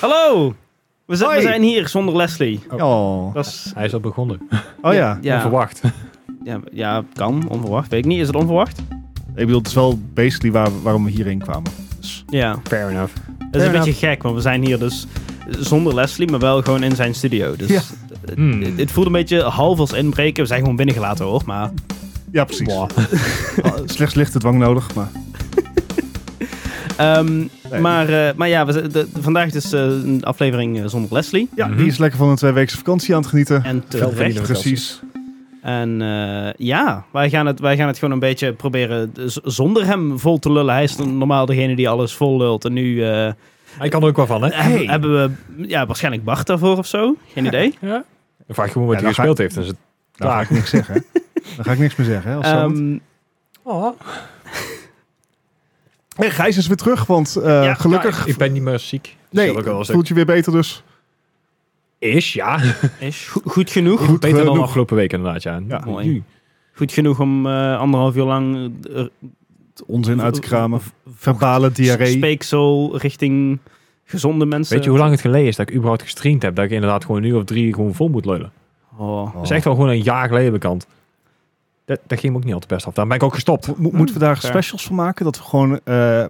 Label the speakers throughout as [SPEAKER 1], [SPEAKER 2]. [SPEAKER 1] Hallo! We zijn, we
[SPEAKER 2] Hoi.
[SPEAKER 1] zijn hier zonder Leslie.
[SPEAKER 2] Oh,
[SPEAKER 1] Dat is,
[SPEAKER 3] Hij is al begonnen.
[SPEAKER 2] oh ja.
[SPEAKER 1] ja,
[SPEAKER 3] Onverwacht.
[SPEAKER 1] ja, ja, kan. Onverwacht. Weet ik niet. Is het onverwacht?
[SPEAKER 2] Ik bedoel, het is wel basically waar, waarom we hierheen kwamen. Dus,
[SPEAKER 1] Ja.
[SPEAKER 3] Fair enough.
[SPEAKER 1] Het is een beetje gek, want we zijn hier dus zonder Leslie, maar wel gewoon in zijn studio. Dus
[SPEAKER 2] Ja.
[SPEAKER 1] het,
[SPEAKER 3] Hmm.
[SPEAKER 1] het- het voelt een beetje half als inbreken. We zijn gewoon binnengelaten hoor, maar...
[SPEAKER 2] ja, precies.
[SPEAKER 3] Wow.
[SPEAKER 2] Ah, Slechts lichte dwang nodig, maar...
[SPEAKER 1] Ehm,
[SPEAKER 2] Nee.
[SPEAKER 1] maar, eh, maar ja, we, z- de- de- vandaag dus eh, een aflevering eh, zonder Leslie.
[SPEAKER 2] Ja,
[SPEAKER 3] Mhm.
[SPEAKER 2] die is lekker van een twee weken vakantie aan het genieten.
[SPEAKER 1] En terecht.
[SPEAKER 3] verdienen
[SPEAKER 2] Precies.
[SPEAKER 1] En eh, ja, wij gaan, het, wij gaan het gewoon een beetje proberen z- zonder hem vol te lullen. Hij is normaal degene die alles vol lult. En nu eh,
[SPEAKER 3] Hij kan er ook wel van, hè?
[SPEAKER 1] hebben- hebben we ja, waarschijnlijk Bart daarvoor of zo. Geen idee.
[SPEAKER 3] Ja? Dan vraag je gewoon wat
[SPEAKER 2] Ja, dan
[SPEAKER 3] hij
[SPEAKER 2] ga-
[SPEAKER 3] gespeeld heeft. En ze...
[SPEAKER 2] Daar ga ik niks zeggen. hè. Daar ga ik niks meer zeggen. Hè, als zo moet.
[SPEAKER 1] Ehm,
[SPEAKER 3] oh,
[SPEAKER 2] Hey, Gijs is weer terug, want eh,
[SPEAKER 1] Ja,
[SPEAKER 2] gelukkig...
[SPEAKER 3] ik ben niet meer ziek. Dus
[SPEAKER 2] nee,
[SPEAKER 3] dat ook wel eens-
[SPEAKER 2] voelt je weer beter dus.
[SPEAKER 3] Is, ja.
[SPEAKER 1] is go- goed genoeg.
[SPEAKER 2] Goed
[SPEAKER 3] Beter dan
[SPEAKER 2] genoeg.
[SPEAKER 3] afgelopen week inderdaad, ja.
[SPEAKER 2] Ja.
[SPEAKER 1] Mooi. Goed genoeg om eh, anderhalf uur lang eh,
[SPEAKER 2] Onzin uit te kramen.
[SPEAKER 1] v- v-
[SPEAKER 2] Verbale diarree.
[SPEAKER 1] speeksel richting gezonde mensen.
[SPEAKER 3] Weet je hoe lang het geleden is dat ik überhaupt gestreamd heb? Dat ik inderdaad gewoon een uur of drie gewoon vol moet lullen.
[SPEAKER 1] Oh.
[SPEAKER 3] Dat is echt wel gewoon een jaar geleden bekend. Dat, dat ging me ook niet al te best af. Daar ben ik ook gestopt.
[SPEAKER 2] Mo- mo- moeten
[SPEAKER 3] Hmm,
[SPEAKER 2] we daar
[SPEAKER 1] fair.
[SPEAKER 2] specials van maken? Dat we gewoon... eh,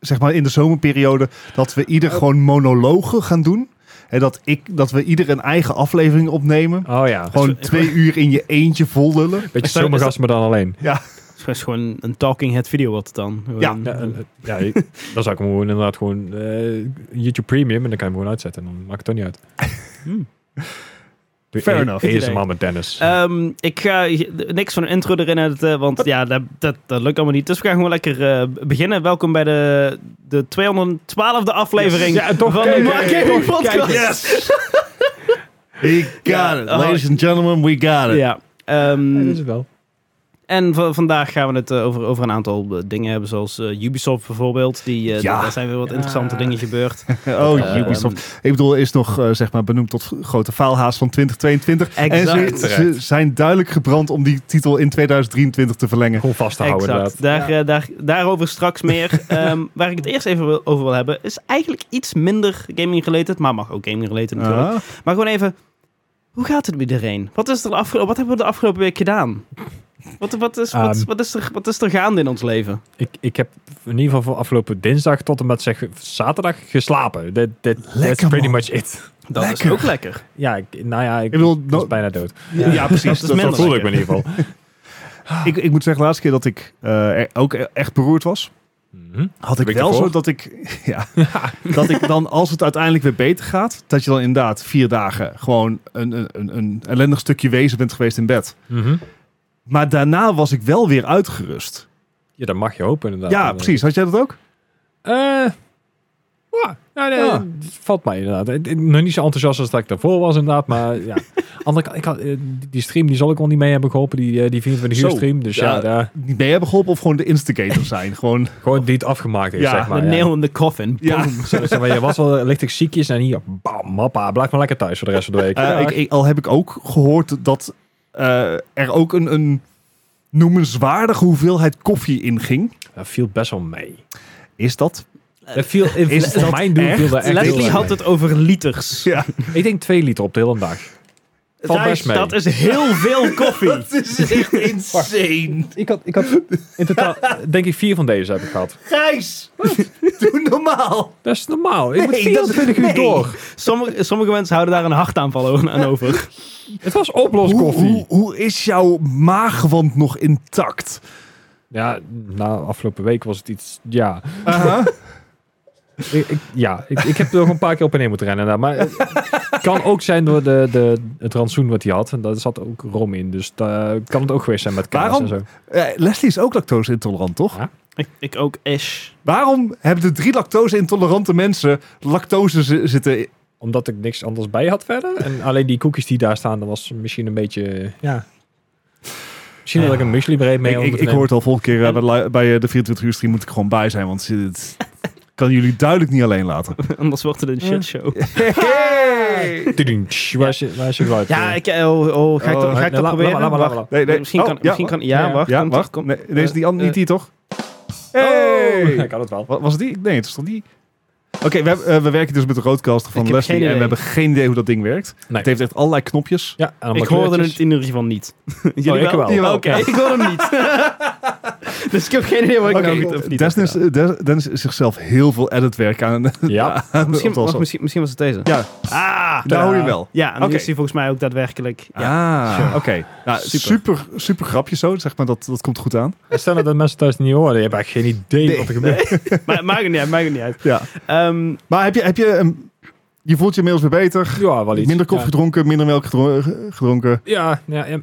[SPEAKER 2] Zeg maar in de zomerperiode dat we ieder
[SPEAKER 3] Oh.
[SPEAKER 2] gewoon monologen gaan doen. En dat, ik, dat we ieder een eigen aflevering opnemen.
[SPEAKER 3] Oh ja.
[SPEAKER 2] Gewoon
[SPEAKER 1] Is-
[SPEAKER 2] twee uur in je eentje vol lullen.
[SPEAKER 3] Beetje
[SPEAKER 1] Is dat- is
[SPEAKER 3] zomergast, maar dan alleen.
[SPEAKER 1] Het is gewoon een talking head video wat het dan.
[SPEAKER 2] Ja.
[SPEAKER 3] Ja, eh, ja, ik- dan zou ik hem gewoon inderdaad gewoon eh, YouTube Premium en dan kan je hem gewoon uitzetten. Dan maakt het toch niet uit.
[SPEAKER 1] Hmm.
[SPEAKER 3] Doe
[SPEAKER 2] Fair
[SPEAKER 3] A-
[SPEAKER 2] enough.
[SPEAKER 1] Goed idee.
[SPEAKER 3] ASMR met Dennis.
[SPEAKER 1] Ehm, ik ga g- niks van een intro erin editen, want ja, dat, dat, dat lukt allemaal niet. Dus we gaan gewoon lekker eh, beginnen. Welkom bij de, de 212e aflevering
[SPEAKER 3] Ja, toch,
[SPEAKER 1] van de
[SPEAKER 3] kijk,
[SPEAKER 1] Mark
[SPEAKER 3] kijk,
[SPEAKER 1] Gaming
[SPEAKER 3] kijk,
[SPEAKER 1] Podcast.
[SPEAKER 2] Yes! We got
[SPEAKER 1] Ja,
[SPEAKER 2] it.
[SPEAKER 1] oh.
[SPEAKER 2] Ladies and gentlemen, we got it.
[SPEAKER 1] Ja. ehm,
[SPEAKER 3] Ja, dat is het wel.
[SPEAKER 1] en v- vandaag gaan we het eh, over, over een aantal eh, dingen hebben, zoals eh, Ubisoft bijvoorbeeld. Die, eh,
[SPEAKER 2] Ja.
[SPEAKER 1] Daar zijn weer wat interessante
[SPEAKER 3] Ja.
[SPEAKER 1] dingen gebeurd.
[SPEAKER 2] Oh,
[SPEAKER 1] Eh,
[SPEAKER 2] Ubisoft. Ik bedoel, is nog eh, zeg maar benoemd tot grote faalhaas van 2022. En
[SPEAKER 1] Exact.
[SPEAKER 2] ze, ze zijn duidelijk gebrand om die titel in 2023 te verlengen.
[SPEAKER 3] Gewoon vast te houden
[SPEAKER 1] Exact.
[SPEAKER 3] inderdaad.
[SPEAKER 1] Daar, eh, daar, daarover straks meer. Ehm, waar ik het eerst even wil- over wil hebben, is eigenlijk iets minder gaming-related, maar mag ook gaming-related natuurlijk.
[SPEAKER 2] Ah.
[SPEAKER 1] Maar gewoon even, hoe gaat het met iedereen? Wat, is er de afgelo- wat hebben we de afgelopen week gedaan? Wat, wat, is, wat,
[SPEAKER 3] Ehm.
[SPEAKER 1] wat, is er, wat is er gaande in ons leven?
[SPEAKER 3] Ik, ik heb in ieder geval van afgelopen dinsdag tot en met zeg, zaterdag geslapen. That, that, that's
[SPEAKER 2] Lekker,
[SPEAKER 3] pretty
[SPEAKER 2] man.
[SPEAKER 3] much it.
[SPEAKER 1] Dat is
[SPEAKER 2] Lekker.
[SPEAKER 1] ook lekker.
[SPEAKER 3] Ja, ik, nou ja, ik,
[SPEAKER 2] Ik bedoel,
[SPEAKER 3] was
[SPEAKER 2] no-
[SPEAKER 3] bijna dood.
[SPEAKER 2] ja, precies.
[SPEAKER 1] is
[SPEAKER 2] Dat- dat
[SPEAKER 1] minder.
[SPEAKER 2] voel
[SPEAKER 3] voelde ik me in ieder geval.
[SPEAKER 2] ik. ik. Ik moet zeggen, de laatste keer dat ik eh, er- ook e- echt beroerd was,
[SPEAKER 3] Mhm.
[SPEAKER 2] had ik
[SPEAKER 3] Week
[SPEAKER 2] wel
[SPEAKER 3] ervoor.
[SPEAKER 2] zo dat ik, ja, dat ik dan, als het uiteindelijk weer beter gaat, dat je dan inderdaad vier dagen gewoon een, een, een, een ellendig stukje wezen bent geweest in bed.
[SPEAKER 3] Mhm.
[SPEAKER 2] Maar daarna was ik wel weer uitgerust.
[SPEAKER 3] Ja, dat mag je hopen inderdaad.
[SPEAKER 2] ja, precies. Had jij dat ook?
[SPEAKER 3] Eh, ja, nou, nee,
[SPEAKER 2] Ja.
[SPEAKER 3] het valt mij inderdaad. Ik- ik- Nog niet zo enthousiast als dat ik daarvoor was inderdaad, maar ja. Andere kant, ik had, eh, die- die stream die zal ik wel niet mee hebben geholpen, die, eh, die 24 uur
[SPEAKER 2] Zo,
[SPEAKER 3] stream. Dus ja,
[SPEAKER 2] ja.
[SPEAKER 3] daar-
[SPEAKER 2] Niet mee hebben geholpen of gewoon de instigator zijn? gewoon,
[SPEAKER 3] gewoon die het afgemaakt heeft,
[SPEAKER 2] Ja,
[SPEAKER 3] zeg maar.
[SPEAKER 1] de
[SPEAKER 3] Nou ja.
[SPEAKER 1] nail in the coffin.
[SPEAKER 2] ja.
[SPEAKER 1] Boom.
[SPEAKER 3] Zo, zeg maar, je was wel lichtig ziekjes en hier, bam, mappa, blijf maar lekker thuis voor de rest van de week.
[SPEAKER 2] Eh,
[SPEAKER 3] Ja,
[SPEAKER 2] ik, ik- al heb ik ook gehoord dat eh, er ook een, een noemenswaardige hoeveelheid koffie in ging.
[SPEAKER 3] dat viel best wel mee.
[SPEAKER 2] Is dat?
[SPEAKER 3] Dat viel, in,
[SPEAKER 2] Is
[SPEAKER 3] voor
[SPEAKER 2] dat
[SPEAKER 3] mijn doel
[SPEAKER 2] echt?
[SPEAKER 3] viel dat echt heel
[SPEAKER 1] Leslie
[SPEAKER 3] erg
[SPEAKER 1] had
[SPEAKER 3] mee.
[SPEAKER 1] het over liters.
[SPEAKER 2] Ja.
[SPEAKER 3] Ik denk 2 liter op de hele dag. Valt
[SPEAKER 1] Thijs,
[SPEAKER 3] best mee.
[SPEAKER 1] Dat is heel veel koffie.
[SPEAKER 2] is echt insane.
[SPEAKER 3] Ik had, ik had in totaal, denk ik, vier van deze heb ik gehad.
[SPEAKER 2] Gijs, doe normaal.
[SPEAKER 3] Dat is normaal. Ik moet
[SPEAKER 2] Nee, dat is-
[SPEAKER 3] 24 uur
[SPEAKER 2] nee.
[SPEAKER 3] door.
[SPEAKER 1] Sommige, sommige mensen houden daar een hartaanval o- aan over.
[SPEAKER 3] Het was
[SPEAKER 2] Hoe,
[SPEAKER 3] oploskoffie.
[SPEAKER 2] hoe, hoe is jouw maagwand nog intact?
[SPEAKER 3] Ja, na afgelopen week was het iets. Ja,
[SPEAKER 2] Aha.
[SPEAKER 3] ik, ik- ja, ik, ik heb er nog een paar keer op en neer moeten rennen. nou, Maar het kan ook zijn door de, de, het rantsoen wat hij had. En daar zat ook rom in. Dus daar kan het ook geweest zijn met kaas
[SPEAKER 2] Waarom?
[SPEAKER 3] en zo.
[SPEAKER 2] Eh, Leslie is ook lactose intolerant, toch?
[SPEAKER 1] Ik, ik ook, ish.
[SPEAKER 2] Waarom hebben de drie lactose-intolerante mensen lactose zi- zitten?
[SPEAKER 3] Omdat ik niks anders bij had verder. En alleen die koekjes die daar staan, dat was misschien een beetje. Ja. Misschien dat ik een muesli breed mee
[SPEAKER 2] ik, ik, ik hoor het al volgende keer eh, bij, de li- bij eh, de 24 uur stream moet ik gewoon bij zijn, want dit kan jullie duidelijk niet alleen laten.
[SPEAKER 1] Anders wordt het een shitshow.
[SPEAKER 3] Waar is je, waar is je geluid?
[SPEAKER 1] Ja, ik, oh, oh, ga ik, dat-
[SPEAKER 2] Oh,
[SPEAKER 1] ga ik
[SPEAKER 3] Nee,
[SPEAKER 1] dat
[SPEAKER 3] laat-
[SPEAKER 1] proberen?
[SPEAKER 3] laat maar, laat maar, laat maar.
[SPEAKER 2] Nee, nee.
[SPEAKER 1] Misschien
[SPEAKER 2] Oh,
[SPEAKER 1] kan...
[SPEAKER 2] ja,
[SPEAKER 1] misschien kan ja,
[SPEAKER 3] ja,
[SPEAKER 1] wacht.
[SPEAKER 2] ja,
[SPEAKER 1] komt-
[SPEAKER 2] wacht.
[SPEAKER 1] komt-
[SPEAKER 2] Nee, deze die andere
[SPEAKER 1] eh,
[SPEAKER 2] niet die toch?
[SPEAKER 3] Oh,
[SPEAKER 2] Hey!
[SPEAKER 3] Ik had het wel.
[SPEAKER 2] Wa- Was het die? Nee, het is toch die? Oké, we, hebben- eh, we werken dus met de roadcaster van
[SPEAKER 1] Ik heb
[SPEAKER 2] Leslie
[SPEAKER 1] geen
[SPEAKER 2] en we
[SPEAKER 1] idee.
[SPEAKER 2] hebben geen idee hoe dat ding werkt.
[SPEAKER 3] Nee.
[SPEAKER 2] Het heeft echt allerlei knopjes.
[SPEAKER 3] Ja, en allemaal
[SPEAKER 1] Ik hoorde
[SPEAKER 3] kleurtjes.
[SPEAKER 1] het in ieder geval niet. Jullie
[SPEAKER 3] ik wel.
[SPEAKER 1] Oké,
[SPEAKER 2] Jawel.
[SPEAKER 1] ik hoorde hem niet. dus ik heb geen idee wat ik
[SPEAKER 2] Oké,
[SPEAKER 1] nou goed of niet heb
[SPEAKER 2] Dennis,
[SPEAKER 1] gedaan.
[SPEAKER 2] Dennis- Dennis is zichzelf heel veel editwerk aan.
[SPEAKER 3] Ja,
[SPEAKER 2] aan
[SPEAKER 1] Misschien,
[SPEAKER 2] het
[SPEAKER 1] wacht, misschien, misschien was het deze.
[SPEAKER 2] Ja,
[SPEAKER 1] Ah,
[SPEAKER 2] daar Nou hoor je wel.
[SPEAKER 1] Ja, en nu
[SPEAKER 2] Oké.
[SPEAKER 1] is hij volgens mij ook daadwerkelijk. Ja.
[SPEAKER 2] Ah, oké. Nou,
[SPEAKER 1] Super.
[SPEAKER 2] super. super, grapje zo, zeg maar, dat, dat komt goed aan.
[SPEAKER 3] stel nou dat mensen thuis niet horen. Je hebt eigenlijk geen idee wat er gebeurt.
[SPEAKER 1] Ah, maar maakt het niet uit, maakt het niet uit.
[SPEAKER 2] Ja.
[SPEAKER 1] Ehm,
[SPEAKER 2] Maar heb je, heb je, een, je voelt je inmiddels weer beter.
[SPEAKER 3] Ja, wel iets.
[SPEAKER 2] Minder koffie
[SPEAKER 3] ja.
[SPEAKER 2] gedronken, minder melk gedro- ge- gedronken.
[SPEAKER 3] Ja, ja, ja.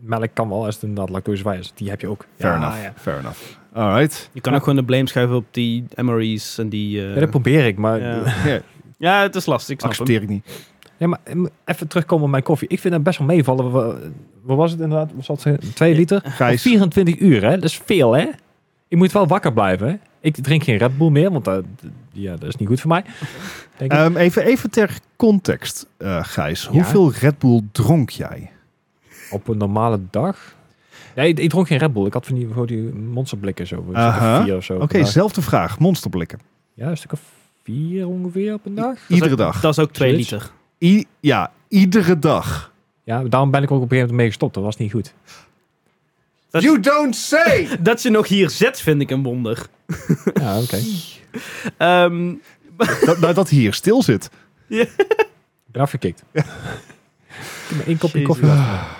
[SPEAKER 3] melk kan wel als het inderdaad lactosevrij is. Die heb je ook.
[SPEAKER 2] Fair
[SPEAKER 3] ja,
[SPEAKER 2] enough,
[SPEAKER 3] Ah, Ja.
[SPEAKER 2] fair enough. All right.
[SPEAKER 1] je kan ook gewoon de blame schuiven op die MRE's en die... eh,
[SPEAKER 3] Ja, dat probeer ik, maar... Ja.
[SPEAKER 1] ja. Ja, het is lastig, ik snap hem.
[SPEAKER 2] Accepteer ik niet.
[SPEAKER 3] maar em, even terugkomen op mijn koffie. Ik vind dat best wel meevallen. Wa- Wat was het inderdaad? Was dat eh, twee liter?
[SPEAKER 2] Gijs.
[SPEAKER 3] 24 uur, hè? Dat is veel, hè? Ik moet wel wakker blijven. hè? Ik drink geen Red Bull meer, want dat, ja, dat is niet goed voor mij. Denk ik.
[SPEAKER 2] Ehm, even, even ter context, eh, Gijs.
[SPEAKER 3] Ja.
[SPEAKER 2] Hoeveel Red Bull dronk jij?
[SPEAKER 3] Op een normale dag. Nee, ik, ik dronk geen Red Bull. Ik had van die, gewoon die monsterblikken zo. een stuk of
[SPEAKER 2] Aha.
[SPEAKER 3] vier of zo. op
[SPEAKER 2] Oké,
[SPEAKER 3] een dag.
[SPEAKER 2] zelfde vraag. Monsterblikken.
[SPEAKER 3] Ja, een stuk of vier ongeveer op een dag.
[SPEAKER 1] Dat is
[SPEAKER 2] Iedere
[SPEAKER 1] ook-
[SPEAKER 2] dag.
[SPEAKER 1] Dat is ook 2
[SPEAKER 3] Zoiets.
[SPEAKER 1] liter.
[SPEAKER 2] I- ja, iedere dag.
[SPEAKER 3] Ja, daarom ben ik ook op een gegeven moment mee gestopt. Dat was niet goed.
[SPEAKER 1] Dat-
[SPEAKER 2] You don't say!
[SPEAKER 1] Dat je nog hier zet, vind ik een wonder.
[SPEAKER 3] Ja, oké.
[SPEAKER 1] Ehm,
[SPEAKER 2] dat, nou, dat hier stil zit.
[SPEAKER 3] Ik ben afgekikt. Ik heb maar één kopje
[SPEAKER 1] Jezus.
[SPEAKER 3] koffie. laten.
[SPEAKER 2] Ja,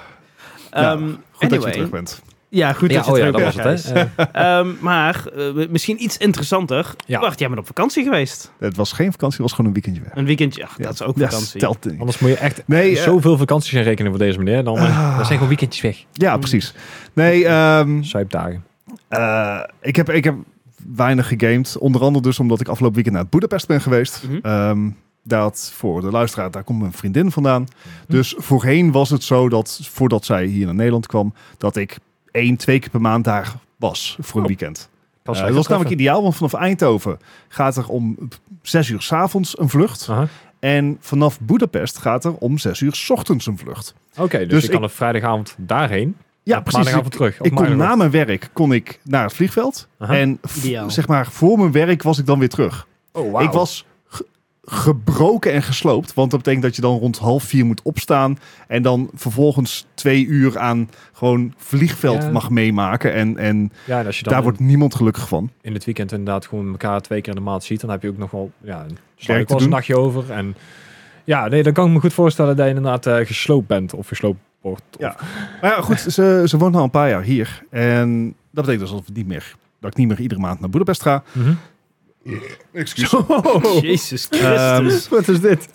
[SPEAKER 1] ehm,
[SPEAKER 2] Goed dat je
[SPEAKER 1] anyway.
[SPEAKER 2] terug bent.
[SPEAKER 1] Ja, goed
[SPEAKER 3] ja,
[SPEAKER 1] dat je
[SPEAKER 3] oh ja,
[SPEAKER 1] terug
[SPEAKER 3] dat was
[SPEAKER 1] bent,
[SPEAKER 3] het, hè?
[SPEAKER 1] Gijs.
[SPEAKER 3] Eh,
[SPEAKER 1] Ehm, maar eh, misschien iets interessanter.
[SPEAKER 3] Ja.
[SPEAKER 1] Wacht, jij bent op vakantie geweest.
[SPEAKER 2] Het was geen vakantie, het was gewoon een weekendje weg.
[SPEAKER 1] Een weekendje. Ach, dat is ook vakantie.
[SPEAKER 2] Ja, telt niet.
[SPEAKER 3] anders moet je echt
[SPEAKER 2] Nee, eh, Ah.
[SPEAKER 3] zoveel vakanties gaan rekenen voor deze meneer. Dan, eh, dan zijn gewoon weekendjes weg.
[SPEAKER 2] ja, precies. Nee, ehm,
[SPEAKER 3] Zuipdagen.
[SPEAKER 2] eh, ik, heb, ik heb weinig gegamed. Onder andere dus omdat ik afgelopen weekend naar Budapest ben geweest.
[SPEAKER 1] Mhm.
[SPEAKER 2] Ehm, dat voor de luisteraar, daar komt mijn vriendin
[SPEAKER 3] Mhm.
[SPEAKER 2] vandaan. Dus voorheen was het zo dat voordat zij hier naar Nederland kwam, dat ik één, twee keer per maand daar was voor een
[SPEAKER 3] Oh.
[SPEAKER 2] weekend.
[SPEAKER 3] Pas
[SPEAKER 2] Eh, dat was namelijk ideaal, want vanaf Eindhoven gaat er om zes uur 's avonds een vlucht.
[SPEAKER 3] Aha.
[SPEAKER 2] En vanaf Budapest gaat er om zes uur 's ochtends een vlucht.
[SPEAKER 3] Oké, dus,
[SPEAKER 2] Dus
[SPEAKER 3] je kan op vrijdagavond daarheen.
[SPEAKER 2] Ja,
[SPEAKER 3] en op
[SPEAKER 2] precies.
[SPEAKER 3] Maandagavond terug. Of
[SPEAKER 2] Ik kon
[SPEAKER 3] maandag.
[SPEAKER 2] na mijn werk kon ik naar het vliegveld.
[SPEAKER 3] Aha.
[SPEAKER 2] En v-
[SPEAKER 1] Ideaal.
[SPEAKER 2] zeg maar, voor mijn werk was ik dan weer terug.
[SPEAKER 3] Oh, wauw.
[SPEAKER 2] Ik was ge- gebroken en gesloopt. Want dat betekent dat je dan rond half vier moet opstaan. En dan vervolgens twee uur aan gewoon vliegveld
[SPEAKER 3] Ja.
[SPEAKER 2] mag meemaken. En, en
[SPEAKER 3] Ja, en als je dan
[SPEAKER 2] daar wordt niemand gelukkig van.
[SPEAKER 3] in het weekend inderdaad gewoon elkaar twee keer in de maand ziet, dan heb je ook nog wel ja, een-
[SPEAKER 2] Werk
[SPEAKER 3] sla ik
[SPEAKER 2] te
[SPEAKER 3] wel eens een
[SPEAKER 2] doen.
[SPEAKER 3] nachtje over. En ja, nee, dan kan ik me goed voorstellen dat je inderdaad eh, gesloopt bent of gesloopt wordt. Of-
[SPEAKER 2] Ja. Maar ja, goed, ze, ze woont al een paar jaar hier. En dat betekent dus dat, we niet meer, dat ik niet meer iedere maand naar Budapest ga.
[SPEAKER 3] Mhm.
[SPEAKER 2] Excuus.
[SPEAKER 1] Oh,
[SPEAKER 2] Oh.
[SPEAKER 1] Jezus
[SPEAKER 2] Ehm,
[SPEAKER 1] Christus.
[SPEAKER 3] Wat is dit?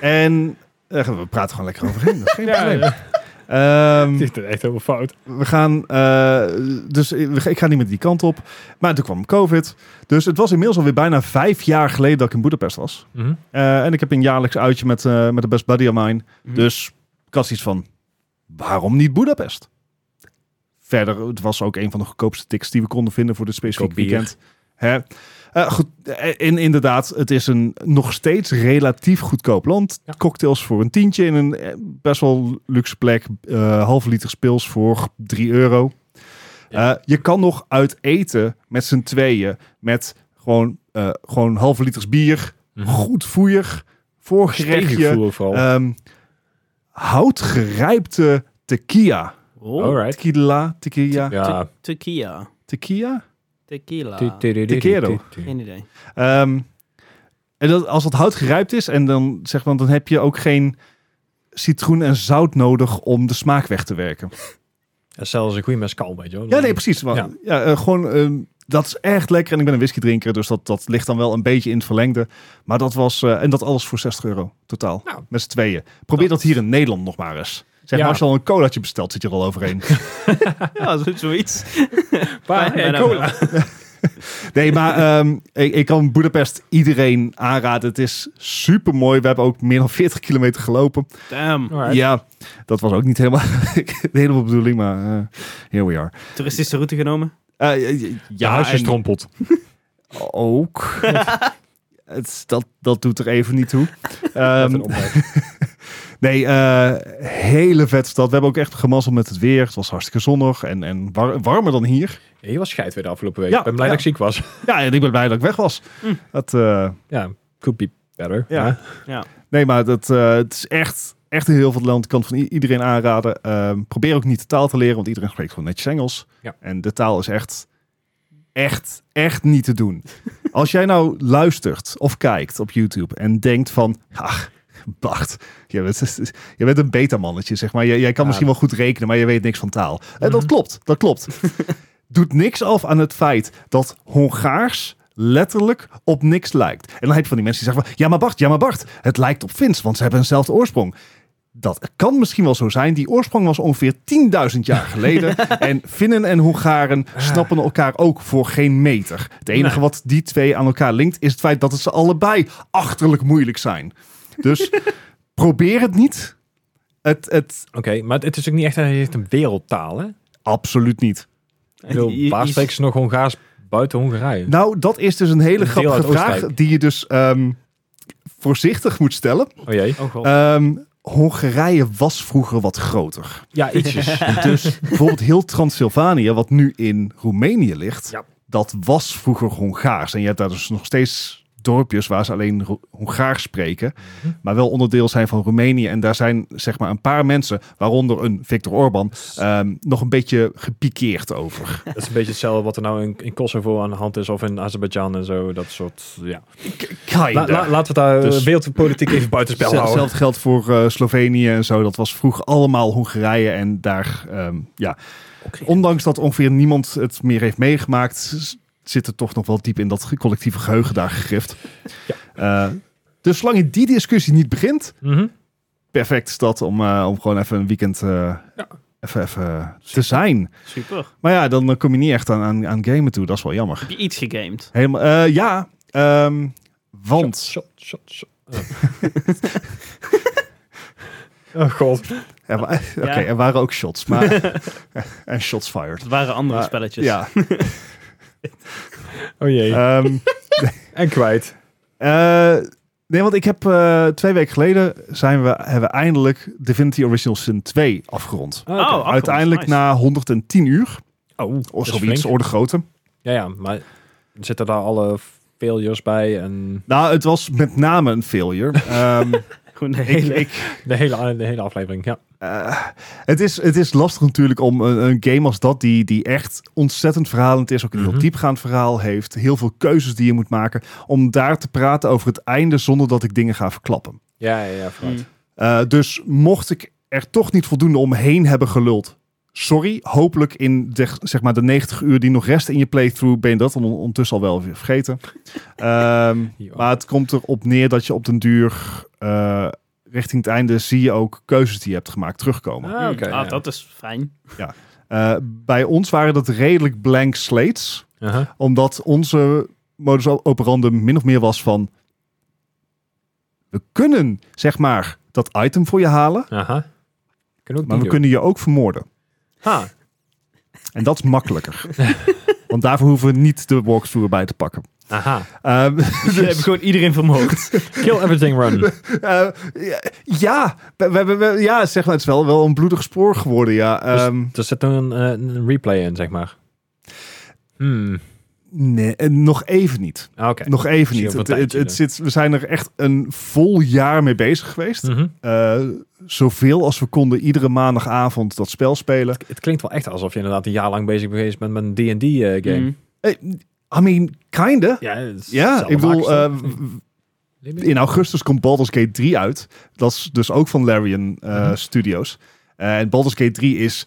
[SPEAKER 2] En eh, we praten gewoon lekker overheen. Dat is geen
[SPEAKER 3] Ja,
[SPEAKER 2] probleem.
[SPEAKER 3] ja.
[SPEAKER 2] Ehm,
[SPEAKER 3] Het is echt helemaal fout.
[SPEAKER 2] we gaan, eh, dus ik ik ga niet meer die kant op. Maar toen kwam COVID. Dus het was inmiddels alweer bijna vijf jaar geleden dat ik in Budapest was.
[SPEAKER 3] Mhm.
[SPEAKER 2] Eh, en ik heb een jaarlijks uitje met, eh, met de best buddy of mine.
[SPEAKER 1] Mhm.
[SPEAKER 2] Dus ik had iets van, waarom niet Budapest? Verder, het was ook een van de goedkoopste tickets die we konden vinden voor dit specifieke
[SPEAKER 3] Goedkoop bier.
[SPEAKER 2] weekend. Hè? Eh, goed, eh, en inderdaad, het is een nog steeds relatief goedkoop land.
[SPEAKER 3] Ja.
[SPEAKER 2] Cocktails voor een tientje in een eh, best wel luxe plek. Eh half liter spils voor 3 euro.
[SPEAKER 3] Ja.
[SPEAKER 2] Eh, je kan nog uit eten met z'n tweeën. Met gewoon, eh gewoon half liters bier.
[SPEAKER 3] Mhm.
[SPEAKER 2] Goed voer. Voorgerechtje.
[SPEAKER 3] Steekgevoel vooral.
[SPEAKER 2] Ehm, houtgerijpte tequila.
[SPEAKER 1] Oh.
[SPEAKER 3] Alright.
[SPEAKER 2] Tequila, tequila,
[SPEAKER 3] Ja.
[SPEAKER 1] Tequila.
[SPEAKER 2] tequila.
[SPEAKER 1] Tequila.
[SPEAKER 2] Tequero.
[SPEAKER 1] Geen idee.
[SPEAKER 2] Ehm, en dat, als dat hout gerijpt is, en dan, zeg maar, dan heb je ook geen citroen en zout nodig om de smaak weg te werken.
[SPEAKER 3] Ja, Zelfs een goede mescal, weet je wel.
[SPEAKER 2] Ja, nee, precies. Maar, ja.
[SPEAKER 3] Ja.
[SPEAKER 2] eh, gewoon, ehm, dat is echt lekker. En ik ben een whisky drinker, dus dat, dat ligt dan wel een beetje in het verlengde. Maar dat was, eh, en dat alles voor 60 euro totaal.
[SPEAKER 3] Nou.
[SPEAKER 2] met z'n tweeën. Probeer dat hier in Nederland nog maar eens. Zeg maar,
[SPEAKER 3] Ja.
[SPEAKER 2] als je al een colaatje bestelt, zit je er al overheen.
[SPEAKER 1] Ja, zo- zoiets.
[SPEAKER 3] Maar, Ah, hey,
[SPEAKER 1] Bijna
[SPEAKER 3] cola.
[SPEAKER 1] wel.
[SPEAKER 2] Nee, maar ehm, ik, ik kan Budapest iedereen aanraden. Het is super mooi. We hebben ook meer dan 40 kilometer gelopen.
[SPEAKER 1] Damn.
[SPEAKER 3] Alright.
[SPEAKER 2] Ja, dat was ook niet helemaal de hele bedoeling, maar eh, here we are.
[SPEAKER 1] Toeristische route genomen.
[SPEAKER 2] Eh, eh,
[SPEAKER 3] Je huisje
[SPEAKER 2] en ehm,
[SPEAKER 3] strompelt.
[SPEAKER 2] ook. Het, dat, dat doet er even niet toe.
[SPEAKER 3] Met
[SPEAKER 2] Ehm,
[SPEAKER 3] een opmerking.
[SPEAKER 2] nee, eh, hele vet stad. We hebben ook echt gemazzeld met het weer. Het was hartstikke zonnig en, en war- warmer dan hier.
[SPEAKER 3] Ja, je was scheid weer de afgelopen week.
[SPEAKER 2] Ja,
[SPEAKER 3] ik ben blij
[SPEAKER 2] ja.
[SPEAKER 3] dat ik ziek was.
[SPEAKER 2] Ja, en ik ben blij dat ik weg was.
[SPEAKER 1] Hm.
[SPEAKER 2] Dat, eh,
[SPEAKER 3] ja, could be better.
[SPEAKER 2] Ja.
[SPEAKER 3] maar-
[SPEAKER 2] nee, maar dat, eh, het is echt, echt in heel veel land. Ik kan het van i- iedereen aanraden. Ehm, probeer ook niet de taal te leren, want iedereen spreekt gewoon netjes Engels.
[SPEAKER 3] Ja.
[SPEAKER 2] En de taal is echt, echt, echt niet te doen. Als jij nou luistert of kijkt op YouTube en denkt van... Ach, Bart, je bent, je bent een beta-mannetje, zeg maar. Jij, jij kan
[SPEAKER 3] Ja.
[SPEAKER 2] misschien wel goed rekenen, maar je weet niks van taal. En dat
[SPEAKER 3] Mhm.
[SPEAKER 2] klopt, dat klopt. Doet niks af aan het feit dat Hongaars letterlijk op niks lijkt. En dan heb je van die mensen die zeggen van... Ja, maar Bart, ja, maar Bart. Het lijkt op Fins, want ze hebben eenzelfde oorsprong. Dat kan misschien wel zo zijn. Die oorsprong was ongeveer 10.000 jaar geleden. en Finnen en Hongaren snappen elkaar ook voor geen meter. Het enige
[SPEAKER 3] Nee.
[SPEAKER 2] wat die twee aan elkaar linkt is het feit dat het ze allebei achterlijk moeilijk zijn. Dus probeer het niet. Het, het
[SPEAKER 3] Oké, maar het is ook niet echt een, echt een wereldtaal, hè? Ik
[SPEAKER 2] absoluut niet.
[SPEAKER 3] bedoel,
[SPEAKER 1] Je- je-
[SPEAKER 3] Waar spreken ze nog Hongaars buiten Hongarije?
[SPEAKER 2] Nou, dat is dus een hele
[SPEAKER 3] Een deel
[SPEAKER 2] grappige
[SPEAKER 3] uit
[SPEAKER 2] vraag
[SPEAKER 3] Oostenrijk.
[SPEAKER 2] die je dus ehm, voorzichtig moet stellen.
[SPEAKER 3] Oh jee.
[SPEAKER 1] Oh god.
[SPEAKER 2] Ehm, Hongarije was vroeger wat groter.
[SPEAKER 3] Ja, ietsjes.
[SPEAKER 2] Dus bijvoorbeeld heel Transylvanië, wat nu in Roemenië ligt,
[SPEAKER 3] Ja.
[SPEAKER 2] dat was vroeger Hongaars. En je hebt daar dus nog steeds dorpjes waar ze alleen Ro- Hongaars spreken,
[SPEAKER 3] Mhm.
[SPEAKER 2] maar wel onderdeel zijn van Roemenië. En daar zijn zeg maar een paar mensen, waaronder een Viktor Orban, ehm, nog een beetje gepikeerd over.
[SPEAKER 3] dat is een beetje hetzelfde wat er nou in, in Kosovo aan de hand is of in Azerbeidzjan en zo. Dat soort, ja. La- la- laten we daar eh,
[SPEAKER 2] Dus-
[SPEAKER 3] wereldpolitiek even
[SPEAKER 2] Hetzelfde
[SPEAKER 3] buitenspel houden.
[SPEAKER 2] Hetzelfde geldt voor eh, Slovenië en zo. Dat was vroeger allemaal Hongarije. En daar, ehm, ja, ondanks dat ongeveer niemand het meer heeft meegemaakt, s- zit het toch nog wel diep in dat ge- collectieve geheugen daar gegrift. Eh, dus zolang je die discussie niet begint,
[SPEAKER 3] Mhm.
[SPEAKER 2] perfect is dat om, eh, om gewoon even een weekend eh, even, even te zijn.
[SPEAKER 1] Super.
[SPEAKER 2] Maar ja, dan eh, kom je niet echt aan, aan, aan gamen toe. Dat is wel jammer.
[SPEAKER 1] Heb je iets gegamed?
[SPEAKER 2] Helemaal, eh, ja, ehm, want...
[SPEAKER 3] Shot, shot, shot, shot. Oh. oh god.
[SPEAKER 2] Er, wa- Oké, er waren ook shots, maar... en shots fired.
[SPEAKER 1] Het waren andere
[SPEAKER 2] Maar,
[SPEAKER 1] spelletjes.
[SPEAKER 2] Ah, Ja,
[SPEAKER 3] Oh jee.
[SPEAKER 2] Ehm,
[SPEAKER 3] en kwijt.
[SPEAKER 2] eh, nee, want ik heb eh, twee weken geleden zijn we, hebben we eindelijk Divinity Original Sin 2 afgerond.
[SPEAKER 3] Oh,
[SPEAKER 1] Oh, afgerond,
[SPEAKER 2] Uiteindelijk
[SPEAKER 1] nice.
[SPEAKER 2] na 110 uur.
[SPEAKER 3] oh
[SPEAKER 2] Of
[SPEAKER 3] dat is
[SPEAKER 2] zoiets,
[SPEAKER 3] flink.
[SPEAKER 2] orde grootte.
[SPEAKER 3] Ja, ja, maar zitten daar alle failures bij en
[SPEAKER 2] Nou, het was met name een failure. Ehm,
[SPEAKER 1] Gewoon de
[SPEAKER 2] ik,
[SPEAKER 1] hele...
[SPEAKER 2] ik,
[SPEAKER 3] de hele, de hele aflevering, ja.
[SPEAKER 2] eh, het, is, het is lastig natuurlijk om een, een game als dat, die, die echt ontzettend verhalend is, ook een
[SPEAKER 3] Mhm.
[SPEAKER 2] heel diepgaand verhaal heeft, heel veel keuzes die je moet maken, om daar te praten over het einde zonder dat ik dingen ga verklappen.
[SPEAKER 3] Ja, ja, ja, vooruit.
[SPEAKER 1] Mm.
[SPEAKER 2] Eh, dus mocht ik er toch niet voldoende omheen hebben geluld, sorry. Hopelijk in de, zeg maar de 90 uur die nog rest in je playthrough ben je dat on- ondertussen al wel weer vergeten. Ehm,
[SPEAKER 3] Ja.
[SPEAKER 2] maar het komt erop neer dat je op den duur eh, richting het einde zie je ook keuzes die je hebt gemaakt terugkomen.
[SPEAKER 3] Ah, oké.
[SPEAKER 1] Ah,
[SPEAKER 3] ja.
[SPEAKER 1] dat is fijn.
[SPEAKER 2] Eh, bij ons waren dat redelijk blank slates,
[SPEAKER 3] Aha.
[SPEAKER 2] omdat onze modus operandi min of meer was van we kunnen zeg maar dat item voor je halen,
[SPEAKER 3] Aha. Kunnen we
[SPEAKER 2] maar
[SPEAKER 3] ook niet
[SPEAKER 2] we
[SPEAKER 3] doen.
[SPEAKER 2] kunnen je ook vermoorden.
[SPEAKER 3] Ha.
[SPEAKER 2] En dat is makkelijker. Want daarvoor hoeven we niet de walkthrough bij te pakken.
[SPEAKER 3] Aha.
[SPEAKER 2] Ehm,
[SPEAKER 1] Dus je hebt gewoon iedereen vermoord.
[SPEAKER 3] Kill everything run. Dus
[SPEAKER 2] eh, ja, we, we- we- we- ja, zeg maar, het is wel, wel een bloedig spoor geworden, ja. Ehm,
[SPEAKER 3] er zit een, eh, een replay in, zeg maar. Hmm.
[SPEAKER 2] nee, eh, nog even niet.
[SPEAKER 3] Ah, Oké.
[SPEAKER 2] Nog even
[SPEAKER 3] Zie je
[SPEAKER 2] niet.
[SPEAKER 3] op
[SPEAKER 2] Het,
[SPEAKER 3] een
[SPEAKER 2] het,
[SPEAKER 3] tijdje
[SPEAKER 2] het
[SPEAKER 3] dan.
[SPEAKER 2] zit, we zijn er echt een vol jaar mee bezig geweest.
[SPEAKER 3] Mhm.
[SPEAKER 2] Eh, zoveel als we konden iedere maandagavond dat spel spelen.
[SPEAKER 3] Het klinkt wel echt alsof je inderdaad een jaar lang bezig bent geweest met met een D&D-game.
[SPEAKER 1] Mm.
[SPEAKER 2] Eh, I mean, kinda.
[SPEAKER 3] Ja, het is
[SPEAKER 2] Ja,
[SPEAKER 3] hetzelfde
[SPEAKER 2] ik bedoel,
[SPEAKER 3] maaksel.
[SPEAKER 2] eh, w- in augustus komt Baldur's Gate 3 uit. Dat is dus ook van Larian eh,
[SPEAKER 3] Mhm.
[SPEAKER 2] Studios. Eh, en Baldur's Gate 3 is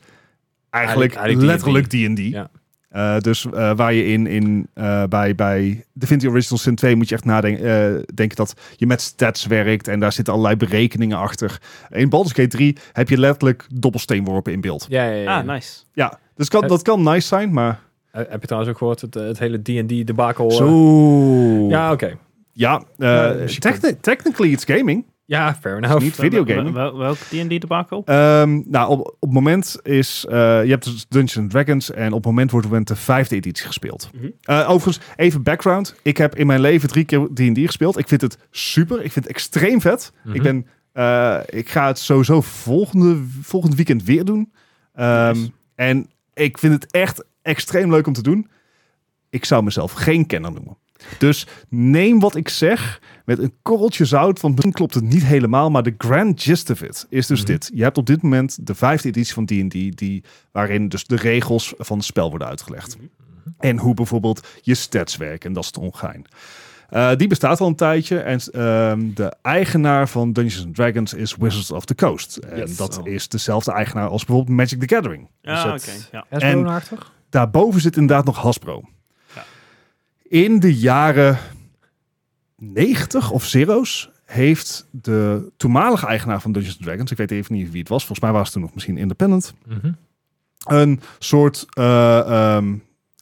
[SPEAKER 2] eigenlijk,
[SPEAKER 3] Eigenlijk- eigenlijk
[SPEAKER 2] letterlijk D&D.
[SPEAKER 3] Ja.
[SPEAKER 2] Eh, dus eh, waar je in, in eh, bij, bij Divinity Original Sin 2 moet je echt nadenken eh, denken dat je met stats werkt. En daar zitten allerlei berekeningen achter. In Baldur's Gate 3 heb je letterlijk dobbelsteenworpen in beeld.
[SPEAKER 3] ja, ja, ja, ja.
[SPEAKER 1] Ah, nice.
[SPEAKER 2] Ja, dus kan,
[SPEAKER 3] Eh,
[SPEAKER 2] dat kan nice zijn, maar...
[SPEAKER 3] Eh, Heb je trouwens ook gehoord het, eh, het hele D&D debakel? eh?
[SPEAKER 2] Zo... Ja,
[SPEAKER 3] Ja, oké.
[SPEAKER 2] ja eh,
[SPEAKER 3] Ja, dus je
[SPEAKER 2] techni- technically it's gaming.
[SPEAKER 3] Ja, fair enough.
[SPEAKER 2] Niet videogaming.
[SPEAKER 1] Wel- wel- Welk D&D debakel?
[SPEAKER 2] Ehm, nou, op, op het moment is... eh, je hebt dus Dungeons and Dragons en op het moment wordt wordt de vijfde editie gespeeld.
[SPEAKER 1] Mhm.
[SPEAKER 2] Eh, overigens, even background. Ik heb in mijn leven drie keer D&D gespeeld. Ik vind het super. Ik vind het extreem vet.
[SPEAKER 3] Mhm.
[SPEAKER 2] Ik, ben, eh, ik ga het sowieso volgende, volgend weekend weer doen. Ehm,
[SPEAKER 1] Nice.
[SPEAKER 2] En ik vind het echt extreem leuk om te doen. Ik zou mezelf geen kenner noemen. Dus neem wat ik zeg met een korreltje zout, want misschien klopt het niet helemaal, maar de grand gist of it is dus
[SPEAKER 3] Mhm.
[SPEAKER 2] dit. Je hebt op dit moment de vijfde editie van D&D, die, waarin dus de regels van het spel worden uitgelegd.
[SPEAKER 3] Mhm.
[SPEAKER 2] En hoe bijvoorbeeld je stats werken, en dat is het ongein. Eh, die bestaat al een tijdje en ehm, de eigenaar van Dungeons and Dragons is Wizards of the Coast. En
[SPEAKER 3] Yes.
[SPEAKER 2] dat
[SPEAKER 3] Oh. Ah,
[SPEAKER 2] is dezelfde eigenaar als bijvoorbeeld Magic the Gathering.
[SPEAKER 1] Ja,
[SPEAKER 2] Dus
[SPEAKER 1] Ah, oké.
[SPEAKER 2] het-
[SPEAKER 1] ja.
[SPEAKER 2] En-
[SPEAKER 3] HBO-achtig?
[SPEAKER 2] Daarboven zit inderdaad nog Hasbro.
[SPEAKER 1] Ja.
[SPEAKER 2] In de jaren 90 of zero's heeft de toenmalige eigenaar van Dungeons and Dragons, ik weet even niet wie het was, volgens mij was het toen nog misschien independent,
[SPEAKER 3] Mhm.
[SPEAKER 2] een soort eh, ehm,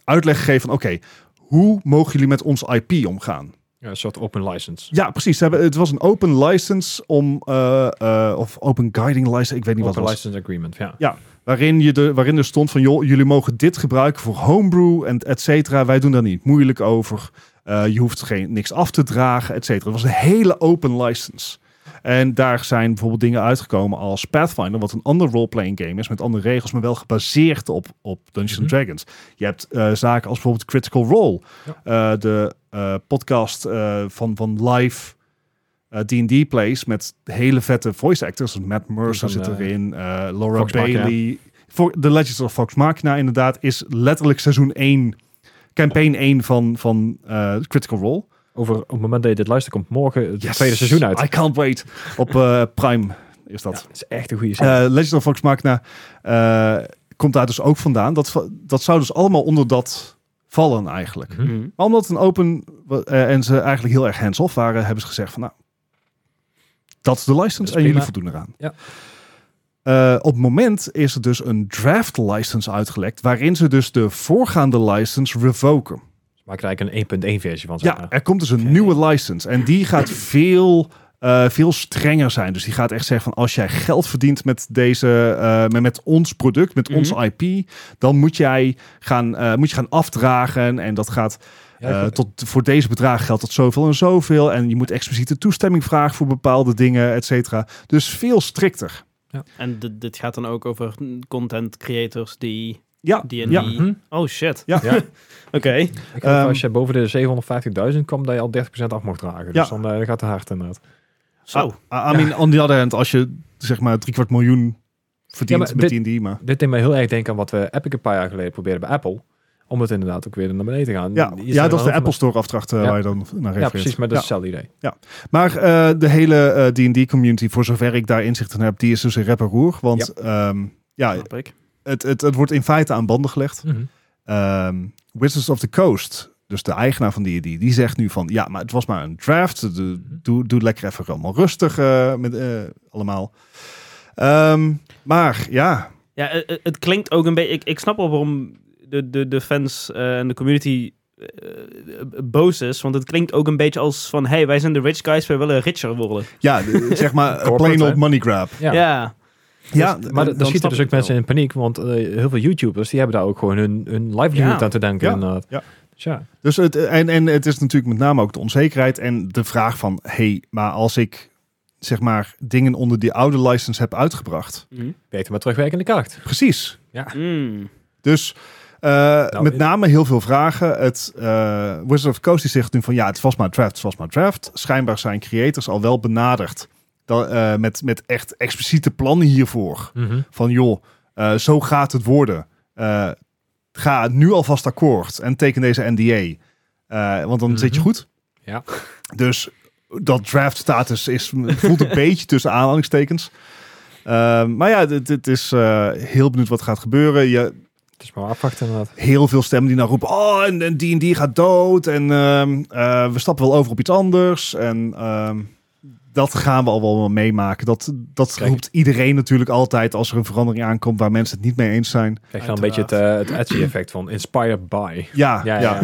[SPEAKER 2] uitleg gegeven van oké, hoe mogen jullie met ons IP omgaan?
[SPEAKER 3] Ja, een soort open license.
[SPEAKER 2] Ja, precies. Ze hebben, het was een open license om, eh, eh, of open guiding license, ik weet niet wat
[SPEAKER 3] Open
[SPEAKER 2] het was.
[SPEAKER 3] license agreement, ja.
[SPEAKER 2] Waarin, je de, waarin er stond van, joh, jullie mogen dit gebruiken voor homebrew en et cetera. Wij doen daar niet moeilijk over. Eh, je hoeft geen, niks af te dragen, et cetera. Het was een hele open license. En daar zijn bijvoorbeeld dingen uitgekomen als Pathfinder, wat een ander role-playing game is met andere regels, maar wel gebaseerd op, op Dungeons and
[SPEAKER 3] Mhm.
[SPEAKER 2] Dragons. Je hebt eh, zaken als bijvoorbeeld Critical Role, Eh, de eh, podcast eh, van, van live eh, D&D plays met hele vette voice actors. Dus Matt Mercer
[SPEAKER 3] van,
[SPEAKER 2] zit
[SPEAKER 3] eh,
[SPEAKER 2] erin, eh, Laura
[SPEAKER 3] Vox
[SPEAKER 2] Bailey.
[SPEAKER 3] Machina.
[SPEAKER 2] Voor The Legends of Fox Machina inderdaad is letterlijk seizoen 1, campaign 1 van, van eh, Critical Role.
[SPEAKER 3] Over, op het moment dat je dit luistert, komt morgen het
[SPEAKER 2] Yes.
[SPEAKER 3] tweede seizoen uit.
[SPEAKER 2] I can't wait. Op eh, Prime is
[SPEAKER 3] Ja,
[SPEAKER 2] dat.
[SPEAKER 3] dat is echt een goede serie.
[SPEAKER 2] Eh Legend of Vox Machina eh, komt daar dus ook vandaan. Dat, va- dat zou dus allemaal onder dat vallen eigenlijk.
[SPEAKER 3] Mhm.
[SPEAKER 1] Hmm.
[SPEAKER 2] Maar omdat het een open eh, en ze eigenlijk heel erg hands-off waren, hebben ze gezegd van nou, dat is de license
[SPEAKER 3] Dat is
[SPEAKER 2] en jullie
[SPEAKER 3] prima.
[SPEAKER 2] voldoen eraan.
[SPEAKER 3] Ja.
[SPEAKER 2] Eh, op het moment is er dus een draft license uitgelekt, waarin ze dus de voorgaande license revoken.
[SPEAKER 3] Ze maken er eigenlijk een 1.1 versie van, zeg
[SPEAKER 2] Ja,
[SPEAKER 3] maar.
[SPEAKER 2] er komt dus een
[SPEAKER 3] Oké.
[SPEAKER 2] nieuwe license. En die gaat veel, eh, veel strenger zijn. Dus die gaat echt zeggen van als jij geld verdient met deze, eh, met- met ons product, met
[SPEAKER 1] Mhm.
[SPEAKER 2] ons IP, dan moet jij gaan, eh, moet je gaan afdragen. En dat gaat eh,
[SPEAKER 3] Ja, ik-
[SPEAKER 2] tot, voor deze bedragen geldt tot zoveel en zoveel. En je moet expliciete toestemming vragen voor bepaalde dingen, et cetera. Dus veel strikter.
[SPEAKER 1] En dit, dit gaat dan ook over content creators die...
[SPEAKER 2] Ja,
[SPEAKER 1] die en
[SPEAKER 2] ja.
[SPEAKER 1] die-
[SPEAKER 3] Mhm.
[SPEAKER 1] Oh shit.
[SPEAKER 2] Ja. Ah,
[SPEAKER 3] Ja.
[SPEAKER 1] Oké.
[SPEAKER 3] Ik geloof
[SPEAKER 2] Ehm,
[SPEAKER 3] als je boven de 750.000 kwam, dat je al 30% af mocht dragen. Dus
[SPEAKER 2] Ja.
[SPEAKER 3] dan eh, gaat het hard inderdaad.
[SPEAKER 1] Zo.
[SPEAKER 2] I- ah, I mean, on the other hand, als je zeg maar drie kwart miljoen verdient
[SPEAKER 3] maar
[SPEAKER 2] met
[SPEAKER 3] dit-
[SPEAKER 2] die maar...
[SPEAKER 3] Dit deed me heel erg denken aan wat we Epic een paar jaar geleden probeerden bij Apple. Om het inderdaad ook weer naar beneden te gaan.
[SPEAKER 2] Ja,
[SPEAKER 3] Hier zijn
[SPEAKER 2] ja
[SPEAKER 3] er
[SPEAKER 2] dat is de
[SPEAKER 3] heel
[SPEAKER 2] Apple
[SPEAKER 3] veel-
[SPEAKER 2] Store afdracht eh,
[SPEAKER 3] Ja.
[SPEAKER 2] waar je dan naar refereert.
[SPEAKER 3] Ja, precies, maar dat
[SPEAKER 2] Ja.
[SPEAKER 3] is hetzelfde idee.
[SPEAKER 2] Maar eh, de hele D&D-community, voor zover ik daar inzicht in heb, die is dus een rep en roer. Want ehm, ja,
[SPEAKER 1] Snap ik.
[SPEAKER 2] het, het, het wordt in feite aan banden gelegd.
[SPEAKER 3] Mhm.
[SPEAKER 2] Ehm, Wizards of the Coast, dus de eigenaar van D&D, die zegt nu van... Ja, maar het was maar een draft. Doe,
[SPEAKER 3] Mhm.
[SPEAKER 2] doe, doe lekker even allemaal rustig eh, met, eh, allemaal. Ehm, maar ja,
[SPEAKER 1] Ja, het, het klinkt ook een beetje... Ik, ik snap wel waarom de, de, de fans eh, en de community eh, boos is. Want het klinkt ook een beetje als van... hey, wij zijn de rich guys, wij willen richer worden.
[SPEAKER 2] ja de- zeg maar een
[SPEAKER 3] Corporate,
[SPEAKER 2] plain old
[SPEAKER 3] hè?
[SPEAKER 2] money grab.
[SPEAKER 3] Ja.
[SPEAKER 1] ja.
[SPEAKER 2] Ja,
[SPEAKER 3] Dus-
[SPEAKER 2] dan-
[SPEAKER 3] maar
[SPEAKER 2] dan
[SPEAKER 3] d-
[SPEAKER 2] snap
[SPEAKER 3] daar schieten dus
[SPEAKER 2] ik
[SPEAKER 3] ook mensen
[SPEAKER 2] wel.
[SPEAKER 3] in paniek, want eh, heel veel YouTubers die hebben daar ook gewoon hun, hun livelihood
[SPEAKER 1] Ja.
[SPEAKER 3] aan te denken.
[SPEAKER 2] Ja.
[SPEAKER 3] inderdaad.
[SPEAKER 2] Ja.
[SPEAKER 3] Dus ja.
[SPEAKER 2] Dus het, en, en het is natuurlijk met name ook de onzekerheid en de vraag van... hey, maar als ik zeg maar dingen onder die oude license heb uitgebracht...
[SPEAKER 1] Mhm.
[SPEAKER 3] Beter maar terugwerkende kracht.
[SPEAKER 2] Precies.
[SPEAKER 1] Mm.
[SPEAKER 2] Dus eh, met
[SPEAKER 3] ik-
[SPEAKER 2] name heel veel vragen. Het, eh Wizard of the Coast die zegt nu van... ja, het was maar draft, het was maar draft. Schijnbaar zijn creators al wel benaderd... Dan, eh, met, met echt expliciete plannen hiervoor. Van joh, eh, zo gaat het worden. Eh, ga nu alvast akkoord en teken deze NDA. Eh, want dan zit je
[SPEAKER 3] Mhm.
[SPEAKER 2] goed.
[SPEAKER 3] Ja.
[SPEAKER 2] Dus dat draft status is, voelt een beetje tussen aanhalingstekens. Ehm, maar ja, dit, dit is eh, heel benieuwd wat gaat gebeuren. Je,
[SPEAKER 3] Het is maar afwachten inderdaad.
[SPEAKER 2] heel veel stemmen die nou roepen... oh, en en die en die gaat dood. En ehm, eh, we stappen wel over op iets anders. En ehm, dat gaan we al wel meemaken. Dat, dat
[SPEAKER 3] Kijk.
[SPEAKER 2] roept iedereen natuurlijk altijd... als er een verandering aankomt waar mensen het niet mee eens zijn.
[SPEAKER 3] Krijg je dan een beetje het, eh, het Etsy-effect van inspired by.
[SPEAKER 2] Ja, ja.
[SPEAKER 3] Ja, ja.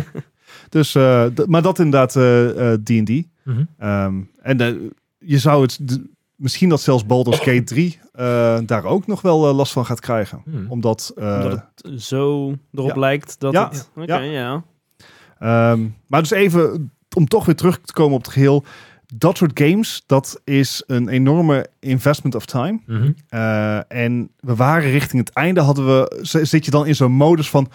[SPEAKER 2] Dus, eh, d- maar dat inderdaad eh, eh, D&D.
[SPEAKER 3] Mhm.
[SPEAKER 2] Ehm, en eh, je zou het... d- misschien dat zelfs Baldur's Gate 3... eh, daar ook nog wel eh, last van gaat krijgen.
[SPEAKER 3] Mhm.
[SPEAKER 2] Omdat... eh,
[SPEAKER 1] Omdat het zo erop
[SPEAKER 2] ja.
[SPEAKER 1] lijkt dat
[SPEAKER 2] Ja,
[SPEAKER 1] het... Oké,
[SPEAKER 2] ja.
[SPEAKER 1] ja.
[SPEAKER 2] Ehm, maar dus even, om toch weer terug te komen op het geheel. Dat soort games, dat is een enorme investment of time.
[SPEAKER 3] Mhm.
[SPEAKER 2] Eh, en we waren richting het einde, hadden we, z- zit je dan in zo'n modus van...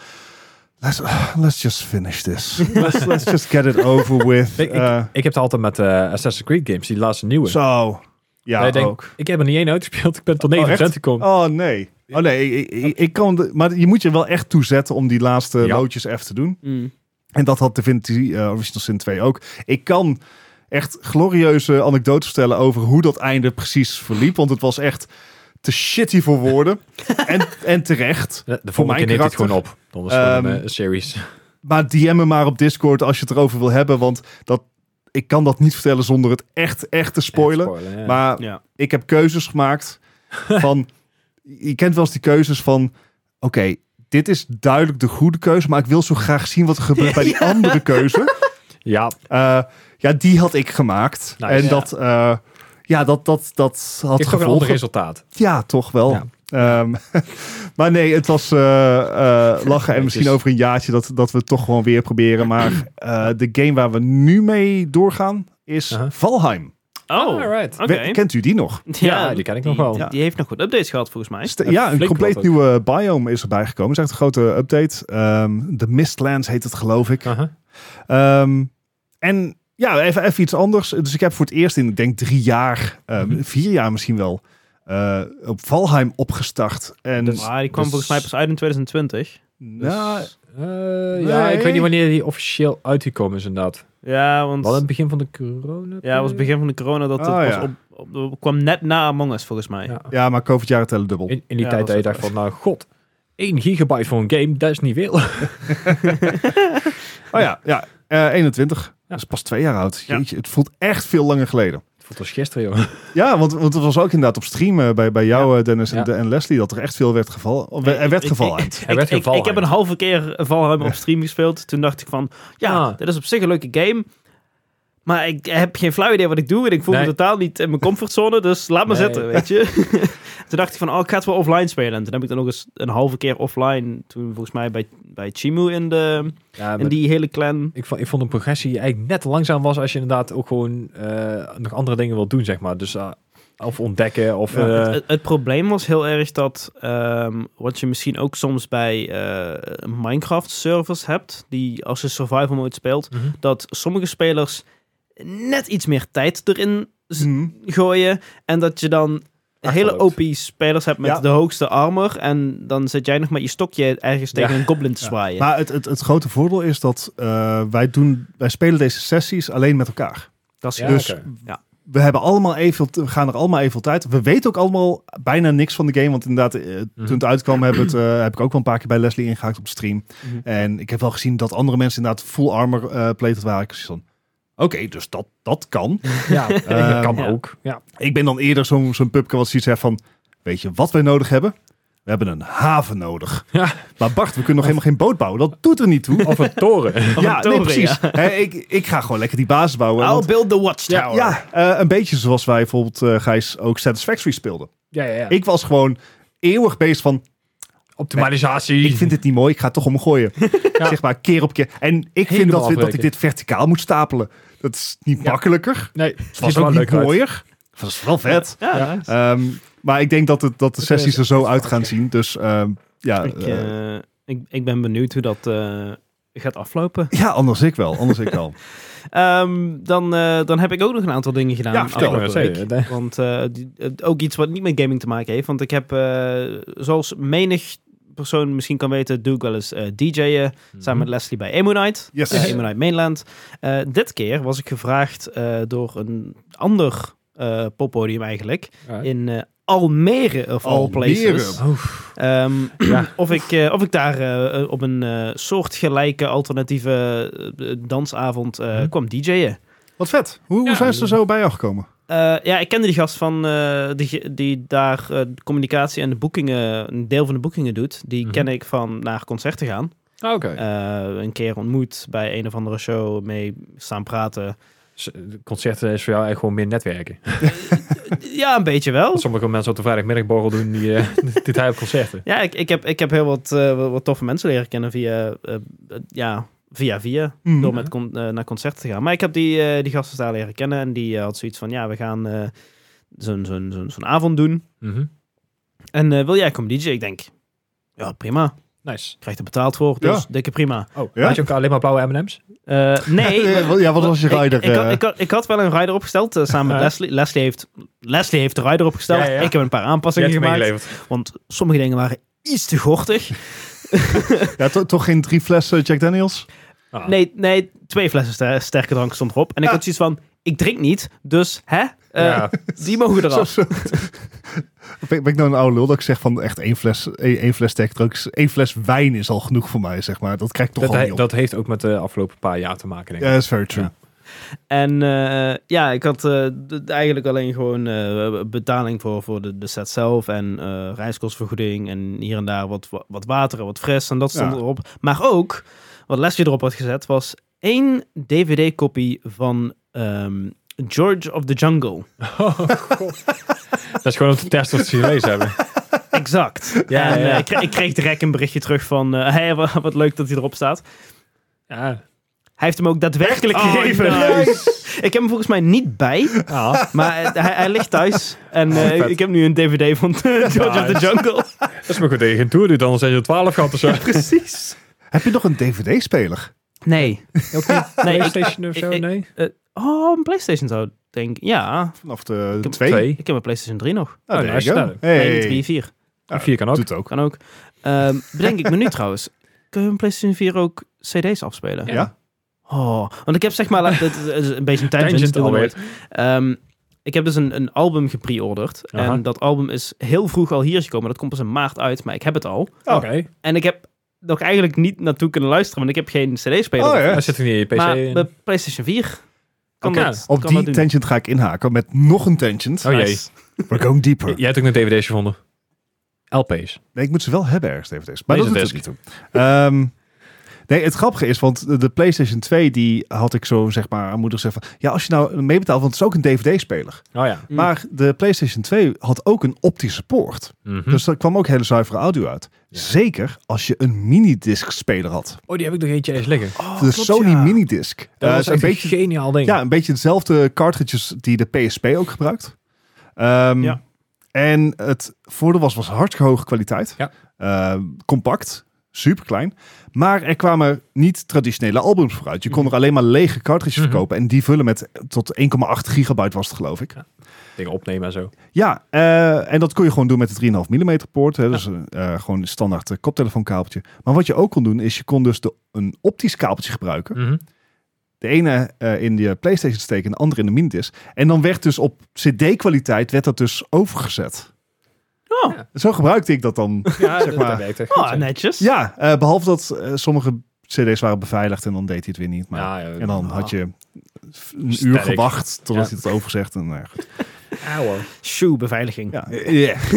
[SPEAKER 2] Let's, let's just finish this. let's, let's just get it over with.
[SPEAKER 3] Ik,
[SPEAKER 2] Eh,
[SPEAKER 3] ik, ik heb het altijd met eh, Assassin's Creed games, die laatste nieuwe.
[SPEAKER 2] Zo. Ja,
[SPEAKER 3] Dat je denkt,
[SPEAKER 2] ook.
[SPEAKER 3] Ik heb er niet één uitgespeeld, ik ben tot 9%
[SPEAKER 2] Oh, echt?
[SPEAKER 3] gekomen.
[SPEAKER 2] Oh, nee. Oh, nee. Ik, ik, ik kan de- maar je moet je wel echt toezetten om die laatste
[SPEAKER 3] Ja.
[SPEAKER 2] loodjes even te doen.
[SPEAKER 1] Mm.
[SPEAKER 2] En dat had Divinity eh, Original Sin 2 ook. Ik kan echt glorieuze anekdotes vertellen over hoe dat einde precies verliep. Want het was echt te shitty voor woorden. en, en terecht.
[SPEAKER 3] De, de
[SPEAKER 2] Voor
[SPEAKER 3] volgende
[SPEAKER 2] mijn
[SPEAKER 3] keer neemt hij het
[SPEAKER 2] karakter.
[SPEAKER 3] gewoon op. Dan is het gewoon
[SPEAKER 2] Ehm,
[SPEAKER 3] een eh, series.
[SPEAKER 2] Maar DM me maar op Discord als je het erover wil hebben. Want dat, ik kan dat niet vertellen zonder het echt, echt te spoilen.
[SPEAKER 3] ja.
[SPEAKER 2] Maar
[SPEAKER 1] Ja.
[SPEAKER 2] ik heb keuzes gemaakt van... je kent wel eens die keuzes van... Oké, dit is duidelijk de goede keuze... maar ik wil zo graag zien wat er gebeurt bij die andere keuze.
[SPEAKER 3] ja,
[SPEAKER 2] Eh, ja, die had ik gemaakt.
[SPEAKER 3] Nice.
[SPEAKER 2] en
[SPEAKER 1] Ja.
[SPEAKER 2] dat... eh, ja, dat, dat, dat had
[SPEAKER 3] ik heb een ander
[SPEAKER 2] gevolgen.
[SPEAKER 3] resultaat.
[SPEAKER 2] Ja, toch wel.
[SPEAKER 3] Ja.
[SPEAKER 2] Ehm, maar nee, het was eh, eh, lachen. En
[SPEAKER 3] Het
[SPEAKER 2] misschien
[SPEAKER 3] is-
[SPEAKER 2] over een jaartje dat, dat we het toch gewoon weer proberen. Maar eh, de game waar we nu mee doorgaan is
[SPEAKER 3] Uh-huh.
[SPEAKER 2] Valheim.
[SPEAKER 1] Oh,
[SPEAKER 3] Ah, Alright.
[SPEAKER 1] oké.
[SPEAKER 2] We- kent u die nog?
[SPEAKER 3] Ja, die ken ik nog wel.
[SPEAKER 1] Die,
[SPEAKER 2] Ja.
[SPEAKER 1] die heeft nog wat updates gehad, volgens mij.
[SPEAKER 2] St-
[SPEAKER 3] Eh,
[SPEAKER 2] ja, een
[SPEAKER 3] flink
[SPEAKER 2] compleet
[SPEAKER 3] wat ook.
[SPEAKER 2] nieuwe biome is erbij gekomen. Dat is echt een grote update. Ehm The Mistlands heet het, geloof ik.
[SPEAKER 3] Uh-huh.
[SPEAKER 2] Ehm, en ja, even, even iets anders. Dus ik heb voor het eerst in, ik denk drie jaar, ehm,
[SPEAKER 3] Mhm.
[SPEAKER 2] vier jaar misschien wel, eh, op Valheim opgestart. En
[SPEAKER 3] Dat is-
[SPEAKER 1] Maar die kwam
[SPEAKER 3] dus-
[SPEAKER 1] volgens mij pas uit in 2020.
[SPEAKER 2] nou,
[SPEAKER 1] Dus-
[SPEAKER 3] Eh, Ja, ik weet
[SPEAKER 2] Nee.
[SPEAKER 3] niet wanneer die officieel uitgekomen is inderdaad.
[SPEAKER 1] Ja, want...
[SPEAKER 3] Wel in het begin van de corona.
[SPEAKER 1] Ja, het was het begin van de corona. Dat het
[SPEAKER 2] Oh,
[SPEAKER 1] was
[SPEAKER 2] ja.
[SPEAKER 1] op, op- op- kwam net na Among Us, volgens mij.
[SPEAKER 3] Ah, Ja.
[SPEAKER 2] Ja, maar COVID-jaren tellen dubbel.
[SPEAKER 3] In, in die
[SPEAKER 1] Ja,
[SPEAKER 3] tijd
[SPEAKER 1] dat
[SPEAKER 3] dat je
[SPEAKER 1] is
[SPEAKER 3] dacht
[SPEAKER 1] waar.
[SPEAKER 3] van, nou god, 1 gigabyte voor een game, dat is niet veel.
[SPEAKER 2] Oh ja, ja. eh, 21. Dat is pas twee jaar oud.
[SPEAKER 1] Ja.
[SPEAKER 2] Jeetje, het voelt echt veel langer geleden.
[SPEAKER 3] Dat was gisteren, joh.
[SPEAKER 2] Ja, want, want het was ook inderdaad op stream eh, bij, bij jou, eh, Dennis en-
[SPEAKER 3] Ja.
[SPEAKER 2] de- en Leslie, dat er echt veel werd gevallen. of,
[SPEAKER 1] Nee,
[SPEAKER 2] Er werd
[SPEAKER 1] ik-
[SPEAKER 2] gevallen.
[SPEAKER 1] ik-
[SPEAKER 3] Hij werd
[SPEAKER 1] ik, ik,
[SPEAKER 3] gevallen.
[SPEAKER 1] ik heb een halve keer Valheim op stream gespeeld. Toen dacht ik van, ja,
[SPEAKER 3] Ah.
[SPEAKER 1] dit is op zich een leuke game. Maar ik heb geen flauw idee wat ik doe. En ik voel me
[SPEAKER 3] Nee.
[SPEAKER 1] totaal niet in mijn comfortzone. Dus laat maar
[SPEAKER 3] Nee.
[SPEAKER 1] zitten, weet je. toen dacht ik van, oh, ik ga het wel offline spelen. En toen heb ik dan nog eens een halve keer offline. Toen volgens mij bij, bij Chimu in, de,
[SPEAKER 3] Ja,
[SPEAKER 1] in
[SPEAKER 3] maar
[SPEAKER 1] die hele clan.
[SPEAKER 3] ik, vond, ik vond een progressie die eigenlijk net te langzaam was als je inderdaad ook gewoon eh, nog andere dingen wil doen, zeg maar. Dus eh, of ontdekken, of...
[SPEAKER 2] Ja,
[SPEAKER 3] eh,
[SPEAKER 1] Het, het probleem was heel erg dat, ehm, wat je misschien ook soms bij eh, Minecraft-servers hebt, die als je survival mode speelt,
[SPEAKER 3] mhm.
[SPEAKER 1] dat sommige spelers net iets meer tijd erin z-
[SPEAKER 2] Mhm.
[SPEAKER 1] gooien. En dat je dan hele OP
[SPEAKER 3] Achterloopt.
[SPEAKER 1] spelers hebt met
[SPEAKER 2] Ja.
[SPEAKER 1] de hoogste armor. En dan zit jij nog met je stokje ergens tegen een goblin te
[SPEAKER 2] Ja.
[SPEAKER 1] zwaaien.
[SPEAKER 2] Maar het, het, het grote voordeel is dat eh, wij, doen, wij spelen deze sessies alleen met elkaar.
[SPEAKER 1] dat is
[SPEAKER 3] Ja,
[SPEAKER 2] dus
[SPEAKER 3] oké.
[SPEAKER 1] Ja.
[SPEAKER 2] we, hebben allemaal even, we gaan er allemaal even op tijd. We weten ook allemaal bijna niks van de game. Want inderdaad, eh, toen het uitkwam heb, het, eh, heb ik ook wel een paar keer bij Leslie ingehaakt op de stream.
[SPEAKER 1] Mhm.
[SPEAKER 2] En ik heb wel gezien dat andere mensen inderdaad full armor eh plated waren. Ik was van, oké, dus dat, dat kan.
[SPEAKER 3] ja, dat kan
[SPEAKER 1] ja.
[SPEAKER 3] ook. Ja.
[SPEAKER 2] ik ben dan eerder zo'n zo'n pubke wat zoiets heeft van... Weet je wat wij nodig hebben? We hebben een haven nodig.
[SPEAKER 3] Ja.
[SPEAKER 2] Maar Bart, we kunnen nog helemaal geen boot bouwen. Dat doet er niet toe.
[SPEAKER 3] Of een toren.
[SPEAKER 1] Of
[SPEAKER 2] ja,
[SPEAKER 1] een toren,
[SPEAKER 2] nee, precies. Hè, ik, ik ga gewoon lekker die basis bouwen.
[SPEAKER 1] I'll
[SPEAKER 2] want-
[SPEAKER 1] build the
[SPEAKER 2] ja,
[SPEAKER 1] watchtower.
[SPEAKER 2] ja eh, een beetje zoals wij bijvoorbeeld, eh, Gijs, ook Satisfactory speelden.
[SPEAKER 3] ja, ja, ja.
[SPEAKER 2] Ik was gewoon eeuwig bezig van...
[SPEAKER 3] Optimalisatie.
[SPEAKER 2] Ik vind dit niet mooi, ik ga het toch omgooien.
[SPEAKER 3] Ja.
[SPEAKER 2] Zeg maar, keer op keer. En ik vind
[SPEAKER 3] Helemaal
[SPEAKER 2] dat, we- dat ik
[SPEAKER 3] afbreken.
[SPEAKER 2] dit verticaal moet stapelen. Dat is niet
[SPEAKER 3] Ja.
[SPEAKER 2] makkelijker.
[SPEAKER 3] Nee,
[SPEAKER 2] Het was ook niet
[SPEAKER 3] mooi.
[SPEAKER 2] mooier. Het was wel vet.
[SPEAKER 1] Ja.
[SPEAKER 3] Ja.
[SPEAKER 2] Ehm, maar ik denk dat, het, dat de
[SPEAKER 3] Ik,
[SPEAKER 2] sessies er zo uit gaan
[SPEAKER 3] oké.
[SPEAKER 2] zien. Dus ehm, ja,
[SPEAKER 1] Ik,
[SPEAKER 2] eh,
[SPEAKER 1] eh, ik, ik ben benieuwd hoe dat eh, gaat aflopen.
[SPEAKER 2] ja, anders ik wel. Anders ik wel.
[SPEAKER 1] Ehm, dan, eh, dan heb ik ook nog een aantal dingen gedaan.
[SPEAKER 2] Ja, vertel
[SPEAKER 1] afgelopen
[SPEAKER 3] maar,
[SPEAKER 1] week.
[SPEAKER 3] zei je.
[SPEAKER 1] Want eh, die- eh, ook iets wat niet met gaming te maken heeft. Want ik heb, eh, zoals menig persoon misschien kan weten, doe ik wel eens eh, DJ'en. Samen met Leslie bij Emo Night.
[SPEAKER 2] Yes.
[SPEAKER 1] eh, Emo Night Mainland. Eh, dit keer was ik gevraagd eh, door een ander eh, poppodium eigenlijk.
[SPEAKER 3] Ja.
[SPEAKER 1] In eh, Almere of all places.
[SPEAKER 2] Almere.
[SPEAKER 3] Oef.
[SPEAKER 1] Ehm,
[SPEAKER 3] Ja.
[SPEAKER 1] of, ik, eh, of ik daar eh, eh, op een eh, soortgelijke alternatieve eh, dansavond eh,
[SPEAKER 3] Hm.
[SPEAKER 1] kwam DJ'en.
[SPEAKER 2] Wat vet. Hoe, hoe
[SPEAKER 3] Ja.
[SPEAKER 2] zijn ze er zo bij jou gekomen?
[SPEAKER 1] Eh, ja, ik kende die gast van eh, die, ge- die daar eh, de communicatie en de boekingen, een deel van de boekingen doet. Die
[SPEAKER 3] Mhm.
[SPEAKER 1] ken ik van naar concerten gaan.
[SPEAKER 3] Ah, Oké.
[SPEAKER 1] Eh, een keer ontmoet bij een of andere show, mee staan praten.
[SPEAKER 3] S- de Concerten is voor jou eigenlijk gewoon meer netwerken.
[SPEAKER 1] Ja, een beetje wel.
[SPEAKER 3] Want sommige mensen op de vrijdagmiddagborrel doen die, eh, dit hij op concerten.
[SPEAKER 1] Ja, ik, ik, heb, ik heb heel wat, eh, wat- wat toffe mensen leren kennen via, eh, eh, ja, via, via.
[SPEAKER 2] Mm.
[SPEAKER 1] Door met con- eh, naar concerten te gaan. Maar ik heb die, eh, die gasten daar leren kennen. En die eh, had zoiets van, ja, we gaan eh, zo'n zo'n zo'n zo'n avond doen.
[SPEAKER 3] Mhm.
[SPEAKER 1] En eh, wil jij komen DJ? Ik denk, ja, prima.
[SPEAKER 3] Nice.
[SPEAKER 1] Krijgt er betaald voor, dus
[SPEAKER 2] Ja.
[SPEAKER 1] dikke prima.
[SPEAKER 3] Oh,
[SPEAKER 2] Ja?
[SPEAKER 3] had je ook alleen maar blauwe M&M's?
[SPEAKER 1] Eh, nee.
[SPEAKER 2] Ja, wat- ja, wat was je
[SPEAKER 1] Ik-
[SPEAKER 2] rider?
[SPEAKER 1] Ik, had,
[SPEAKER 2] eh?
[SPEAKER 1] ik, had, ik had wel een rider opgesteld eh, samen met
[SPEAKER 3] Ja.
[SPEAKER 1] Leslie. Leslie heeft, Leslie heeft de rider opgesteld.
[SPEAKER 3] Ja, ja, ja.
[SPEAKER 1] Ik heb een paar
[SPEAKER 3] Je
[SPEAKER 1] aanpassingen
[SPEAKER 3] hebt
[SPEAKER 1] gemaakt.
[SPEAKER 3] meegeleverd.
[SPEAKER 1] Want sommige dingen waren iets te gortig.
[SPEAKER 2] ja, to- toch geen drie flessen Jack Daniels?
[SPEAKER 3] Ah.
[SPEAKER 1] Nee, nee twee flessen ster- sterke drank stond erop. En ik
[SPEAKER 2] Ja.
[SPEAKER 1] had zoiets van, ik drink niet, dus hè? Eh,
[SPEAKER 3] ja.
[SPEAKER 1] Die mogen
[SPEAKER 2] Zo,
[SPEAKER 1] eraf.
[SPEAKER 2] zo. ben, ben ik nou een oude lul dat ik zeg van echt één fles, één, één fles sterk drugs, één fles wijn is al genoeg voor mij, zeg maar. Dat krijg ik toch
[SPEAKER 3] dat,
[SPEAKER 2] al
[SPEAKER 3] he-
[SPEAKER 2] niet op.
[SPEAKER 3] dat heeft ook met de afgelopen paar jaar te maken, denk ik.
[SPEAKER 2] Ja, that's very true.
[SPEAKER 3] Ja.
[SPEAKER 1] En eh, ja, ik had eh, d- eigenlijk alleen gewoon eh, betaling voor, voor de, de set zelf. En eh reiskostvergoeding. En hier en daar wat, wa- wat water en wat fris. En dat stond
[SPEAKER 2] Ja.
[SPEAKER 1] erop. Maar ook, wat Leslie erop had gezet, was één DVD-kopie van ehm, George of the Jungle.
[SPEAKER 3] Dat is gewoon om te testen of ze het gelezen hebben.
[SPEAKER 1] Exact.
[SPEAKER 3] Ja,
[SPEAKER 1] en
[SPEAKER 3] ja, ja.
[SPEAKER 1] eh, ik, kreeg, ik kreeg direct een berichtje terug van... eh, hey, wat, wat leuk dat hij erop staat.
[SPEAKER 3] Ja.
[SPEAKER 1] Hij heeft hem ook daadwerkelijk
[SPEAKER 3] Oh,
[SPEAKER 1] gegeven. ik heb hem volgens mij niet bij.
[SPEAKER 3] Ah,
[SPEAKER 1] Maar eh, hij, hij ligt thuis. En eh,
[SPEAKER 3] vet. Ah,
[SPEAKER 1] ik heb nu een DVD van George of the
[SPEAKER 3] Nice.
[SPEAKER 1] Jungle.
[SPEAKER 3] dat is maar goed dat je geen tour doet, anders zijn je 12 gehad of zo.
[SPEAKER 1] Precies.
[SPEAKER 2] Heb je nog een DVD-speler?
[SPEAKER 1] Nee.
[SPEAKER 3] Ook niet
[SPEAKER 1] Nee, ik-
[SPEAKER 3] PlayStation of
[SPEAKER 1] ik-
[SPEAKER 3] zo,
[SPEAKER 1] ik-
[SPEAKER 3] nee?
[SPEAKER 1] Oh, een PlayStation zou ik denken. Ja,
[SPEAKER 2] Vanaf de
[SPEAKER 1] heb
[SPEAKER 2] twee?
[SPEAKER 3] twee.
[SPEAKER 1] ik heb een PlayStation 3 nog.
[SPEAKER 2] Ah,
[SPEAKER 3] Oh,
[SPEAKER 2] there
[SPEAKER 3] nice.
[SPEAKER 2] you go.
[SPEAKER 3] Nou,
[SPEAKER 1] Nee, de 3
[SPEAKER 2] Hey,
[SPEAKER 1] en 4.
[SPEAKER 3] Een vier kan ook.
[SPEAKER 2] doet het ook.
[SPEAKER 1] Kan ook. Ehm, bedenk ik me nu trouwens. Kun je een PlayStation 4 ook CD's afspelen?
[SPEAKER 2] Ja.
[SPEAKER 1] Oh, want ik heb zeg maar... Het is een beetje een tangent.
[SPEAKER 3] Tangent
[SPEAKER 1] doen we
[SPEAKER 3] alweer.
[SPEAKER 1] nooit. Ehm, ik heb dus een, een album gepreorderd.
[SPEAKER 3] Aha.
[SPEAKER 1] En dat album is heel vroeg al hier gekomen. Dat komt pas in maart uit, maar ik heb het al.
[SPEAKER 2] Oh.
[SPEAKER 3] Oké.
[SPEAKER 1] En ik heb nog eigenlijk niet naartoe kunnen luisteren, want ik heb geen CD-speler.
[SPEAKER 2] Oh, ja.
[SPEAKER 3] Daar zit er niet in je PC.
[SPEAKER 1] Maar
[SPEAKER 3] in.
[SPEAKER 1] bij PlayStation 4 kan
[SPEAKER 3] Oké.
[SPEAKER 1] dat,
[SPEAKER 2] Op
[SPEAKER 1] kan
[SPEAKER 2] die
[SPEAKER 1] dat doen.
[SPEAKER 2] tangent ga ik inhaken met nog een tangent.
[SPEAKER 3] Oh jee.
[SPEAKER 1] Nice.
[SPEAKER 2] We're going
[SPEAKER 3] J-
[SPEAKER 2] deeper.
[SPEAKER 3] Jij hebt ook nog DVD's gevonden. LP's.
[SPEAKER 2] Nee, ik moet ze wel hebben ergens, DVD's. Maar dat doet het
[SPEAKER 3] Laserdisc.
[SPEAKER 2] niet toe. Ehm, nee, het grappige is, want de- de PlayStation 2, die had ik zo zeg maar aan moeder gezegd van... Ja, als je nou meebetaalt, want het is ook een DVD-speler.
[SPEAKER 3] Oh ja.
[SPEAKER 1] Mm.
[SPEAKER 2] Maar de PlayStation 2 had ook een optische poort.
[SPEAKER 3] Mhm.
[SPEAKER 2] Dus daar kwam ook hele zuivere audio uit.
[SPEAKER 3] Ja.
[SPEAKER 2] Zeker als je een minidisc-speler had.
[SPEAKER 3] Oh, die heb ik nog eentje eens liggen.
[SPEAKER 2] de
[SPEAKER 1] klopt,
[SPEAKER 2] Sony
[SPEAKER 1] ja.
[SPEAKER 2] minidisc.
[SPEAKER 3] Oh, Dat
[SPEAKER 2] Eh,
[SPEAKER 3] was
[SPEAKER 2] is een
[SPEAKER 3] echt een
[SPEAKER 2] beetje,
[SPEAKER 3] geniaal ding.
[SPEAKER 2] ja, een beetje hetzelfde cartridges die de PSP ook gebruikt. Ehm,
[SPEAKER 1] Ja.
[SPEAKER 2] En het voordeel was, was hartstikke hoge kwaliteit.
[SPEAKER 3] Ja.
[SPEAKER 2] Ehm, compact, super klein. Maar er kwamen niet traditionele albums vooruit. Je kon er alleen maar lege cartridges
[SPEAKER 3] Mhm.
[SPEAKER 2] verkopen. En die vullen met tot 1,8 gigabyte was het geloof ik.
[SPEAKER 3] Dingen opnemen en zo.
[SPEAKER 2] Ja, eh, en dat kon je gewoon doen met de 3,5 mm poort. Hè, dus eh, gewoon een standaard eh, koptelefoonkabeltje. Maar wat je ook kon doen, is je kon dus de, een optisch kabeltje gebruiken.
[SPEAKER 3] Mhm.
[SPEAKER 2] De ene eh, in je Playstation steken en de andere in de minidisc. En dan werd dus op cd-kwaliteit werd dat dus overgezet.
[SPEAKER 1] Oh,
[SPEAKER 3] Ja.
[SPEAKER 2] Zo gebruikte ik dat dan.
[SPEAKER 3] Ja,
[SPEAKER 2] Zeg
[SPEAKER 3] dat,
[SPEAKER 2] maar.
[SPEAKER 3] dat werkt echt goed,
[SPEAKER 1] oh
[SPEAKER 3] ja.
[SPEAKER 1] netjes.
[SPEAKER 2] ja, eh, behalve dat eh, sommige cd's waren beveiligd en dan deed hij het weer niet. Maar,
[SPEAKER 3] Ja, Nou, ja.
[SPEAKER 2] en dan had je een uur
[SPEAKER 3] Sterk.
[SPEAKER 2] gewacht totdat
[SPEAKER 3] Ja.
[SPEAKER 2] hij het overzegt. En, eh, goed.
[SPEAKER 3] Auwe.
[SPEAKER 1] Shoe beveiliging.
[SPEAKER 2] ja.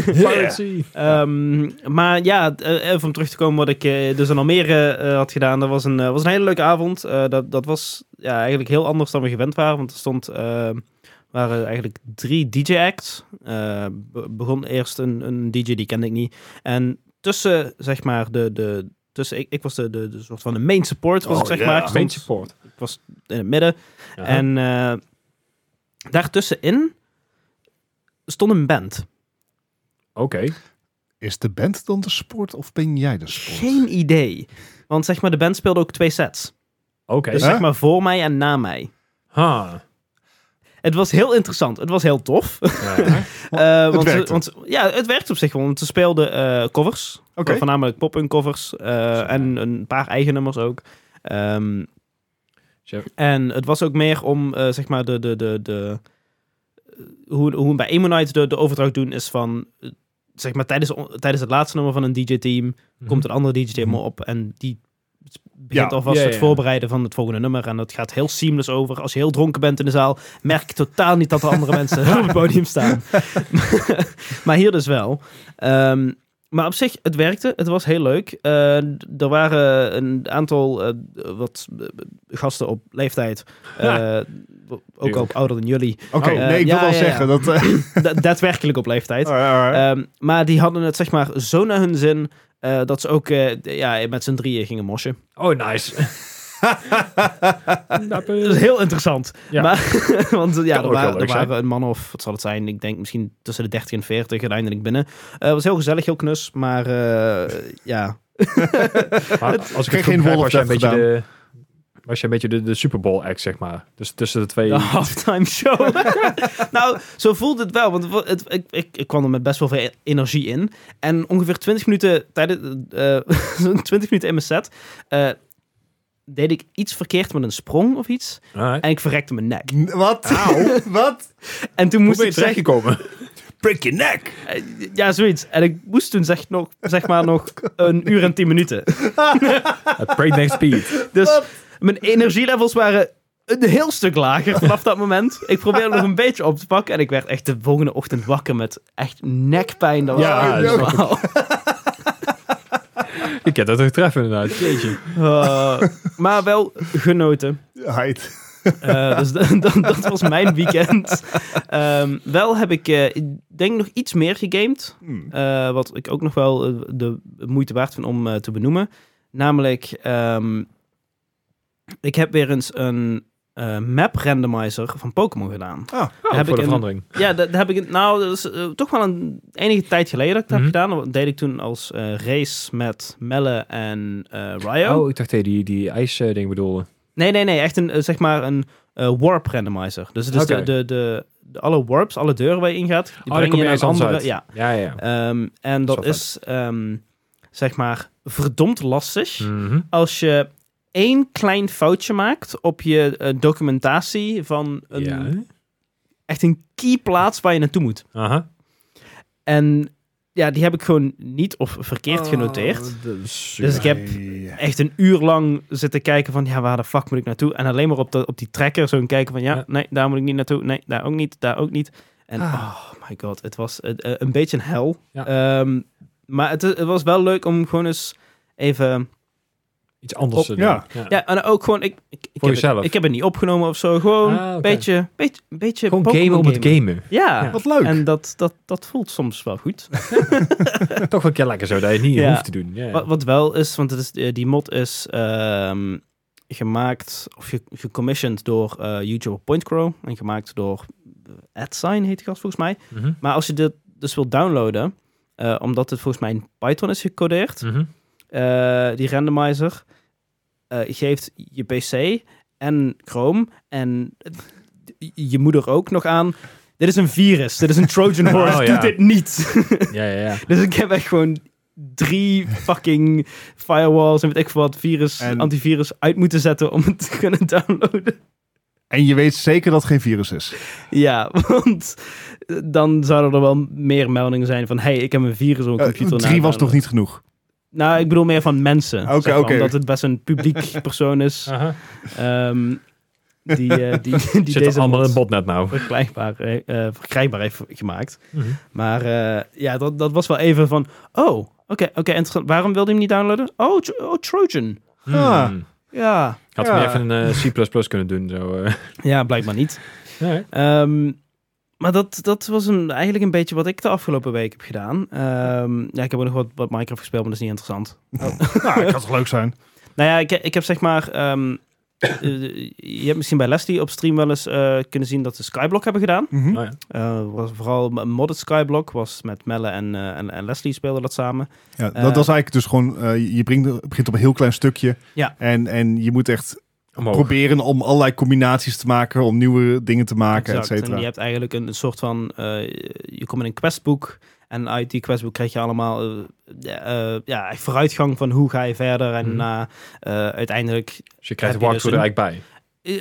[SPEAKER 3] Piracy.
[SPEAKER 1] Ehm, maar ja, eh, even om terug te komen wat ik eh, dus in Almere eh, had gedaan. Dat was een, eh, was een hele leuke avond. Eh, dat, dat was ja, eigenlijk heel anders dan we gewend waren. Want er stond, eh, waren eigenlijk drie DJ-acts. Eh, be- begon eerst een, een DJ, die kende ik niet. En tussen, zeg maar, de... de tussen, ik, ik was de, de, de soort van de main support, was
[SPEAKER 2] Oh,
[SPEAKER 1] ik, zeg
[SPEAKER 2] ja.
[SPEAKER 1] maar. Ik stond
[SPEAKER 3] Main support.
[SPEAKER 1] in het midden.
[SPEAKER 3] Ja.
[SPEAKER 1] En eh, daartussenin stond een band.
[SPEAKER 3] Oké.
[SPEAKER 2] Is de band dan de sport of ben jij de sport?
[SPEAKER 1] Geen idee. Want zeg maar, de band speelde ook twee sets.
[SPEAKER 3] Oké.
[SPEAKER 1] Dus
[SPEAKER 2] Huh?
[SPEAKER 1] zeg maar voor mij en na mij.
[SPEAKER 3] Ha.
[SPEAKER 1] Het was heel interessant. Het was heel tof.
[SPEAKER 3] Ja.
[SPEAKER 1] Eh, want, ze-
[SPEAKER 2] werkte.
[SPEAKER 1] want ze- ja, het werkte op zich wel. Want ze speelden eh, covers.
[SPEAKER 2] Oké.
[SPEAKER 1] Voornamelijk pop-punk covers. eh, en een paar eigen nummers ook. Ehm,
[SPEAKER 3] Zo.
[SPEAKER 1] en het was ook meer om, eh, zeg maar, de, de, de, de, eh, hoe, hoe bij Ammonite de, de overdracht doen is van... eh, Zeg maar, tijdens, tijdens het laatste nummer van een DJ-team komt een andere DJ-team op en die begint
[SPEAKER 2] Ja,
[SPEAKER 1] alvast
[SPEAKER 3] Mhm. ja,
[SPEAKER 1] het
[SPEAKER 3] ja.
[SPEAKER 1] voorbereiden van het volgende nummer. En dat gaat heel seamless over. Als je heel dronken bent in de zaal, merk je totaal niet dat er andere mensen op het podium staan. maar hier dus wel. Ehm, maar op zich, het werkte. Het was heel leuk. Eh, d- er waren een aantal eh, wat eh, gasten op leeftijd. eh, ook al
[SPEAKER 3] Tuurlijk.
[SPEAKER 1] ouder dan jullie.
[SPEAKER 2] Oké,
[SPEAKER 1] Oh, eh,
[SPEAKER 2] nee, ik wil
[SPEAKER 1] ja,
[SPEAKER 2] wel
[SPEAKER 1] ja, ja.
[SPEAKER 2] zeggen dat... eh, oh,
[SPEAKER 1] Da- daadwerkelijk op leeftijd. Ehm, maar die hadden het zeg maar zo naar hun zin... eh, dat ze ook eh, d- ja, met z'n drieën gingen mosje.
[SPEAKER 3] Oh, nice.
[SPEAKER 1] Dat is heel interessant.
[SPEAKER 3] Ja.
[SPEAKER 1] Maar, want ja,
[SPEAKER 3] ook
[SPEAKER 1] er,
[SPEAKER 3] wel
[SPEAKER 1] waren,
[SPEAKER 3] leuk
[SPEAKER 1] er
[SPEAKER 3] zijn.
[SPEAKER 1] waren een man of, wat zal het zijn? Ik denk misschien tussen de 30 en 40 uiteindelijk binnen. Eh, Het was heel gezellig, heel knus. Maar eh, ja,
[SPEAKER 3] Maar als ik
[SPEAKER 2] Geen-
[SPEAKER 3] het
[SPEAKER 2] geen
[SPEAKER 3] goed begrijp,
[SPEAKER 2] Wolf
[SPEAKER 3] was jij een
[SPEAKER 2] heeft
[SPEAKER 3] beetje de... Was jij een beetje de, de Super Bowl act, zeg maar. Dus tussen de twee...
[SPEAKER 1] De halftime show. nou, zo voelt het wel. Want het, het- ik, ik, ik kwam er met best wel veel e-, energie in. En ongeveer 20 minuten tijdens eh, zo'n 20 minuten in mijn set. eh, deed ik iets verkeerd met een sprong of iets.
[SPEAKER 3] Alright.
[SPEAKER 1] En ik verrekte mijn nek.
[SPEAKER 2] Wat? Wat?
[SPEAKER 1] En toen
[SPEAKER 3] Hoe
[SPEAKER 1] moest
[SPEAKER 3] ben je
[SPEAKER 1] ik zeggen...
[SPEAKER 3] terechtgekomen?
[SPEAKER 2] Break your neck!
[SPEAKER 1] eh, Ja, zoiets. En ik moest toen zeg, nog, zeg maar nog een uur en 10 minuten.
[SPEAKER 3] At breakneck speed.
[SPEAKER 1] Dus mijn energielevels waren een heel stuk lager vanaf dat moment. Ik probeerde nog een beetje op te pakken. En ik werd echt de volgende ochtend wakker met echt nekpijn. Dat was
[SPEAKER 3] Ja,
[SPEAKER 1] echt
[SPEAKER 3] dat is
[SPEAKER 1] normaal.
[SPEAKER 3] Ik heb dat ook treffen inderdaad. Jeetje.
[SPEAKER 1] Eh, maar wel genoten.
[SPEAKER 2] Heid.
[SPEAKER 1] Eh, dus dat, dat- dat was mijn weekend. Ehm, wel heb ik, eh, ik denk nog iets meer gegamed.
[SPEAKER 2] Hmm.
[SPEAKER 1] eh, wat ik ook nog wel eh, de moeite waard vind om eh, te benoemen. Namelijk, ehm, ik heb weer eens een eh, map randomizer van Pokémon gedaan.
[SPEAKER 2] Ah,
[SPEAKER 1] Heb
[SPEAKER 3] Oh, voor
[SPEAKER 1] ik
[SPEAKER 3] de
[SPEAKER 1] een-
[SPEAKER 3] verandering.
[SPEAKER 1] Ja, dat, dat heb ik. in- Nou, dat is eh, toch wel een enige tijd geleden dat ik dat
[SPEAKER 3] Mhm.
[SPEAKER 1] heb gedaan. Dat deed ik toen als eh, race met Melle en eh Ryo.
[SPEAKER 3] Oh, ik dacht dat je die, die ijsding bedoelde.
[SPEAKER 1] Nee, nee, nee. Echt een, eh, zeg maar een eh, warp randomizer. Dus het is
[SPEAKER 3] Oké.
[SPEAKER 1] de, de, de, de- alle warps, alle deuren waar je in gaat, die
[SPEAKER 3] Oh, daar
[SPEAKER 1] breng je
[SPEAKER 3] kom je
[SPEAKER 1] naar
[SPEAKER 3] eens
[SPEAKER 1] een andere.
[SPEAKER 3] anders uit.
[SPEAKER 1] Ja.
[SPEAKER 3] Ja, ja.
[SPEAKER 1] Ehm, en
[SPEAKER 3] Dat
[SPEAKER 1] dat
[SPEAKER 3] is
[SPEAKER 1] is, ehm, zeg maar, verdomd lastig.
[SPEAKER 3] Mhm.
[SPEAKER 1] Als je één klein foutje maakt op je eh, documentatie van een,
[SPEAKER 3] Ja.
[SPEAKER 1] echt een key plaats waar je naartoe moet.
[SPEAKER 3] Aha.
[SPEAKER 1] En ja, die heb ik gewoon niet of verkeerd
[SPEAKER 3] Oh,
[SPEAKER 1] genoteerd. Dus ik heb
[SPEAKER 2] Nee.
[SPEAKER 1] echt een uur lang zitten kijken van, ja, waar de fuck moet ik naartoe? En alleen maar op, de, op die tracker zo'n kijken van, ja,
[SPEAKER 3] Ja.
[SPEAKER 1] nee, daar moet ik niet naartoe. Nee, daar ook niet, daar ook niet. En
[SPEAKER 3] Ah.
[SPEAKER 1] oh my god, het was eh, eh, een beetje een hel.
[SPEAKER 3] Ja.
[SPEAKER 1] Ehm, maar het, het was wel leuk om gewoon eens even...
[SPEAKER 3] Iets anders eh,
[SPEAKER 1] Op-
[SPEAKER 3] te doen.
[SPEAKER 2] ja.
[SPEAKER 1] Ja, en ook gewoon... Ik, ik, ik
[SPEAKER 3] Voor
[SPEAKER 1] heb
[SPEAKER 3] jezelf.
[SPEAKER 1] Het, ik heb het niet opgenomen of zo. Gewoon een
[SPEAKER 3] Ah, oké.
[SPEAKER 1] beetje, beetje, beetje...
[SPEAKER 3] Gewoon
[SPEAKER 1] Pokémon
[SPEAKER 3] gamen om het gamen.
[SPEAKER 1] Ja,
[SPEAKER 2] Wat leuk.
[SPEAKER 1] en dat, dat, dat voelt soms wel goed.
[SPEAKER 3] Toch wel een keer lekker zo, dat je het niet
[SPEAKER 1] Ja.
[SPEAKER 3] hoeft te doen. Ja.
[SPEAKER 1] Wat, wat wel is, want het is, eh, die mod is ehm, gemaakt of ge- gecommissioned door eh, YouTuber PointCrow en gemaakt door eh, AdSign heet die gast volgens mij.
[SPEAKER 3] Mhm.
[SPEAKER 1] Maar als je dit dus wilt downloaden, eh, omdat het volgens mij in Python is gecodeerd,
[SPEAKER 3] Mhm.
[SPEAKER 1] eh, die randomizer eh, geeft je PC en Chrome en eh, je moeder ook nog aan. Dit is een virus, dit is een Trojan horse,
[SPEAKER 3] Oh, ja.
[SPEAKER 1] doe dit niet.
[SPEAKER 3] ja, ja, ja.
[SPEAKER 1] Dus ik heb echt gewoon drie fucking firewalls en weet ik veel wat virus,
[SPEAKER 2] En-
[SPEAKER 1] antivirus uit moeten zetten om het te kunnen downloaden.
[SPEAKER 2] En je weet zeker dat het geen virus is.
[SPEAKER 1] Ja, want dan zouden er wel meer meldingen zijn van hey, ik heb een virus op mijn
[SPEAKER 2] Eh,
[SPEAKER 1] computer.
[SPEAKER 2] drie was nog
[SPEAKER 1] nog
[SPEAKER 2] niet genoeg.
[SPEAKER 1] Nou, ik bedoel meer van mensen.
[SPEAKER 2] Oké,
[SPEAKER 1] zeg maar,
[SPEAKER 2] oké.
[SPEAKER 1] Omdat het best een publiek persoon is.
[SPEAKER 3] Aha.
[SPEAKER 1] ehm, die eh, die, die,
[SPEAKER 3] Zit
[SPEAKER 1] deze
[SPEAKER 3] allemaal in
[SPEAKER 1] mods
[SPEAKER 3] het botnet nou.
[SPEAKER 1] verkrijgbaar, eh, eh, verkrijgbaar heeft gemaakt.
[SPEAKER 3] Mhm.
[SPEAKER 1] Maar eh, ja, dat, dat was wel even van... Oh, oké, oké, interessant. Waarom wilde hij hem niet downloaden? Oh, Tro- oh, Trojan.
[SPEAKER 2] Ah.
[SPEAKER 3] Hmm.
[SPEAKER 1] Ja.
[SPEAKER 3] Had
[SPEAKER 2] Ja.
[SPEAKER 3] hem even een eh, C++ kunnen doen. Zo, eh.
[SPEAKER 1] Ja, blijkbaar niet.
[SPEAKER 3] Ja.
[SPEAKER 1] Ehm, maar dat, dat was een, eigenlijk een beetje wat ik de afgelopen week heb gedaan. Ehm, ja, ik heb ook nog wat, wat Minecraft gespeeld, maar dat is niet interessant.
[SPEAKER 2] nou, dat kan toch leuk zijn?
[SPEAKER 1] Nou ja, ik, ik heb zeg maar... ehm, eh, je hebt misschien bij Leslie op stream wel eens eh, kunnen zien dat ze Skyblock hebben gedaan.
[SPEAKER 2] Mhm.
[SPEAKER 3] Oh, ja.
[SPEAKER 1] Eh, was vooral een modded Skyblock was met Melle en, eh, en, en Leslie speelden dat samen.
[SPEAKER 2] Ja, dat,
[SPEAKER 1] Eh,
[SPEAKER 2] dat is eigenlijk dus gewoon, eh, je brengt- begint op een heel klein stukje.
[SPEAKER 1] Ja.
[SPEAKER 2] En, en je moet echt
[SPEAKER 3] Omhoog.
[SPEAKER 2] proberen om allerlei combinaties te maken, om nieuwe dingen te maken, et
[SPEAKER 1] Exact. En
[SPEAKER 2] cetera.
[SPEAKER 1] je hebt eigenlijk een, een soort van... eh, je komt in een questboek. En uit die questboek krijg je allemaal eh, eh, eh, ja, echt vooruitgang van hoe ga je verder. En
[SPEAKER 3] Mhm.
[SPEAKER 1] na eh, uiteindelijk
[SPEAKER 3] Dus je krijgt de
[SPEAKER 1] Heb je dus
[SPEAKER 3] walkthrough er eigenlijk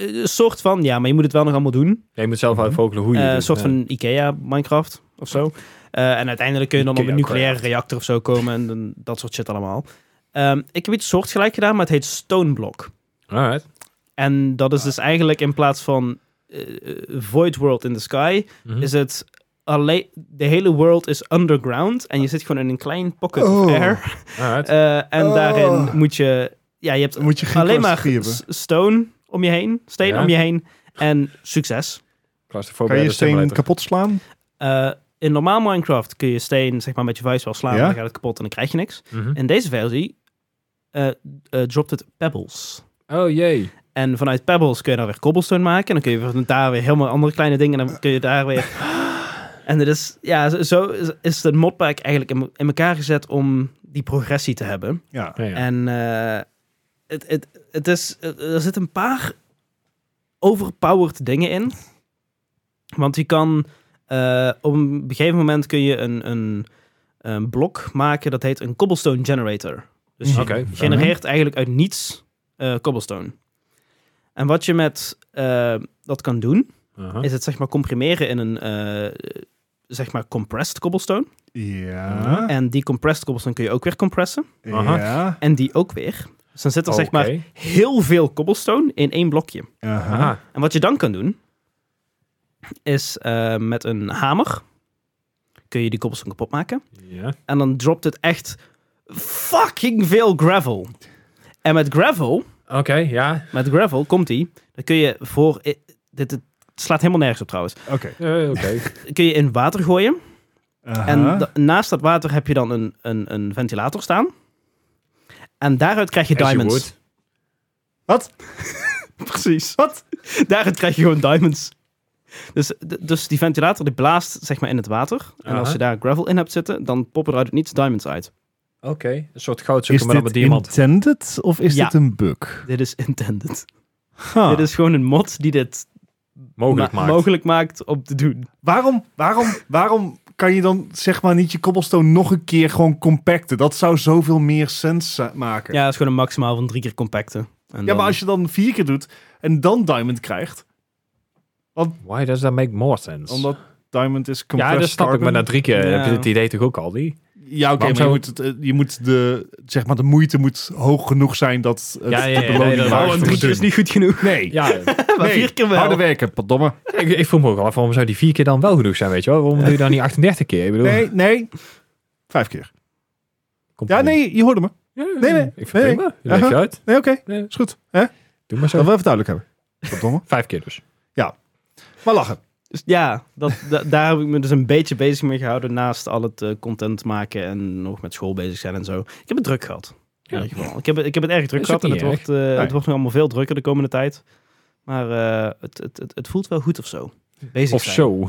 [SPEAKER 3] bij.
[SPEAKER 1] eh, een soort van... Ja, maar je moet het wel nog allemaal doen.
[SPEAKER 3] Ja, je moet zelf uitvogelen hoe je
[SPEAKER 1] Eh,
[SPEAKER 3] het
[SPEAKER 1] een
[SPEAKER 3] doet.
[SPEAKER 1] soort
[SPEAKER 3] Ja.
[SPEAKER 1] van Ikea Minecraft of zo. Eh, en uiteindelijk kun je dan op een
[SPEAKER 3] Ikea
[SPEAKER 1] nucleaire
[SPEAKER 3] Craft.
[SPEAKER 1] reactor of zo komen. En dan dat soort shit allemaal. Ehm, ik heb iets soortgelijk gedaan, maar het heet Stoneblock.
[SPEAKER 3] Alright.
[SPEAKER 1] En dat
[SPEAKER 3] Ah.
[SPEAKER 1] is dus eigenlijk in plaats van eh, eh, Void World in the Sky,
[SPEAKER 3] Mhm.
[SPEAKER 1] is het alleen. De hele world is underground en je zit gewoon in een klein pocket of
[SPEAKER 2] Oh.
[SPEAKER 1] air.
[SPEAKER 3] Alright.
[SPEAKER 1] Eh, en
[SPEAKER 2] Oh.
[SPEAKER 1] daarin moet je. Ja, je hebt
[SPEAKER 2] Dan moet je geen
[SPEAKER 1] eh, alleen maar
[SPEAKER 2] claustrofobie
[SPEAKER 1] s- stone om je heen, steen
[SPEAKER 3] Ja.
[SPEAKER 1] om je heen en succes.
[SPEAKER 3] Claustrofobie
[SPEAKER 2] Kan je
[SPEAKER 3] uit de
[SPEAKER 2] steen
[SPEAKER 3] simulator.
[SPEAKER 2] kapot slaan?
[SPEAKER 1] Eh, in normaal Minecraft kun je steen zeg maar, met je vuist wel slaan,
[SPEAKER 2] Ja.
[SPEAKER 1] dan gaat het kapot en dan krijg je niks.
[SPEAKER 3] Mhm.
[SPEAKER 1] In deze versie eh, eh, dropt het pebbles.
[SPEAKER 3] Oh jee.
[SPEAKER 1] En vanuit Pebbles kun je dan weer cobblestone maken. En dan kun je van daar weer helemaal andere kleine dingen. En dan kun je daar weer. En dat is, ja, zo- zo is, is de modpack eigenlijk in, me- in elkaar gezet om die progressie te hebben.
[SPEAKER 2] Ja.
[SPEAKER 3] Ja, ja.
[SPEAKER 1] En eh, het, het, het is, er zitten een paar overpowered dingen in. Want je kan eh, op een gegeven moment kun je een, een, een blok maken dat heet een cobblestone generator. Dus je
[SPEAKER 3] Oké, fair
[SPEAKER 1] genereert eigenlijk uit niets eh, cobblestone. En wat je met eh, dat kan doen,
[SPEAKER 3] Aha.
[SPEAKER 1] is het zeg maar comprimeren in een eh, zeg maar compressed cobblestone.
[SPEAKER 2] Ja.
[SPEAKER 1] En die compressed cobblestone kun je ook weer compressen.
[SPEAKER 3] Aha.
[SPEAKER 2] Ja.
[SPEAKER 1] En die ook weer. Dus dan zit er zeg maar
[SPEAKER 3] Oké.
[SPEAKER 1] heel veel cobblestone in één blokje.
[SPEAKER 2] Aha.
[SPEAKER 3] Aha.
[SPEAKER 1] En wat je dan kan doen, is eh, met een hamer kun je die cobblestone kapot maken.
[SPEAKER 3] Ja.
[SPEAKER 1] En dan dropt het echt fucking veel gravel. En met gravel,
[SPEAKER 3] Oké, ja.
[SPEAKER 1] met gravel komt die, dan kun je voor, eh, dit, dit slaat helemaal nergens op trouwens,
[SPEAKER 2] Oké.
[SPEAKER 3] Eh, Oké.
[SPEAKER 1] kun je in water gooien.
[SPEAKER 2] Aha.
[SPEAKER 1] En da- naast dat water heb je dan een, een, een ventilator staan. En daaruit krijg je
[SPEAKER 3] As you
[SPEAKER 1] diamonds.
[SPEAKER 3] would.
[SPEAKER 2] Wat?
[SPEAKER 1] Precies.
[SPEAKER 2] Wat?
[SPEAKER 1] Daaruit krijg je gewoon diamonds. Dus, d- dus die ventilator die blaast zeg maar in het water. En als
[SPEAKER 3] Aha.
[SPEAKER 1] je daar gravel in hebt zitten, dan poppen eruit niets diamonds uit.
[SPEAKER 3] Oké. Een soort goud
[SPEAKER 2] Is
[SPEAKER 3] zoeken, maar dan
[SPEAKER 2] dit
[SPEAKER 3] met diamant.
[SPEAKER 2] intended of is
[SPEAKER 1] Ja.
[SPEAKER 2] dit een bug?
[SPEAKER 1] Dit is intended.
[SPEAKER 2] Huh.
[SPEAKER 1] Dit is gewoon een mod die dit
[SPEAKER 3] Ah. Mogelijk
[SPEAKER 1] ma-
[SPEAKER 3] maakt.
[SPEAKER 1] mogelijk maakt om te doen.
[SPEAKER 2] Waarom, waarom, waarom kan je dan zeg maar niet je cobblestone nog een keer gewoon compacten? Dat zou zoveel meer sens eh, maken.
[SPEAKER 1] Ja, dat is gewoon een maximaal van drie keer compacten.
[SPEAKER 2] Ja, maar als je dan vier keer doet en dan diamond krijgt,
[SPEAKER 3] Why does that make more sense?
[SPEAKER 2] omdat diamond is compressed
[SPEAKER 3] ja, dat snap ik.
[SPEAKER 2] carbon.
[SPEAKER 3] Maar na drie keer
[SPEAKER 1] Ja.
[SPEAKER 3] heb je het idee toch ook al, die?
[SPEAKER 2] Ja, oké,
[SPEAKER 3] Waarom
[SPEAKER 2] maar
[SPEAKER 3] zou-
[SPEAKER 2] je, moet het, eh, je moet de, zeg maar, de moeite moet hoog genoeg zijn dat het
[SPEAKER 3] Ja, ja, ja,
[SPEAKER 2] de
[SPEAKER 3] nee,
[SPEAKER 2] beloning
[SPEAKER 3] dat-
[SPEAKER 2] waard
[SPEAKER 1] Oh, een
[SPEAKER 2] wordt.
[SPEAKER 1] drie keer is niet goed genoeg.
[SPEAKER 2] Nee,
[SPEAKER 3] Ja,
[SPEAKER 1] Maar
[SPEAKER 2] nee.
[SPEAKER 1] vier keer wel.
[SPEAKER 2] harde werken, verdomme.
[SPEAKER 3] ik, ik vroeg me ook al af, waarom zou die vier keer dan wel genoeg zijn, weet je wel? Waarom doe je dan niet 38 keer? Ik bedoel,
[SPEAKER 2] Nee, nee. Vijf keer.
[SPEAKER 3] komt
[SPEAKER 2] Ja,
[SPEAKER 3] goed.
[SPEAKER 2] nee, je hoorde me.
[SPEAKER 3] Ja,
[SPEAKER 2] nee, nee,
[SPEAKER 3] Ik vind
[SPEAKER 2] nee,
[SPEAKER 3] het prima. Je legt
[SPEAKER 2] Aha.
[SPEAKER 3] je uit.
[SPEAKER 2] Nee, oké,
[SPEAKER 3] Nee,
[SPEAKER 2] is goed. Hè?
[SPEAKER 3] doe maar
[SPEAKER 2] Dat
[SPEAKER 3] zo.
[SPEAKER 2] we even duidelijk hebben. Verdomme.
[SPEAKER 3] Vijf keer dus.
[SPEAKER 2] Maar lachen.
[SPEAKER 1] Dus ja, dat, da- daar heb ik me dus een beetje bezig mee gehouden. Naast al het eh, content maken en nog met school bezig zijn en zo. Ik heb het druk gehad. In
[SPEAKER 3] Ja.
[SPEAKER 1] ieder geval. Ik, heb, het- ik heb het erg druk
[SPEAKER 3] Is ook
[SPEAKER 1] gehad. En
[SPEAKER 3] niet
[SPEAKER 1] het wordt, eh,
[SPEAKER 2] Nee.
[SPEAKER 1] het wordt nu allemaal veel drukker de komende tijd. Maar eh, het, het, het, het voelt wel goed of zo. Bezig
[SPEAKER 3] Of
[SPEAKER 1] zijn.
[SPEAKER 3] zo.
[SPEAKER 1] Ja,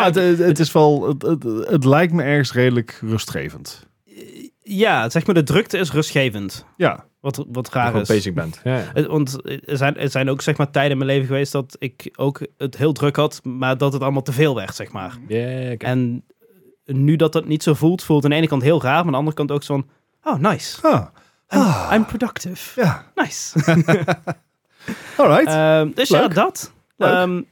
[SPEAKER 2] Ja,
[SPEAKER 1] ik-
[SPEAKER 2] Nou, het, het is wel. Het, het, het lijkt me ergens redelijk rustgevend.
[SPEAKER 1] ja, zeg maar, de drukte is rustgevend.
[SPEAKER 2] Ja.
[SPEAKER 1] Wat, wat
[SPEAKER 3] Dat je
[SPEAKER 1] raar
[SPEAKER 3] wel
[SPEAKER 1] is.
[SPEAKER 3] bezig bent. Ja.
[SPEAKER 1] Het- Want er zijn, er zijn ook zeg maar, tijden in mijn leven geweest dat ik ook het heel druk had, maar dat het allemaal te veel werd, zeg maar.
[SPEAKER 3] Ja, oké.
[SPEAKER 1] En nu dat dat niet zo voelt, voelt het aan de ene kant heel raar, maar aan de andere kant ook zo van... Oh, nice.
[SPEAKER 2] Ah.
[SPEAKER 1] I'm,
[SPEAKER 2] Ah.
[SPEAKER 1] I'm productive.
[SPEAKER 2] Ja.
[SPEAKER 1] Nice.
[SPEAKER 2] Alright.
[SPEAKER 1] Ehm, dus ja,
[SPEAKER 2] Leuk.
[SPEAKER 1] dat.
[SPEAKER 2] Leuk.
[SPEAKER 1] Ehm,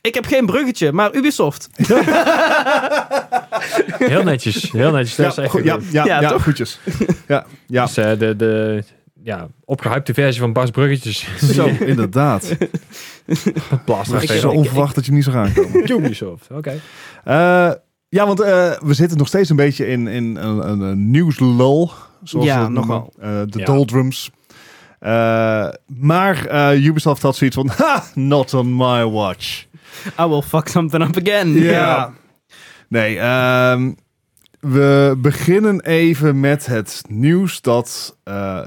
[SPEAKER 1] ik heb geen bruggetje, maar Ubisoft.
[SPEAKER 3] Heel netjes. Heel netjes. Dat is
[SPEAKER 2] ja,
[SPEAKER 3] echt
[SPEAKER 2] goed, ja,
[SPEAKER 3] goed.
[SPEAKER 2] ja,
[SPEAKER 1] Ja,
[SPEAKER 2] ja,
[SPEAKER 1] toch?
[SPEAKER 2] goedjes. Ja, ja.
[SPEAKER 3] Dus, eh, de, de ja, opgehypte versie van Bas Bruggetjes.
[SPEAKER 2] Zo, inderdaad.
[SPEAKER 3] Blaster
[SPEAKER 2] Het is
[SPEAKER 1] ik-
[SPEAKER 2] zo
[SPEAKER 1] ik-
[SPEAKER 2] onverwacht dat je hem niet zou aankomen.
[SPEAKER 3] Ubisoft. Oké.
[SPEAKER 2] Eh, ja, want eh, we zitten nog steeds een beetje in, in een, een, een nieuwslul. Zoals
[SPEAKER 1] Ja,
[SPEAKER 2] we dat noemen.
[SPEAKER 1] nogal.
[SPEAKER 2] Eh, de
[SPEAKER 3] Ja.
[SPEAKER 2] doldrums. Eh, maar eh, Ubisoft had zoiets van... Ha, not on my watch.
[SPEAKER 1] I will fuck something up again.
[SPEAKER 2] Ja. Nee, ehm, we beginnen even met het nieuws dat eh,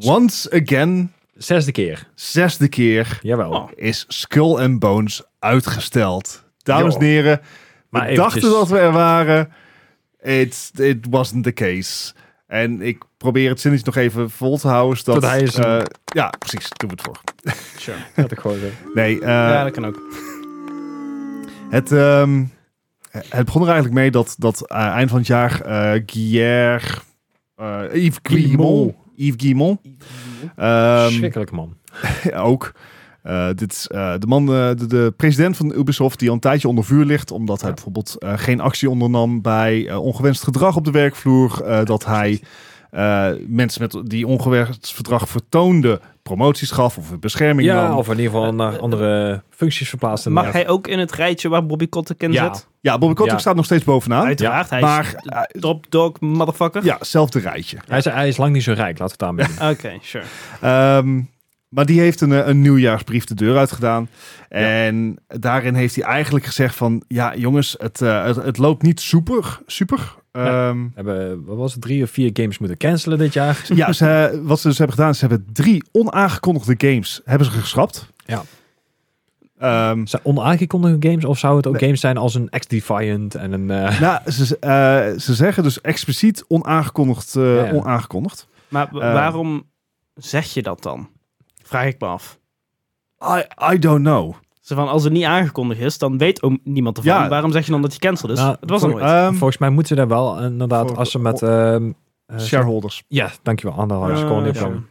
[SPEAKER 2] once again,
[SPEAKER 3] Zesde keer.
[SPEAKER 2] zesde keer,
[SPEAKER 3] Jawel.
[SPEAKER 1] Oh.
[SPEAKER 2] is Skull and Bones uitgesteld. Dames en
[SPEAKER 3] Jo.
[SPEAKER 2] heren, we
[SPEAKER 3] Maar eventjes-
[SPEAKER 2] dachten dat we er waren. It, it wasn't the case. En ik probeer het zinnetje nog even vol te houden. Zodat,
[SPEAKER 3] Tot hij is een-
[SPEAKER 2] eh, ja, precies. Doen we het voor.
[SPEAKER 3] Dat ik gewoon zo.
[SPEAKER 2] Nee, eh,
[SPEAKER 1] ja, dat kan ook.
[SPEAKER 2] Het, ehm, het begon er eigenlijk mee dat, dat eh, eind van het jaar eh Guillermo, eh, Yves Guillemot,
[SPEAKER 3] Guillemot.
[SPEAKER 2] Yves Guillemot ehm,
[SPEAKER 3] Schrikkelijk man.
[SPEAKER 2] ook. Eh, dit is eh, de man, eh, de, de president van Ubisoft, die al een tijdje onder vuur ligt. Omdat hij
[SPEAKER 3] Ja.
[SPEAKER 2] bijvoorbeeld eh, geen actie ondernam bij eh, ongewenst gedrag op de werkvloer. eh, dat hij eh, mensen met die ongewenst gedrag vertoonde promoties gaf of bescherming
[SPEAKER 3] Ja,
[SPEAKER 2] nam.
[SPEAKER 3] of in ieder geval naar andere functies verplaatst. en
[SPEAKER 1] Mag hij ook in het rijtje waar Bobby Kotick in
[SPEAKER 3] Ja.
[SPEAKER 1] zit?
[SPEAKER 2] Ja, Bobby Kotick
[SPEAKER 3] Ja.
[SPEAKER 2] staat nog steeds bovenaan.
[SPEAKER 1] Uiteraard, hij
[SPEAKER 2] maar eh,
[SPEAKER 1] is de top dog motherfucker.
[SPEAKER 2] ja, zelfde rijtje.
[SPEAKER 3] Hij is, hij is lang niet zo rijk, laten we het daarmee doen.
[SPEAKER 1] Oké, sure.
[SPEAKER 2] Ehm, maar die heeft een, eh, een nieuwjaarsbrief de deur uitgedaan. En daarin heeft hij eigenlijk gezegd van... Ja, jongens, het, eh, het, het loopt niet super. super. Ehm,
[SPEAKER 3] We hebben, wat was het, drie of vier games moeten cancelen dit jaar.
[SPEAKER 2] ja, ze, wat ze dus hebben gedaan... Ze hebben drie onaangekondigde games hebben ze geschrapt. Ehm,
[SPEAKER 3] Zijn onaangekondigde games of zou het ook games zijn als een X-Defiant en een... eh,
[SPEAKER 2] nou, ze, eh, ze zeggen dus expliciet onaangekondigd. eh,
[SPEAKER 3] Ja, ja.
[SPEAKER 2] onaangekondigd.
[SPEAKER 1] Maar wa-
[SPEAKER 2] Eh.
[SPEAKER 1] waarom zeg je dat dan? Vraag ik me af.
[SPEAKER 2] I, I don't know.
[SPEAKER 1] Zo van, als het niet aangekondigd is, dan weet ook niemand ervan.
[SPEAKER 2] Ja.
[SPEAKER 1] Waarom zeg je dan dat je cancel is?
[SPEAKER 3] Nou,
[SPEAKER 1] het was er nooit.
[SPEAKER 2] Ehm,
[SPEAKER 3] volgens mij moeten ze daar wel eh, inderdaad,
[SPEAKER 2] voor-
[SPEAKER 3] als ze met... ehm, eh,
[SPEAKER 2] shareholders.
[SPEAKER 3] ja, dankjewel. Anderhalf seconde
[SPEAKER 1] Eh,
[SPEAKER 3] komen.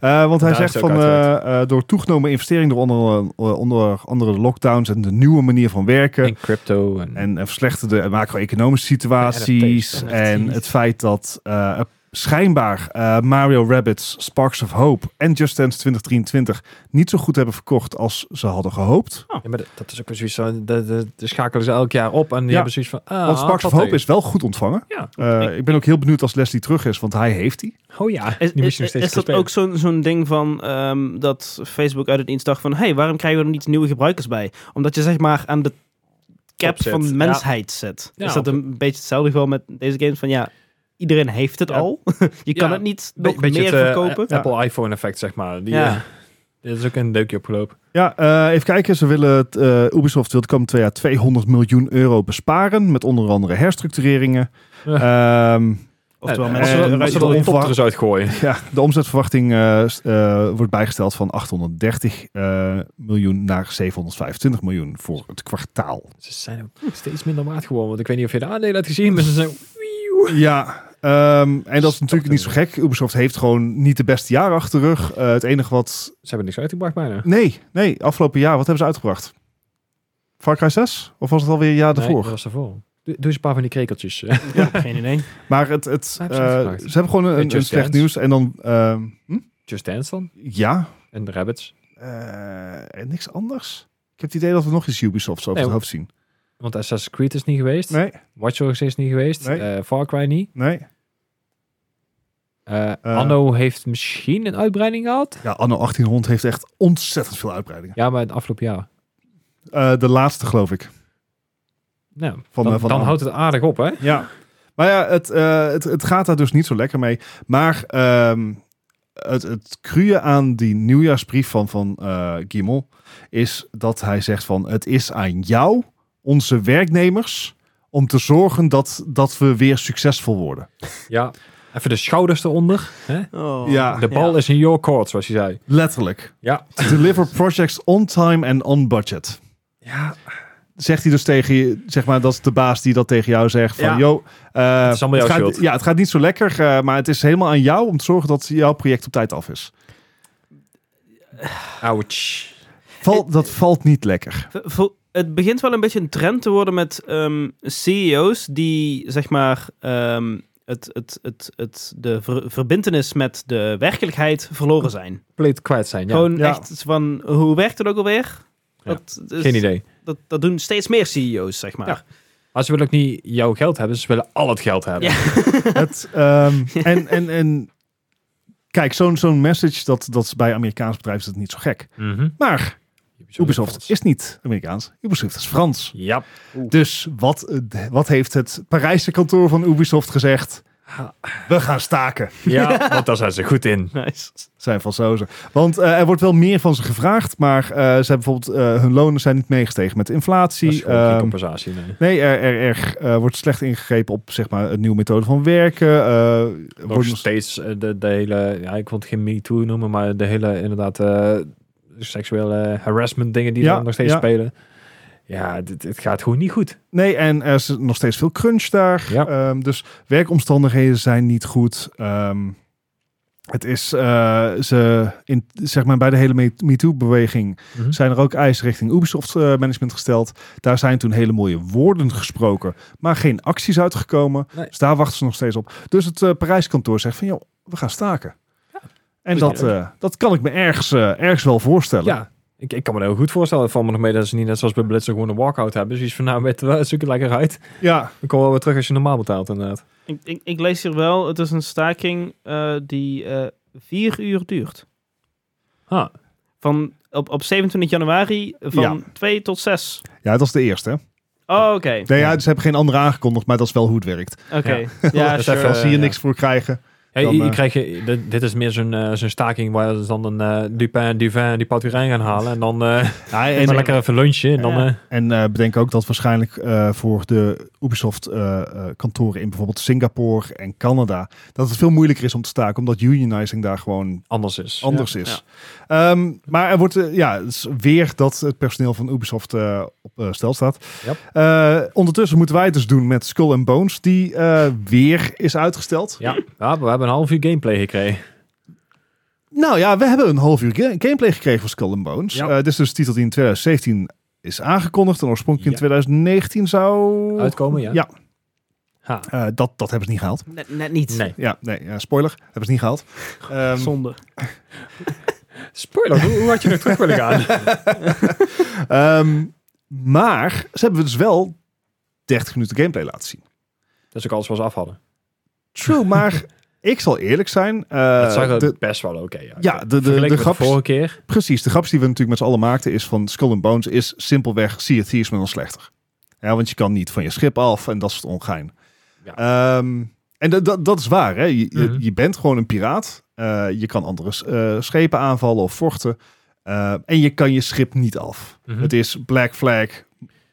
[SPEAKER 2] Eh, want hij
[SPEAKER 3] Daar
[SPEAKER 2] zegt
[SPEAKER 3] is het ook
[SPEAKER 2] van eh, eh, door toegenomen investeringen door onder, eh, onder andere lockdowns en de nieuwe manier van werken.
[SPEAKER 3] En crypto. En,
[SPEAKER 2] En eh, verslechterde macro-economische situaties.
[SPEAKER 3] En NFT's.
[SPEAKER 2] En het feit dat eh, schijnbaar eh, Mario Rabbits, Sparks of Hope en Just Dance 2023 niet zo goed hebben verkocht als ze hadden gehoopt.
[SPEAKER 3] Ja, maar dat, dat is ook weer zoiets van, de, de, de schakelen ze elk jaar op en die
[SPEAKER 2] Ja.
[SPEAKER 3] hebben zoiets van... Ah,
[SPEAKER 2] want Sparks of
[SPEAKER 3] wat
[SPEAKER 2] Hope is wel goed ontvangen.
[SPEAKER 3] Ja.
[SPEAKER 2] Eh, ik ben ook heel benieuwd als Leslie terug is, want hij heeft die.
[SPEAKER 3] Oh ja,
[SPEAKER 1] Is,
[SPEAKER 3] die
[SPEAKER 1] is,
[SPEAKER 3] moest je nog
[SPEAKER 1] is
[SPEAKER 3] steeds
[SPEAKER 1] dat ook zo'n zo'n ding van ehm, dat Facebook uit het niets dacht van... hey, waarom krijgen we er niet nieuwe gebruikers bij? Omdat je zeg maar aan de cap
[SPEAKER 3] Opzet,
[SPEAKER 1] van
[SPEAKER 3] ja.
[SPEAKER 1] mensheid zet.
[SPEAKER 3] Ja,
[SPEAKER 1] is dat een beetje hetzelfde geval met deze games van ja... Iedereen heeft het
[SPEAKER 3] Ja.
[SPEAKER 1] al. je kan
[SPEAKER 3] Ja.
[SPEAKER 1] het niet
[SPEAKER 3] Be-
[SPEAKER 1] nog meer
[SPEAKER 3] het, eh,
[SPEAKER 1] verkopen.
[SPEAKER 3] Apple iPhone effect, zeg maar. Die,
[SPEAKER 1] Ja.
[SPEAKER 3] eh, dit is ook een deukje opgelopen.
[SPEAKER 2] Ja, eh, even kijken. Ze willen het, eh, Ubisoft wil de komende twee jaar 200 miljoen euro besparen. Met onder andere herstructureringen. Ehm,
[SPEAKER 1] Oftewel,
[SPEAKER 2] eh,
[SPEAKER 3] als
[SPEAKER 1] mensen
[SPEAKER 3] we,
[SPEAKER 2] eh,
[SPEAKER 1] eruit
[SPEAKER 3] als
[SPEAKER 2] de
[SPEAKER 3] we de
[SPEAKER 1] gooien.
[SPEAKER 2] onverwacht-
[SPEAKER 3] ontopters uitgooien.
[SPEAKER 2] Ja, de omzetverwachting eh, s- eh, wordt bijgesteld van 830 eh, miljoen naar 725 miljoen voor het kwartaal.
[SPEAKER 3] Ze zijn ook steeds minder waard geworden. Want ik weet niet of je de aandelen hebt gezien, maar ze zijn... wieuw.
[SPEAKER 2] Ja, ehm, en dat is natuurlijk niet zo gek. Ubisoft heeft gewoon niet de beste jaar achter de rug. Eh, het enige wat...
[SPEAKER 3] Ze hebben niks uitgebracht bijna.
[SPEAKER 2] Nee, nee, afgelopen jaar, wat hebben ze uitgebracht? Far Cry 6? Of was het alweer een jaar daarvoor?
[SPEAKER 3] Nee, dat was daarvoor. Doe, doe eens een paar van die krekeltjes. eh.
[SPEAKER 1] Geen idee.
[SPEAKER 2] Maar het, het,
[SPEAKER 3] Waar hebben ze
[SPEAKER 2] eh,
[SPEAKER 3] uitgebracht?
[SPEAKER 2] ze hebben gewoon een,
[SPEAKER 3] Met
[SPEAKER 2] een
[SPEAKER 3] Just
[SPEAKER 2] slecht
[SPEAKER 3] Dance?
[SPEAKER 2] nieuws. En dan... ehm, hm?
[SPEAKER 3] Just Dance dan.
[SPEAKER 2] Ja,
[SPEAKER 3] En de Rabbits.
[SPEAKER 2] eh, en niks anders. Ik heb het idee dat we nog iets Ubisoft zo over
[SPEAKER 3] Nee,
[SPEAKER 2] het hoofd zien.
[SPEAKER 3] Want Assassin's Creed is niet geweest.
[SPEAKER 2] Nee,
[SPEAKER 3] Watch Dogs is niet geweest.
[SPEAKER 2] Nee.
[SPEAKER 3] eh, Far Cry niet.
[SPEAKER 2] nee.
[SPEAKER 3] Eh, Anno heeft misschien een uitbreiding gehad.
[SPEAKER 2] Ja, anno 1800 heeft echt ontzettend veel uitbreidingen.
[SPEAKER 3] Ja, maar het afgelopen jaar.
[SPEAKER 2] Eh, de laatste, geloof ik.
[SPEAKER 3] Nou,
[SPEAKER 2] Van,
[SPEAKER 3] dan
[SPEAKER 2] eh, van
[SPEAKER 3] dan
[SPEAKER 2] Anno.
[SPEAKER 3] houdt het aardig op, hè?
[SPEAKER 2] Ja. Maar ja, het, eh, het, het gaat daar dus niet zo lekker mee. Maar ehm, het, het cruie aan die nieuwjaarsbrief van, van eh Gimmel is dat hij zegt van... het is aan jou, onze werknemers, om te zorgen dat, dat we weer succesvol worden.
[SPEAKER 3] Ja. Even de schouders eronder. Hè?
[SPEAKER 1] Oh.
[SPEAKER 2] Ah, Ja.
[SPEAKER 3] De bal is in your court, zoals je zei.
[SPEAKER 2] Letterlijk.
[SPEAKER 3] Ja.
[SPEAKER 2] To deliver projects on time and on budget.
[SPEAKER 3] Ja,
[SPEAKER 2] zegt hij dus tegen je, zeg maar, dat is de baas die dat tegen jou zegt. Van,
[SPEAKER 1] Ja.
[SPEAKER 2] yo, eh,
[SPEAKER 3] Het is allemaal jouw
[SPEAKER 2] gaat,
[SPEAKER 3] schuld.
[SPEAKER 2] Ja, het gaat niet zo lekker, eh, maar het is helemaal aan jou om te zorgen dat jouw project op tijd af is.
[SPEAKER 3] ouch.
[SPEAKER 2] Val, dat valt niet lekker.
[SPEAKER 1] V- vo- Het begint wel een beetje een trend te worden met ehm, CEO's die zeg maar ehm, het, het, het, het, de ver- verbintenis met de werkelijkheid verloren zijn.
[SPEAKER 3] Compleet kwijt zijn, ja.
[SPEAKER 1] Gewoon
[SPEAKER 2] Ja.
[SPEAKER 1] echt van hoe werkt het ook alweer? Dat, is-
[SPEAKER 3] Geen idee.
[SPEAKER 1] Dat, dat doen steeds meer CEO's, zeg maar.
[SPEAKER 3] Ja. Maar ze willen ook niet jouw geld hebben, ze willen al het geld hebben.
[SPEAKER 1] Ja.
[SPEAKER 2] het, ehm, en, en, en kijk, zo'n zo'n message, dat, dat is bij Amerikaans bedrijf is het niet zo gek.
[SPEAKER 3] Mhm.
[SPEAKER 2] Maar Ubisoft
[SPEAKER 3] Frans.
[SPEAKER 2] is niet Amerikaans. Ubisoft is Frans.
[SPEAKER 3] Ja.
[SPEAKER 2] Dus wat, eh, wat heeft het Parijse kantoor van Ubisoft gezegd? We gaan staken.
[SPEAKER 3] ja, want daar zijn ze goed in.
[SPEAKER 1] Nice.
[SPEAKER 2] zijn van Sozen. Want eh, er wordt wel meer van ze gevraagd, maar eh, ze hebben bijvoorbeeld eh, hun lonen zijn niet meegestegen met de
[SPEAKER 3] Dat is
[SPEAKER 2] inflatie.
[SPEAKER 3] gewoon geen
[SPEAKER 2] Ehm,
[SPEAKER 3] compensatie, nee.
[SPEAKER 2] nee, er, er, er, eh, wordt slecht ingegrepen op zeg maar een nieuwe methode van werken. eh, er
[SPEAKER 3] Nog
[SPEAKER 2] wordt nog-
[SPEAKER 3] steeds eh, de, de hele, ja, ik wil het geen MeToo noemen, maar de hele inderdaad eh, seksuele harassment dingen die
[SPEAKER 2] Ja,
[SPEAKER 3] dan nog steeds
[SPEAKER 2] ja.
[SPEAKER 3] spelen. Ja, dit, het gaat gewoon niet goed.
[SPEAKER 2] nee, en er is nog steeds veel crunch daar.
[SPEAKER 3] Ja.
[SPEAKER 2] Ehm, dus werkomstandigheden zijn niet goed. Ehm, het is, eh, ze in, zeg maar, bij de hele Me- MeToo-beweging zijn er ook eisen richting Ubisoft-management gesteld. Daar zijn toen hele mooie woorden gesproken, maar geen acties uitgekomen.
[SPEAKER 3] Nee.
[SPEAKER 2] Dus daar wachten ze nog steeds op. Dus het eh Parijskantoor zegt van, joh, we gaan staken. En
[SPEAKER 3] Goeie
[SPEAKER 2] dat, eh, dat kan ik me ergens, eh, ergens wel voorstellen.
[SPEAKER 3] Ja, ik, ik kan me dat heel goed voorstellen. Het valt me nog mee dat ze niet net zoals bij Blitzer gewoon een walkout hebben. Dus iets van, nou, weet je wel, zoek het lekker uit.
[SPEAKER 2] ja.
[SPEAKER 3] Dan komen we wel weer terug als je normaal betaalt, inderdaad.
[SPEAKER 1] Ik, ik, ik lees hier wel, het is een staking eh, die eh, vier uur duurt.
[SPEAKER 3] Ah,
[SPEAKER 1] Van, op, op 27 januari van
[SPEAKER 2] Ja.
[SPEAKER 1] 2 tot 6.
[SPEAKER 2] ja, dat is de eerste. hè?
[SPEAKER 1] Oh, oké.
[SPEAKER 2] Nee, ja, ze hebben geen andere aangekondigd, maar dat is wel hoe het werkt.
[SPEAKER 1] Oké. Ja,
[SPEAKER 3] Ja,
[SPEAKER 2] Dus
[SPEAKER 1] sure.
[SPEAKER 2] als ze hier
[SPEAKER 3] Eh, ja.
[SPEAKER 2] niks voor krijgen,
[SPEAKER 3] Ja,
[SPEAKER 2] Dan,
[SPEAKER 3] je, je
[SPEAKER 2] eh,
[SPEAKER 3] krijgt, je- dit, dit is meer zo'n eh, zo'n staking waar ze dan een eh Dupin, Duvin, die Paturijn gaan halen. En dan eh,
[SPEAKER 2] Ja,
[SPEAKER 3] maar
[SPEAKER 2] en
[SPEAKER 3] lekker even lunchen. En dan,
[SPEAKER 1] Ja.
[SPEAKER 3] eh,
[SPEAKER 2] en eh, bedenk ook dat waarschijnlijk eh, voor de Ubisoft-kantoren in bijvoorbeeld Singapore en Canada, dat het veel moeilijker is om te staken, omdat unionizing daar gewoon
[SPEAKER 3] anders is.
[SPEAKER 2] anders is. Ehm, maar er wordt eh, ja, het is weer dat het personeel van Ubisoft eh, op eh, stel staat.
[SPEAKER 3] Yep.
[SPEAKER 2] Eh, ondertussen moeten wij het dus doen met Skull and Bones, die eh, weer is uitgesteld.
[SPEAKER 3] Ja, ja, we hebben een half uur gameplay gekregen.
[SPEAKER 2] Nou ja, we hebben een half uur ga- gameplay gekregen van Skull and Bones.
[SPEAKER 3] Ja.
[SPEAKER 2] Eh, dit is dus de titel die in 2017 is aangekondigd en oorspronkelijk
[SPEAKER 3] Ja.
[SPEAKER 2] in 2019 zou...
[SPEAKER 3] Uitkomen, ja.
[SPEAKER 2] Ja.
[SPEAKER 3] Ha.
[SPEAKER 2] Eh, dat, dat hebben ze niet gehaald.
[SPEAKER 1] Net, net niet.
[SPEAKER 3] Nee.
[SPEAKER 2] Ja, nee, ja, spoiler, hebben ze niet gehaald. Ehm,
[SPEAKER 1] Zonde.
[SPEAKER 3] Spoiler, hoe, hoe had je nog terug willen gaan?
[SPEAKER 2] ehm, maar ze hebben dus wel 30 minuten gameplay laten zien.
[SPEAKER 3] Dat is ook Dus alles wat ze af hadden.
[SPEAKER 2] True, maar ik zal eerlijk zijn. eh,
[SPEAKER 3] dat zag er
[SPEAKER 2] de-
[SPEAKER 3] best wel oké uit.
[SPEAKER 2] ja, de, de,
[SPEAKER 3] Vergeleken
[SPEAKER 2] de
[SPEAKER 3] met
[SPEAKER 2] grap,
[SPEAKER 3] vorige keer.
[SPEAKER 2] precies, de grap die we natuurlijk met z'n allen maakten is van Skull and Bones is simpelweg Sea of Thieves, maar dan slechter. Ja, want je kan niet van je schip af en dat soort ongein. Ehm, en dat- dat- dat is waar, hè? Je, je,
[SPEAKER 3] Mhm.
[SPEAKER 2] je bent gewoon een piraat. Eh, je kan andere eh, schepen aanvallen of vochten. Eh, en je kan je schip niet af.
[SPEAKER 3] Mhm.
[SPEAKER 2] Het is Black Flag,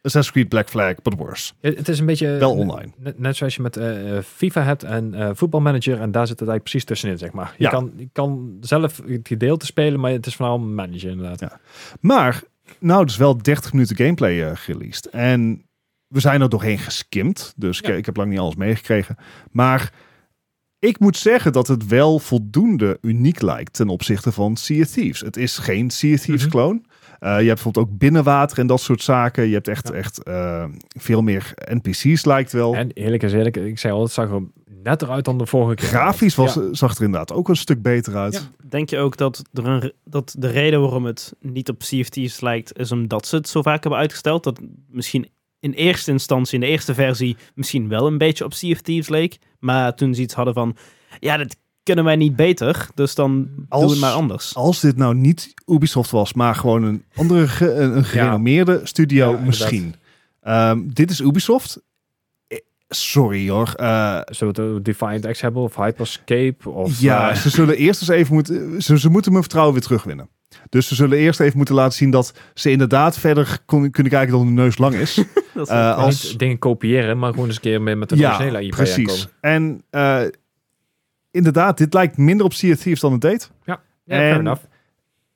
[SPEAKER 2] Assassin's Creed Black Flag, but worse.
[SPEAKER 3] Ja, Het is een beetje...
[SPEAKER 2] Wel online.
[SPEAKER 3] Net, net zoals je met eh, eh, FIFA hebt en eh, voetbalmanager. En daar zit het eigenlijk precies tussenin, zeg maar. Je,
[SPEAKER 2] Ja.
[SPEAKER 3] kan, je kan zelf het gedeelte spelen, maar het is vooral manager inderdaad.
[SPEAKER 2] Ja. Maar, nou, dus wel 30 minuten gameplay eh, gereleased. En we zijn er doorheen geskimd. Dus ik,
[SPEAKER 3] Ja.
[SPEAKER 2] ik heb lang niet alles meegekregen. Maar ik moet zeggen dat het wel voldoende uniek lijkt ten opzichte van Sea of Thieves. Het is geen Sea of Thieves
[SPEAKER 3] Mhm.
[SPEAKER 2] clone. Eh, je hebt bijvoorbeeld ook binnenwater en dat soort zaken. Je hebt echt, echt eh, veel meer NPC's lijkt wel.
[SPEAKER 3] En eerlijk is eerlijk, ik zei al, het zag er net eruit dan de vorige keer.
[SPEAKER 2] Grafisch was,
[SPEAKER 3] Ja.
[SPEAKER 2] zag er inderdaad ook een stuk beter uit.
[SPEAKER 3] Ja.
[SPEAKER 1] Denk je ook dat, er een, re- dat de reden waarom het niet op CFT's lijkt, is omdat ze het zo vaak hebben uitgesteld? Dat misschien in eerste instantie, in de eerste versie, misschien wel een beetje op CFT's leek. Maar toen ze iets hadden van, ja, dit kunnen wij niet beter, dus dan doen
[SPEAKER 2] Als-
[SPEAKER 1] we het maar anders.
[SPEAKER 2] Als dit nou niet Ubisoft was, maar gewoon een andere, ge- een, een gerenommeerde
[SPEAKER 3] Ja,
[SPEAKER 2] studio
[SPEAKER 3] inderdaad.
[SPEAKER 2] misschien. Ehm, dit is Ubisoft. Eh, Sorry hoor. Eh,
[SPEAKER 3] Zullen we het over Defiant X hebben of Hyperscape? Of,
[SPEAKER 2] ja,
[SPEAKER 3] eh,
[SPEAKER 2] ze zullen eerst eens even moeten... Ze, ze moeten mijn vertrouwen weer terugwinnen. Dus ze zullen eerst even moeten laten zien dat ze inderdaad verder kon- kunnen kijken dan hun neus lang is.
[SPEAKER 1] Dat is-
[SPEAKER 2] Eh, als,
[SPEAKER 3] niet dingen kopiëren, maar gewoon eens een keer met, met de originele IP
[SPEAKER 2] precies.
[SPEAKER 3] aankomen.
[SPEAKER 2] En eh, inderdaad, dit lijkt minder op Sea of Thieves dan het deed.
[SPEAKER 3] Ja, fair
[SPEAKER 2] En-
[SPEAKER 3] enough.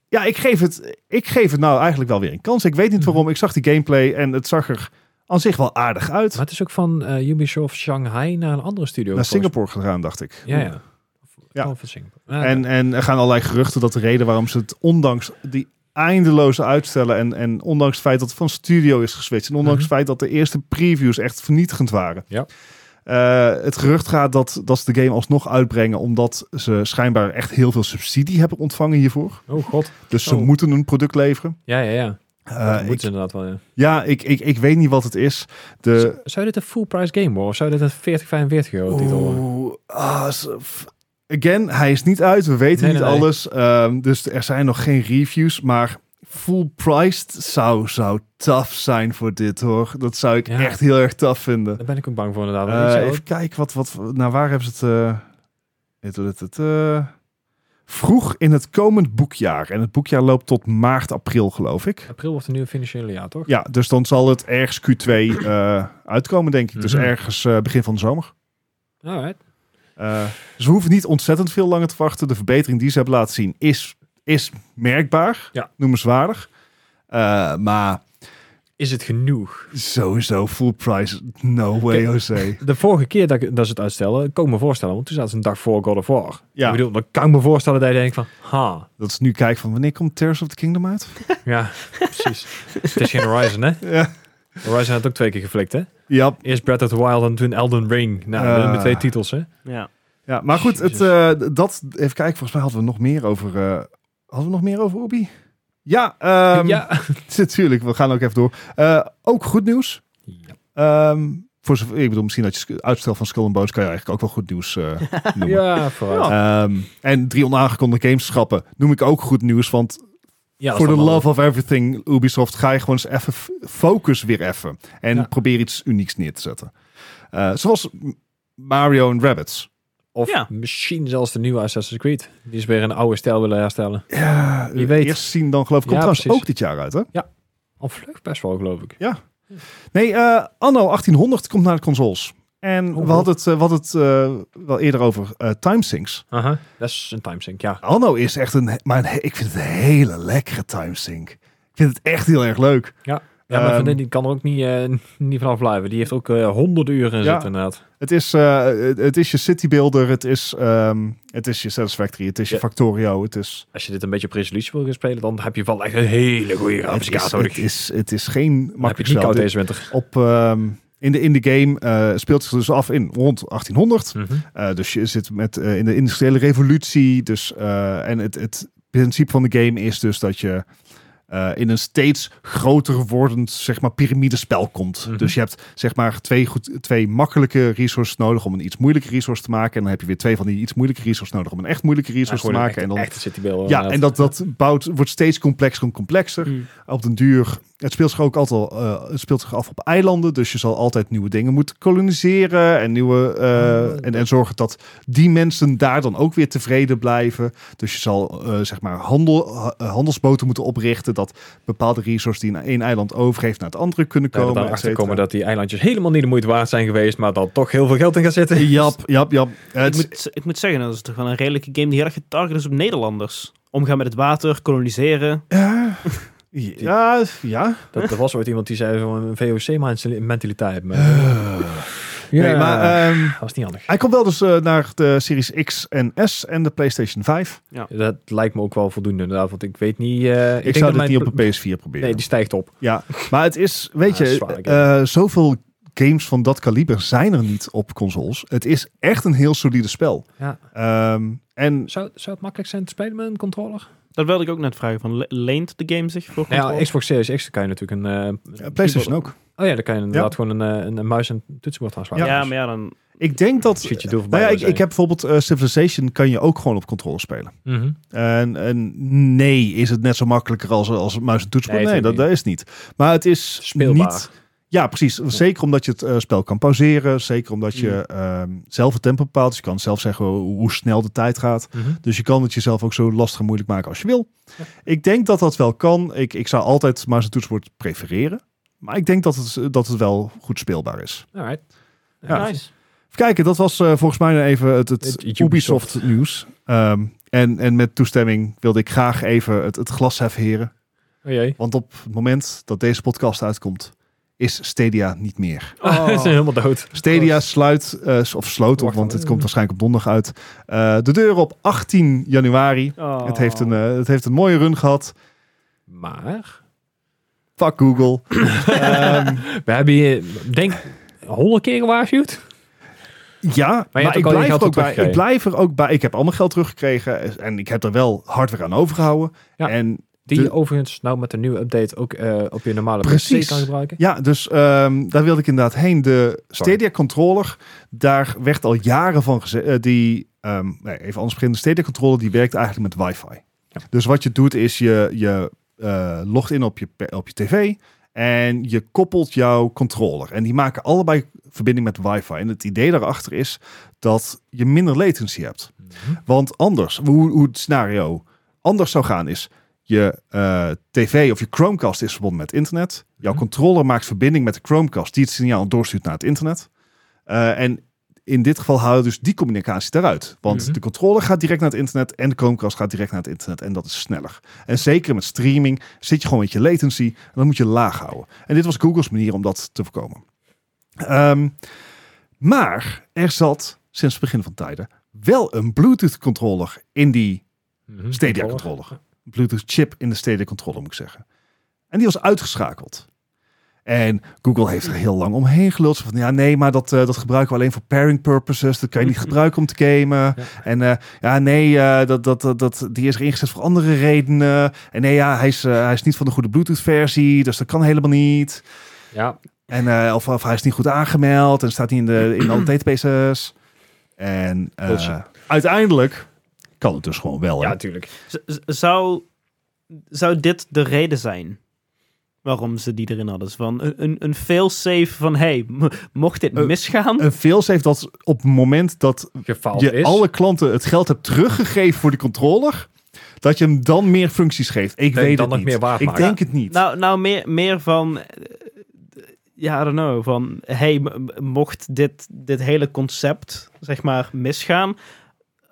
[SPEAKER 2] Ja, ik geef, het, ik geef het nou eigenlijk wel weer een kans. Ik weet
[SPEAKER 3] Mhm.
[SPEAKER 2] niet waarom. Ik zag die gameplay en het zag er aan zich wel aardig uit.
[SPEAKER 3] Maar het is ook van eh, Ubisoft Shanghai naar een andere studio.
[SPEAKER 2] Naar
[SPEAKER 3] volgens-
[SPEAKER 2] Singapore gegaan, dacht ik.
[SPEAKER 3] Ja, ja. Of-
[SPEAKER 2] Ja.
[SPEAKER 3] Of van Singapore. Ah,
[SPEAKER 2] En, en er gaan allerlei geruchten dat de reden waarom ze het, ondanks die eindeloze uitstellen en, en ondanks het feit dat het van studio is geswitcht en ondanks het feit dat de eerste previews echt vernietigend waren.
[SPEAKER 3] Mhm. Ja.
[SPEAKER 2] Eh, het gerucht gaat dat, dat ze de game alsnog uitbrengen omdat ze schijnbaar echt heel veel subsidie hebben ontvangen hiervoor.
[SPEAKER 3] Oh god.
[SPEAKER 2] Dus ze
[SPEAKER 3] Oh.
[SPEAKER 2] moeten een product leveren.
[SPEAKER 3] Ja, ja, ja.
[SPEAKER 2] Eh,
[SPEAKER 3] dat
[SPEAKER 2] ik-
[SPEAKER 3] moet ze inderdaad wel, ja.
[SPEAKER 2] ja, ik, ik, ik weet niet wat het is. De,
[SPEAKER 3] Z- Zou dit een full price game worden? Of zou dit een 40, 45 euro titel worden?
[SPEAKER 2] Oeh, ah, ze- f- again, hij is niet uit. We weten
[SPEAKER 3] Nee,
[SPEAKER 2] niet
[SPEAKER 3] nee, nee.
[SPEAKER 2] alles. Ehm, dus er zijn nog geen reviews. Maar full priced zou, zou tough zijn voor dit hoor. Dat zou ik
[SPEAKER 3] Ja.
[SPEAKER 2] echt heel erg tough vinden.
[SPEAKER 3] Daar ben ik ook bang voor inderdaad. want
[SPEAKER 2] Eh,
[SPEAKER 3] ik zou ook-
[SPEAKER 2] even kijken, wat, wat, naar waar hebben ze het... eh, het, het, het, eh, vroeg in het komend boekjaar. En het boekjaar loopt tot maart, april geloof ik.
[SPEAKER 3] April wordt een nieuwe financiële jaar, toch?
[SPEAKER 2] Ja, dus dan zal het ergens Q2 eh, uitkomen, denk ik. Dus
[SPEAKER 3] Mhm.
[SPEAKER 2] ergens eh, begin van de zomer.
[SPEAKER 3] Alright.
[SPEAKER 2] Eh, dus we hoeven niet ontzettend veel langer te wachten. De verbetering die ze hebben laten zien is, is merkbaar,
[SPEAKER 3] Ja.
[SPEAKER 2] noemenswaardig. Eh, maar
[SPEAKER 3] Is het genoeg?
[SPEAKER 2] sowieso full price, no way,
[SPEAKER 3] Oké.
[SPEAKER 2] Jose.
[SPEAKER 3] De vorige keer dat, ik- dat ze het uitstellen, kon ik me voorstellen. Want toen zaten ze een dag voor God of War.
[SPEAKER 2] Ja.
[SPEAKER 3] Ik bedoel, dan kan ik me voorstellen dat je denkt van... Ha,
[SPEAKER 2] Dat is nu kijk van wanneer komt Tears of the Kingdom uit?
[SPEAKER 3] ja, precies. het is geen Horizon, hè?
[SPEAKER 2] Ja,
[SPEAKER 3] Horizon had ook twee keer geflikt, hè?
[SPEAKER 2] ja,
[SPEAKER 3] Eerst Breath of the Wild en toen Elden Ring. Nou,
[SPEAKER 2] Eh.
[SPEAKER 3] met twee titels, hè?
[SPEAKER 1] ja.
[SPEAKER 2] ja maar goed, het, eh, dat, even kijken, volgens mij hadden we nog meer over, eh, hadden we nog meer over Ubi? Ja, ehm,
[SPEAKER 3] ja.
[SPEAKER 2] natuurlijk, we gaan ook even door. Eh, ook goed nieuws.
[SPEAKER 3] Ja.
[SPEAKER 2] Ehm, voor zover, ik bedoel, misschien dat je sk- uitstel van Skull and Bones kan je eigenlijk ook wel goed nieuws eh, noemen.
[SPEAKER 3] Ja, vooruit. Ja,
[SPEAKER 2] Ehm, en drie onaangekondigde games schrappen noem ik ook goed nieuws. Want
[SPEAKER 3] dat
[SPEAKER 2] voor
[SPEAKER 3] is
[SPEAKER 2] de
[SPEAKER 3] allemaal-
[SPEAKER 2] love of everything, Ubisoft, ga je gewoon eens even f- focus weer even. En
[SPEAKER 3] Ja.
[SPEAKER 2] probeer iets unieks neer te zetten. Eh, zoals Mario en Rabbits.
[SPEAKER 3] Of
[SPEAKER 1] Ja.
[SPEAKER 3] misschien zelfs de nieuwe Assassin's Creed. Die is weer een oude stijl willen herstellen.
[SPEAKER 2] Ja,
[SPEAKER 3] Wie weet.
[SPEAKER 2] Eh, Eerst zien dan geloof ik. Komt
[SPEAKER 3] Ja,
[SPEAKER 2] trouwens
[SPEAKER 3] precies.
[SPEAKER 2] ook dit jaar uit, hè?
[SPEAKER 3] Al vlug best wel, geloof ik.
[SPEAKER 2] Nee, eh, anno 1800 komt naar de consoles. En
[SPEAKER 3] Oh,
[SPEAKER 2] we hadden het, eh, we hadden het eh, wel eerder over eh timesyncs.
[SPEAKER 3] Aha. Dat is een timesync, ja.
[SPEAKER 2] Anno is echt een... Maar een he- ik vind het een hele lekkere timesync. Ik vind het echt heel erg leuk.
[SPEAKER 3] Ja, maar
[SPEAKER 2] Ehm,
[SPEAKER 3] vriendin die kan er ook niet, eh, niet vanaf blijven. Die heeft ook eh, honderden uren in
[SPEAKER 2] Ja.
[SPEAKER 3] zitten, inderdaad.
[SPEAKER 2] Het is, eh, het, het is je city builder, het is, ehm, het is je Satisfactory, het is je
[SPEAKER 3] Ja.
[SPEAKER 2] Factorio, het is...
[SPEAKER 3] Als je dit een beetje op resolutie wil gaan spelen, dan heb je wel echt een hele goede
[SPEAKER 2] het, is,
[SPEAKER 3] grafica
[SPEAKER 2] het,
[SPEAKER 3] nodig.
[SPEAKER 2] is, het is geen
[SPEAKER 3] Dan heb je
[SPEAKER 2] makkelijk
[SPEAKER 3] het niet
[SPEAKER 2] spel.
[SPEAKER 3] koud
[SPEAKER 2] Dit-
[SPEAKER 3] deze winter.
[SPEAKER 2] Op, ehm, in, de, in de game eh, speelt zich dus af in rond 1800.
[SPEAKER 3] Mhm.
[SPEAKER 2] Eh, dus je zit met, eh, in de industriële revolutie. Dus, eh, en het, het principe van de game is dus dat je eh, in een steeds groter wordend zeg maar, piramidespel komt.
[SPEAKER 3] Mhm.
[SPEAKER 2] Dus je hebt zeg maar, twee, goed, twee makkelijke resources nodig om een iets moeilijke resource te maken. En dan heb je weer twee van die iets moeilijke resources nodig om een echt moeilijke
[SPEAKER 3] Ja,
[SPEAKER 2] resource
[SPEAKER 3] gewoon
[SPEAKER 2] te
[SPEAKER 3] een eh,
[SPEAKER 2] maken. en
[SPEAKER 3] echte-
[SPEAKER 2] dan,
[SPEAKER 3] echte city builder,
[SPEAKER 2] ja,
[SPEAKER 3] inderdaad.
[SPEAKER 2] en dat, dat bouwt, wordt steeds complexer en complexer.
[SPEAKER 1] Mm.
[SPEAKER 2] Op den duur, het speelt zich ook altijd al, eh, het speelt zich af op eilanden. Dus je zal altijd nieuwe dingen moeten koloniseren. En, nieuwe, eh,
[SPEAKER 1] Oh.
[SPEAKER 3] Ah,
[SPEAKER 2] en, en zorgen dat die mensen daar dan ook weer tevreden blijven. Dus je zal eh, zeg maar handel, ha- eh, handelsboten moeten oprichten. Dat bepaalde resources die een één eiland overgeeft naar het andere kunnen
[SPEAKER 3] Ja, dat
[SPEAKER 2] komen.
[SPEAKER 3] we
[SPEAKER 2] et
[SPEAKER 3] erachter
[SPEAKER 2] cetera.
[SPEAKER 3] komen dat die eilandjes helemaal niet de moeite waard zijn geweest, maar dan toch heel veel geld in gaat zitten.
[SPEAKER 2] Jap, jap, jap.
[SPEAKER 1] Ik
[SPEAKER 2] Het,
[SPEAKER 1] moet, ik moet zeggen, dat is toch wel een redelijke game die heel erg getarget is op Nederlanders. Omgaan met het water, koloniseren.
[SPEAKER 2] Ja, ja, ja.
[SPEAKER 3] Dat, er was ooit iemand die zei van een VOC-mentaliteit. Maar,
[SPEAKER 2] Eh.
[SPEAKER 3] ja,
[SPEAKER 2] Nee, maar ehm,
[SPEAKER 3] dat was niet handig.
[SPEAKER 2] hij komt wel dus eh, naar de Series X en S en de PlayStation 5.
[SPEAKER 3] Dat lijkt me ook wel voldoende inderdaad, want ik weet niet... eh,
[SPEAKER 2] Ik, zou
[SPEAKER 3] denk dat
[SPEAKER 2] dit
[SPEAKER 3] mijn
[SPEAKER 2] niet op
[SPEAKER 3] pl-
[SPEAKER 2] een PS4 proberen.
[SPEAKER 3] Nee, die stijgt op.
[SPEAKER 2] Ja, maar het is, weet
[SPEAKER 3] Ja,
[SPEAKER 2] je,
[SPEAKER 3] zware
[SPEAKER 2] eh, zoveel games van dat kaliber zijn er niet op consoles. Het is echt een heel solide spel.
[SPEAKER 3] Ja.
[SPEAKER 2] Ehm, en
[SPEAKER 3] Zou, zou het makkelijk zijn te spelen met een controller?
[SPEAKER 1] Dat wilde ik ook net vragen. Van, le- leent de game zich voor
[SPEAKER 3] Ja,
[SPEAKER 1] controle?
[SPEAKER 3] Xbox Series X kan je natuurlijk een... eh,
[SPEAKER 2] eh, PlayStation ook.
[SPEAKER 3] Oh ja, dan kan je inderdaad gewoon een, eh, een, een muis en toetsenbord
[SPEAKER 1] ja.
[SPEAKER 3] aansluiten.
[SPEAKER 1] ja, maar ja, dan...
[SPEAKER 2] Ik denk dat.
[SPEAKER 3] Schiet je doel voorbij
[SPEAKER 2] Nou ja, ik,
[SPEAKER 3] wil
[SPEAKER 2] ik heb bijvoorbeeld eh, Civilization kan je ook gewoon op controle spelen.
[SPEAKER 3] zijn. Mhm.
[SPEAKER 2] En, en nee, is het net zo makkelijker als, als muis en toetsenbord?
[SPEAKER 3] Nee,
[SPEAKER 2] Nee, dat,
[SPEAKER 3] natuurlijk
[SPEAKER 2] dat is het niet. Maar het is
[SPEAKER 3] Speelbaar.
[SPEAKER 2] niet Ja, precies. Zeker omdat je het eh, spel kan pauzeren. Zeker omdat je ehm, zelf het tempo bepaalt. Dus je kan zelf zeggen hoe, hoe snel de tijd gaat.
[SPEAKER 3] Mhm.
[SPEAKER 2] Dus je kan het jezelf ook zo lastig en moeilijk maken als je wil. Ik denk dat dat wel kan. Ik, ik zou altijd maar zijn toetsenbord prefereren. Maar ik denk dat het, dat het wel goed speelbaar is.
[SPEAKER 3] Alright.
[SPEAKER 2] Ja.
[SPEAKER 1] Nice.
[SPEAKER 2] Even kijken, dat was eh, volgens mij nou even het, het,
[SPEAKER 3] Het Ubisoft.
[SPEAKER 2] Ubisoft nieuws. Ehm, en, en met toestemming wilde ik graag even het, het glas heffen, heren.
[SPEAKER 3] Oh jee.
[SPEAKER 2] Want op het moment dat deze podcast uitkomt, is Stadia niet meer.
[SPEAKER 1] Oh.
[SPEAKER 3] Ze zijn helemaal dood.
[SPEAKER 2] Stadia sluit, eh, of sloot op,
[SPEAKER 3] Wacht,
[SPEAKER 2] want het
[SPEAKER 3] eh.
[SPEAKER 2] komt waarschijnlijk op donderdag uit. eh, de deur op 18 januari.
[SPEAKER 1] Oh.
[SPEAKER 2] Het, heeft een, eh, het heeft een mooie run gehad.
[SPEAKER 3] Maar...
[SPEAKER 2] Fuck Google. Ehm,
[SPEAKER 3] We hebben je, denk, honderd keer gewaarschuwd.
[SPEAKER 2] ja, maar,
[SPEAKER 3] hebt ook
[SPEAKER 2] ik,
[SPEAKER 3] al je
[SPEAKER 2] blijf er ook
[SPEAKER 3] geld
[SPEAKER 2] bij, ik
[SPEAKER 3] teruggekregen.
[SPEAKER 2] blijf er ook bij. Ik heb al mijn geld teruggekregen en ik heb er wel hardware aan overgehouden.
[SPEAKER 3] Ja.
[SPEAKER 2] En
[SPEAKER 3] Die je
[SPEAKER 2] De-
[SPEAKER 3] overigens nou met de nieuwe update ook eh, op je normale
[SPEAKER 2] Precies.
[SPEAKER 3] PC kan gebruiken.
[SPEAKER 2] ja, dus ehm, daar wilde ik inderdaad heen. De Stadia controller, daar werd al jaren van gezegd. eh, die, ehm, nee, even anders beginnen. De Stadia controller die werkt eigenlijk met wifi.
[SPEAKER 3] Ja.
[SPEAKER 2] Dus wat je doet is je, je eh, logt in op je, pe- op je tv en je koppelt jouw controller. En die maken allebei verbinding met wifi. En het idee daarachter is dat je minder latency hebt.
[SPEAKER 3] Mhm.
[SPEAKER 2] Want anders, hoe, hoe het scenario anders zou gaan is... je eh, tv of je Chromecast is verbonden met internet. Jouw
[SPEAKER 3] Mhm.
[SPEAKER 2] controller maakt verbinding met de Chromecast... die het signaal doorstuurt naar het internet. Eh, en in dit geval houden we dus die communicatie daaruit. Want
[SPEAKER 3] Mhm.
[SPEAKER 2] de controller gaat direct naar het internet... en de Chromecast gaat direct naar het internet. En dat is sneller. En zeker met streaming zit je gewoon met je latency... en dan moet je laag houden. En dit was Google's manier om dat te voorkomen. Ehm, maar er zat sinds het begin van tijden wel een Bluetooth controller in die
[SPEAKER 3] Mhm.
[SPEAKER 2] Stadia controller. Bluetooth chip in de Stadia controller moet ik zeggen. En die was uitgeschakeld. En Google heeft er heel lang omheen geluld. Zo Van ja, nee, maar dat, eh, dat gebruiken we alleen voor pairing purposes. Dat kan je niet gebruiken om te gamen. En eh, ja, nee, eh, dat, dat, dat, dat, die is er ingezet voor andere redenen. En nee, ja, hij is, eh, hij is niet van de goede Bluetooth-versie. Dus dat kan helemaal niet.
[SPEAKER 3] Ja,
[SPEAKER 2] En, eh, of, of hij is niet goed aangemeld en staat niet in de, in alle databases. En eh,
[SPEAKER 3] Bullshit.
[SPEAKER 2] uiteindelijk kan het dus gewoon wel.
[SPEAKER 3] ja,
[SPEAKER 2] hè?
[SPEAKER 3] natuurlijk.
[SPEAKER 1] Z- z- zou, zou dit de reden zijn? waarom ze die erin hadden. Dus van een, een, een failsafe van, hey, m- mocht dit
[SPEAKER 2] Eh,
[SPEAKER 1] misgaan...
[SPEAKER 2] Een failsafe dat op het moment dat
[SPEAKER 3] Gefaald
[SPEAKER 2] je
[SPEAKER 3] is.
[SPEAKER 2] alle klanten het geld hebt teruggegeven voor die controller, dat je hem dan meer functies geeft. Ik
[SPEAKER 3] Dat je
[SPEAKER 2] weet
[SPEAKER 3] dan
[SPEAKER 2] het
[SPEAKER 3] nog
[SPEAKER 2] niet.
[SPEAKER 3] meer waard
[SPEAKER 2] Ik
[SPEAKER 3] maakt.
[SPEAKER 2] denk het niet.
[SPEAKER 1] nou, nou meer, meer van... eh, Ja, I don't know. Van, hey, m- m- mocht dit, dit hele concept, zeg maar, misgaan...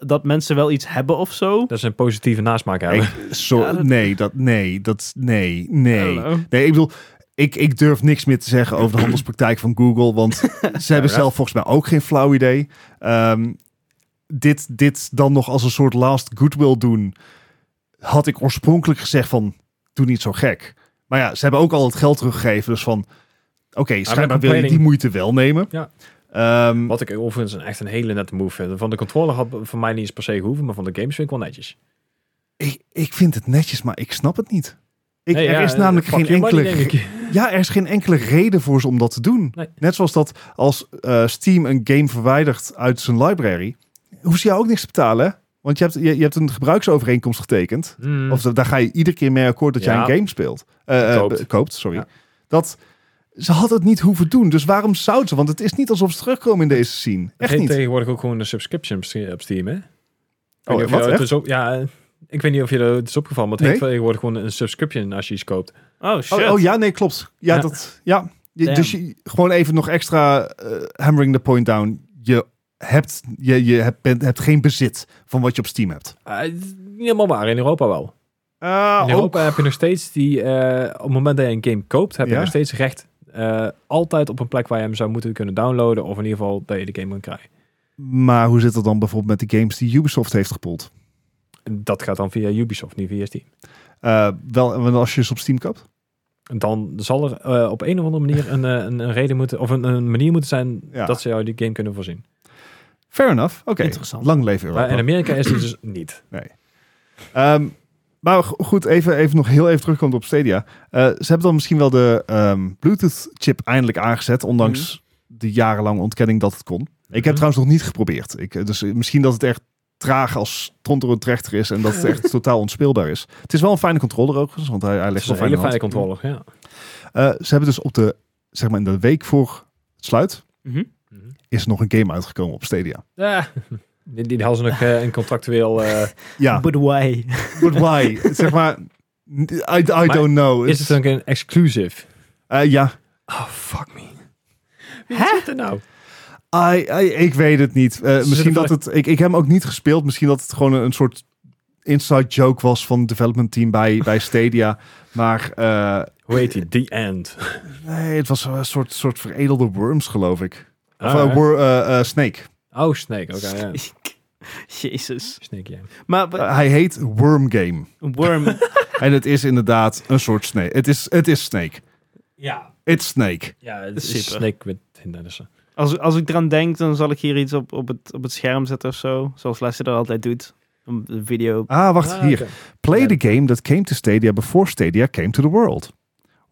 [SPEAKER 1] Dat mensen wel iets hebben of zo.
[SPEAKER 3] Dat is een positieve nasmaak hebben.
[SPEAKER 2] Ik- zo,
[SPEAKER 1] Ja, dat-
[SPEAKER 2] Nee, dat, nee, dat, nee, nee.
[SPEAKER 1] Hallo.
[SPEAKER 2] Nee, ik bedoel, ik, ik durf niks meer te zeggen over de handelspraktijk van Google, want ze hebben zelf volgens mij ook geen flauw idee. Ehm, dit, dit dan nog als een soort last goodwill doen, had ik oorspronkelijk gezegd van, doe niet zo gek. Maar ja, ze hebben ook al het geld teruggegeven, dus van, oké,
[SPEAKER 3] Ah,
[SPEAKER 2] schijnbaar wil je die
[SPEAKER 3] complaining-
[SPEAKER 2] moeite wel nemen.
[SPEAKER 3] Ja.
[SPEAKER 2] Ehm,
[SPEAKER 3] Wat ik overigens een- echt een hele nette move vind. Van de controller had voor mij niet eens per se gehoeven, maar van de games vind ik wel netjes.
[SPEAKER 2] ik, ik vind het netjes, maar ik snap het niet. Ik,
[SPEAKER 3] Nee,
[SPEAKER 2] er
[SPEAKER 3] ja,
[SPEAKER 2] is namelijk
[SPEAKER 3] fuck
[SPEAKER 2] geen
[SPEAKER 3] your money,
[SPEAKER 2] enkele
[SPEAKER 3] denk ik.
[SPEAKER 2] Ja, er is geen enkele reden voor ze om dat te doen.
[SPEAKER 3] Nee.
[SPEAKER 2] Net zoals dat als eh, Steam een game verwijdert uit zijn library, hoeft ze jou ook niks te betalen. hè? Want je hebt, je, je hebt een gebruiksovereenkomst getekend.
[SPEAKER 3] Hmm.
[SPEAKER 2] Of da- daar ga je iedere keer mee akkoord dat
[SPEAKER 3] Ja.
[SPEAKER 2] jij een game speelt. Eh, eh,
[SPEAKER 3] Koopt.
[SPEAKER 2] be- koopt, sorry.
[SPEAKER 3] Ja.
[SPEAKER 2] Dat, ze had het niet hoeven doen. Dus waarom zouden ze? Want het is niet alsof ze terugkomen in deze scene.
[SPEAKER 3] Het
[SPEAKER 2] Echt
[SPEAKER 3] heet
[SPEAKER 2] niet.
[SPEAKER 3] tegenwoordig ook gewoon een subscription op Ste- op Steam, hè? Ik weet
[SPEAKER 2] Oh,
[SPEAKER 3] niet of
[SPEAKER 2] wat,
[SPEAKER 3] je- het
[SPEAKER 2] echt?
[SPEAKER 3] is op- ja, ik weet niet of je dat het is opgevallen, maar het heet
[SPEAKER 2] Nee.
[SPEAKER 3] tegenwoordig gewoon een subscription als je iets koopt.
[SPEAKER 1] Oh, shit.
[SPEAKER 2] Oh, oh ja, nee, klopt. Ja,
[SPEAKER 3] Ja.
[SPEAKER 2] dat. Ja. Je-
[SPEAKER 1] Damn.
[SPEAKER 2] dus je, gewoon even nog extra eh, hammering the point down. Je hebt, je, je hebt, bent- hebt geen bezit van wat je op Steam hebt.
[SPEAKER 3] Eh, het is niet helemaal waar, in Europa wel.
[SPEAKER 2] Eh,
[SPEAKER 3] In Europa heb je nog steeds die, eh, op het moment dat je een game koopt, heb je
[SPEAKER 2] Ja.
[SPEAKER 3] nog steeds recht eh, altijd op een plek waar je hem zou moeten kunnen downloaden, of in ieder geval dat je de game kan krijgen.
[SPEAKER 2] ook. maar hoe zit het dan bijvoorbeeld met de games die Ubisoft heeft gepoeld?
[SPEAKER 3] Dat gaat dan via Ubisoft, niet via Steam.
[SPEAKER 2] Eh, wel, want als je ze op Steam koopt?
[SPEAKER 3] En Dan zal er eh, op een of andere manier een, eh, een, een reden moeten, of een, een manier moeten zijn
[SPEAKER 2] Ja.
[SPEAKER 3] dat ze jou die game kunnen voorzien.
[SPEAKER 2] Fair enough. Oké,
[SPEAKER 1] Interessant.
[SPEAKER 2] lang leven Europa.
[SPEAKER 3] Maar in Amerika is het dus niet.
[SPEAKER 2] Ehm, maar go- goed, even, even nog heel even terugkomt op Stadia. Eh, ze hebben dan misschien wel de ehm, Bluetooth-chip eindelijk aangezet, ondanks de jarenlange ontkenning dat het kon. Ik heb
[SPEAKER 3] Mhm.
[SPEAKER 2] trouwens nog niet geprobeerd. Ik, eh, dus eh, misschien dat het echt traag als stront door een trechter is en dat het echt totaal onspeelbaar is. Het is wel een fijne controller ook, dus, want hij, hij
[SPEAKER 3] Het
[SPEAKER 2] ligt
[SPEAKER 3] is
[SPEAKER 2] wel
[SPEAKER 3] een
[SPEAKER 2] fijn
[SPEAKER 3] hele
[SPEAKER 2] in de hand.
[SPEAKER 3] fijne controller, ja.
[SPEAKER 2] Eh, ze hebben dus op de, zeg maar in de week voor het sluit,
[SPEAKER 1] Mhm.
[SPEAKER 2] is er nog een game uitgekomen op Stadia.
[SPEAKER 3] Ja. Die, die hadden ze nog eh, een contractueel... eh,
[SPEAKER 2] Ja,
[SPEAKER 1] But why?
[SPEAKER 2] but why? zeg maar, I, I don't know.
[SPEAKER 3] is het dan ook een exclusive?
[SPEAKER 2] Eh, ja,
[SPEAKER 3] Oh, fuck me. Wie
[SPEAKER 1] Hè?
[SPEAKER 3] zit er nou?
[SPEAKER 2] I, I- ik weet het niet. Eh,
[SPEAKER 3] Ze
[SPEAKER 2] misschien dat
[SPEAKER 3] zitten
[SPEAKER 2] het. Ik, ik heb hem ook niet gespeeld. Misschien dat het gewoon een, een soort inside joke was van het development team bij, bij Stadia. Maar eh,
[SPEAKER 3] Hoe heet die? The End.
[SPEAKER 2] nee, het was een soort, soort veredelde worms, geloof ik. Of
[SPEAKER 3] Ah,
[SPEAKER 2] eh, wor- eh, eh, Snake.
[SPEAKER 3] oh, Snake. Oké, ja.
[SPEAKER 1] Jezus.
[SPEAKER 3] Snake, ja.
[SPEAKER 1] Maar wa-
[SPEAKER 2] Eh, hij heet Worm Game.
[SPEAKER 1] Worm...
[SPEAKER 2] en het is inderdaad een soort Snake. Het is, het is Snake.
[SPEAKER 3] Ja.
[SPEAKER 2] It's Snake.
[SPEAKER 3] Ja, het
[SPEAKER 1] is
[SPEAKER 3] is
[SPEAKER 1] super.
[SPEAKER 3] Snake met hindernissen.
[SPEAKER 1] Als, als ik eraan denk, dan zal ik hier iets op, op, het, op het scherm zetten of zo. Zoals Lester dat altijd doet. Een video.
[SPEAKER 2] Ah, wacht,
[SPEAKER 3] Ah,
[SPEAKER 2] hier.
[SPEAKER 3] oké.
[SPEAKER 2] Play
[SPEAKER 3] Okay.
[SPEAKER 2] the game that came to Stadia before Stadia came to the world.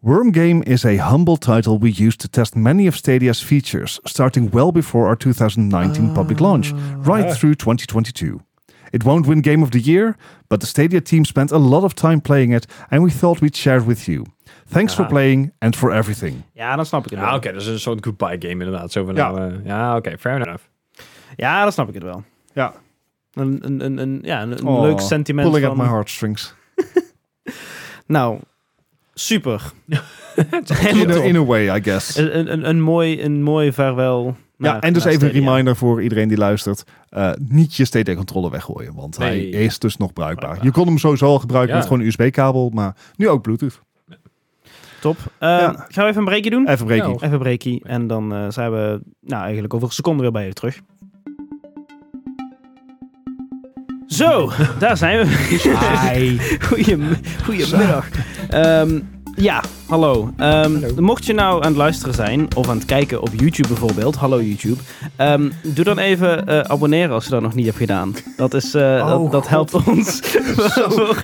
[SPEAKER 2] Worm Game is a humble title we used to test many of Stadia's features, starting well before our 2019 public launch, right
[SPEAKER 3] Ah.
[SPEAKER 2] through 2022. It won't win Game of the Year, but the Stadia team spent a lot of time playing it, and we thought we'd share it with you. Thanks for
[SPEAKER 3] Ah.
[SPEAKER 2] playing and for everything.
[SPEAKER 1] Ja, dan snap ik het
[SPEAKER 3] Ja,
[SPEAKER 1] wel.
[SPEAKER 3] oké, dat is een soort goodbye game inderdaad. Zo van,
[SPEAKER 2] Ja.
[SPEAKER 3] nou, eh, ja. oké, fair enough.
[SPEAKER 1] Ja, dan snap ik het wel.
[SPEAKER 2] Ja.
[SPEAKER 1] Een, een, een, een, ja, een, een
[SPEAKER 2] Oh,
[SPEAKER 1] leuk sentiment
[SPEAKER 2] Pulling at
[SPEAKER 1] van...
[SPEAKER 2] my heartstrings.
[SPEAKER 1] Nou, super. Helemaal
[SPEAKER 2] In a,
[SPEAKER 1] top.
[SPEAKER 2] in a way, I guess.
[SPEAKER 1] Een, een, een, een mooi, een mooi vaarwel.
[SPEAKER 2] Ja,
[SPEAKER 1] naar-
[SPEAKER 2] en dus
[SPEAKER 1] naar
[SPEAKER 2] even een
[SPEAKER 1] Stadia.
[SPEAKER 2] reminder voor iedereen die luistert. eh, niet je Stadia-controller weggooien, want hij
[SPEAKER 3] Nee.
[SPEAKER 2] is dus nog bruikbaar.
[SPEAKER 3] Bruikbaar.
[SPEAKER 2] Je kon hem sowieso al gebruiken
[SPEAKER 3] Ja.
[SPEAKER 2] met gewoon een USB-kabel, maar nu ook Bluetooth.
[SPEAKER 1] Top. Eh,
[SPEAKER 2] Ja.
[SPEAKER 1] Gaan we even een breakje doen?
[SPEAKER 2] Even breaking.
[SPEAKER 1] Even een breakie. En dan eh, zijn we nou, eigenlijk over een seconde weer bij je terug. Zo, daar zijn Nou. we. Goeiem, goedemiddag. Ehm, ja, hallo. Ehm,
[SPEAKER 3] Hallo.
[SPEAKER 1] Mocht je nou aan het luisteren zijn of aan het kijken op YouTube bijvoorbeeld, hallo YouTube, ehm, doe dan even eh, abonneren als je dat nog niet hebt gedaan. Dat, is, eh, dat, dat helpt ons. Voor-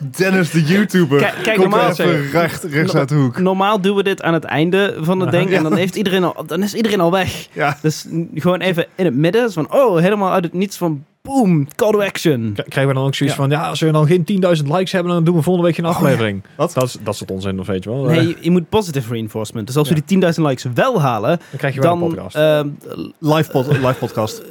[SPEAKER 2] Dennis de YouTuber.
[SPEAKER 1] Kijk- kijk,
[SPEAKER 2] Komt
[SPEAKER 1] normaal
[SPEAKER 2] even recht, rechts
[SPEAKER 1] No-
[SPEAKER 2] uit de hoek.
[SPEAKER 1] Normaal doen we dit aan het einde van het ding en dan, heeft iedereen al, dan is iedereen al weg.
[SPEAKER 2] Ja.
[SPEAKER 1] Dus n- gewoon even in het midden. zo van, oh, helemaal uit het niets van... boom, call to action.
[SPEAKER 3] K- Krijgen we dan ook zoiets
[SPEAKER 1] Ja.
[SPEAKER 3] van, ja, Oh, als we dan geen 10.000 likes hebben, dan doen we volgende week geen aflevering.
[SPEAKER 2] Wat?
[SPEAKER 3] Dat, is, dat is het onzin, of weet je wel. Eh,
[SPEAKER 1] Nee, je moet positive reinforcement. Dus als
[SPEAKER 3] Ja.
[SPEAKER 1] we die 10.000 likes wel halen,
[SPEAKER 3] dan krijg je wel
[SPEAKER 1] dan...
[SPEAKER 3] een podcast.
[SPEAKER 1] ehm,
[SPEAKER 2] Live, pod- live podcast.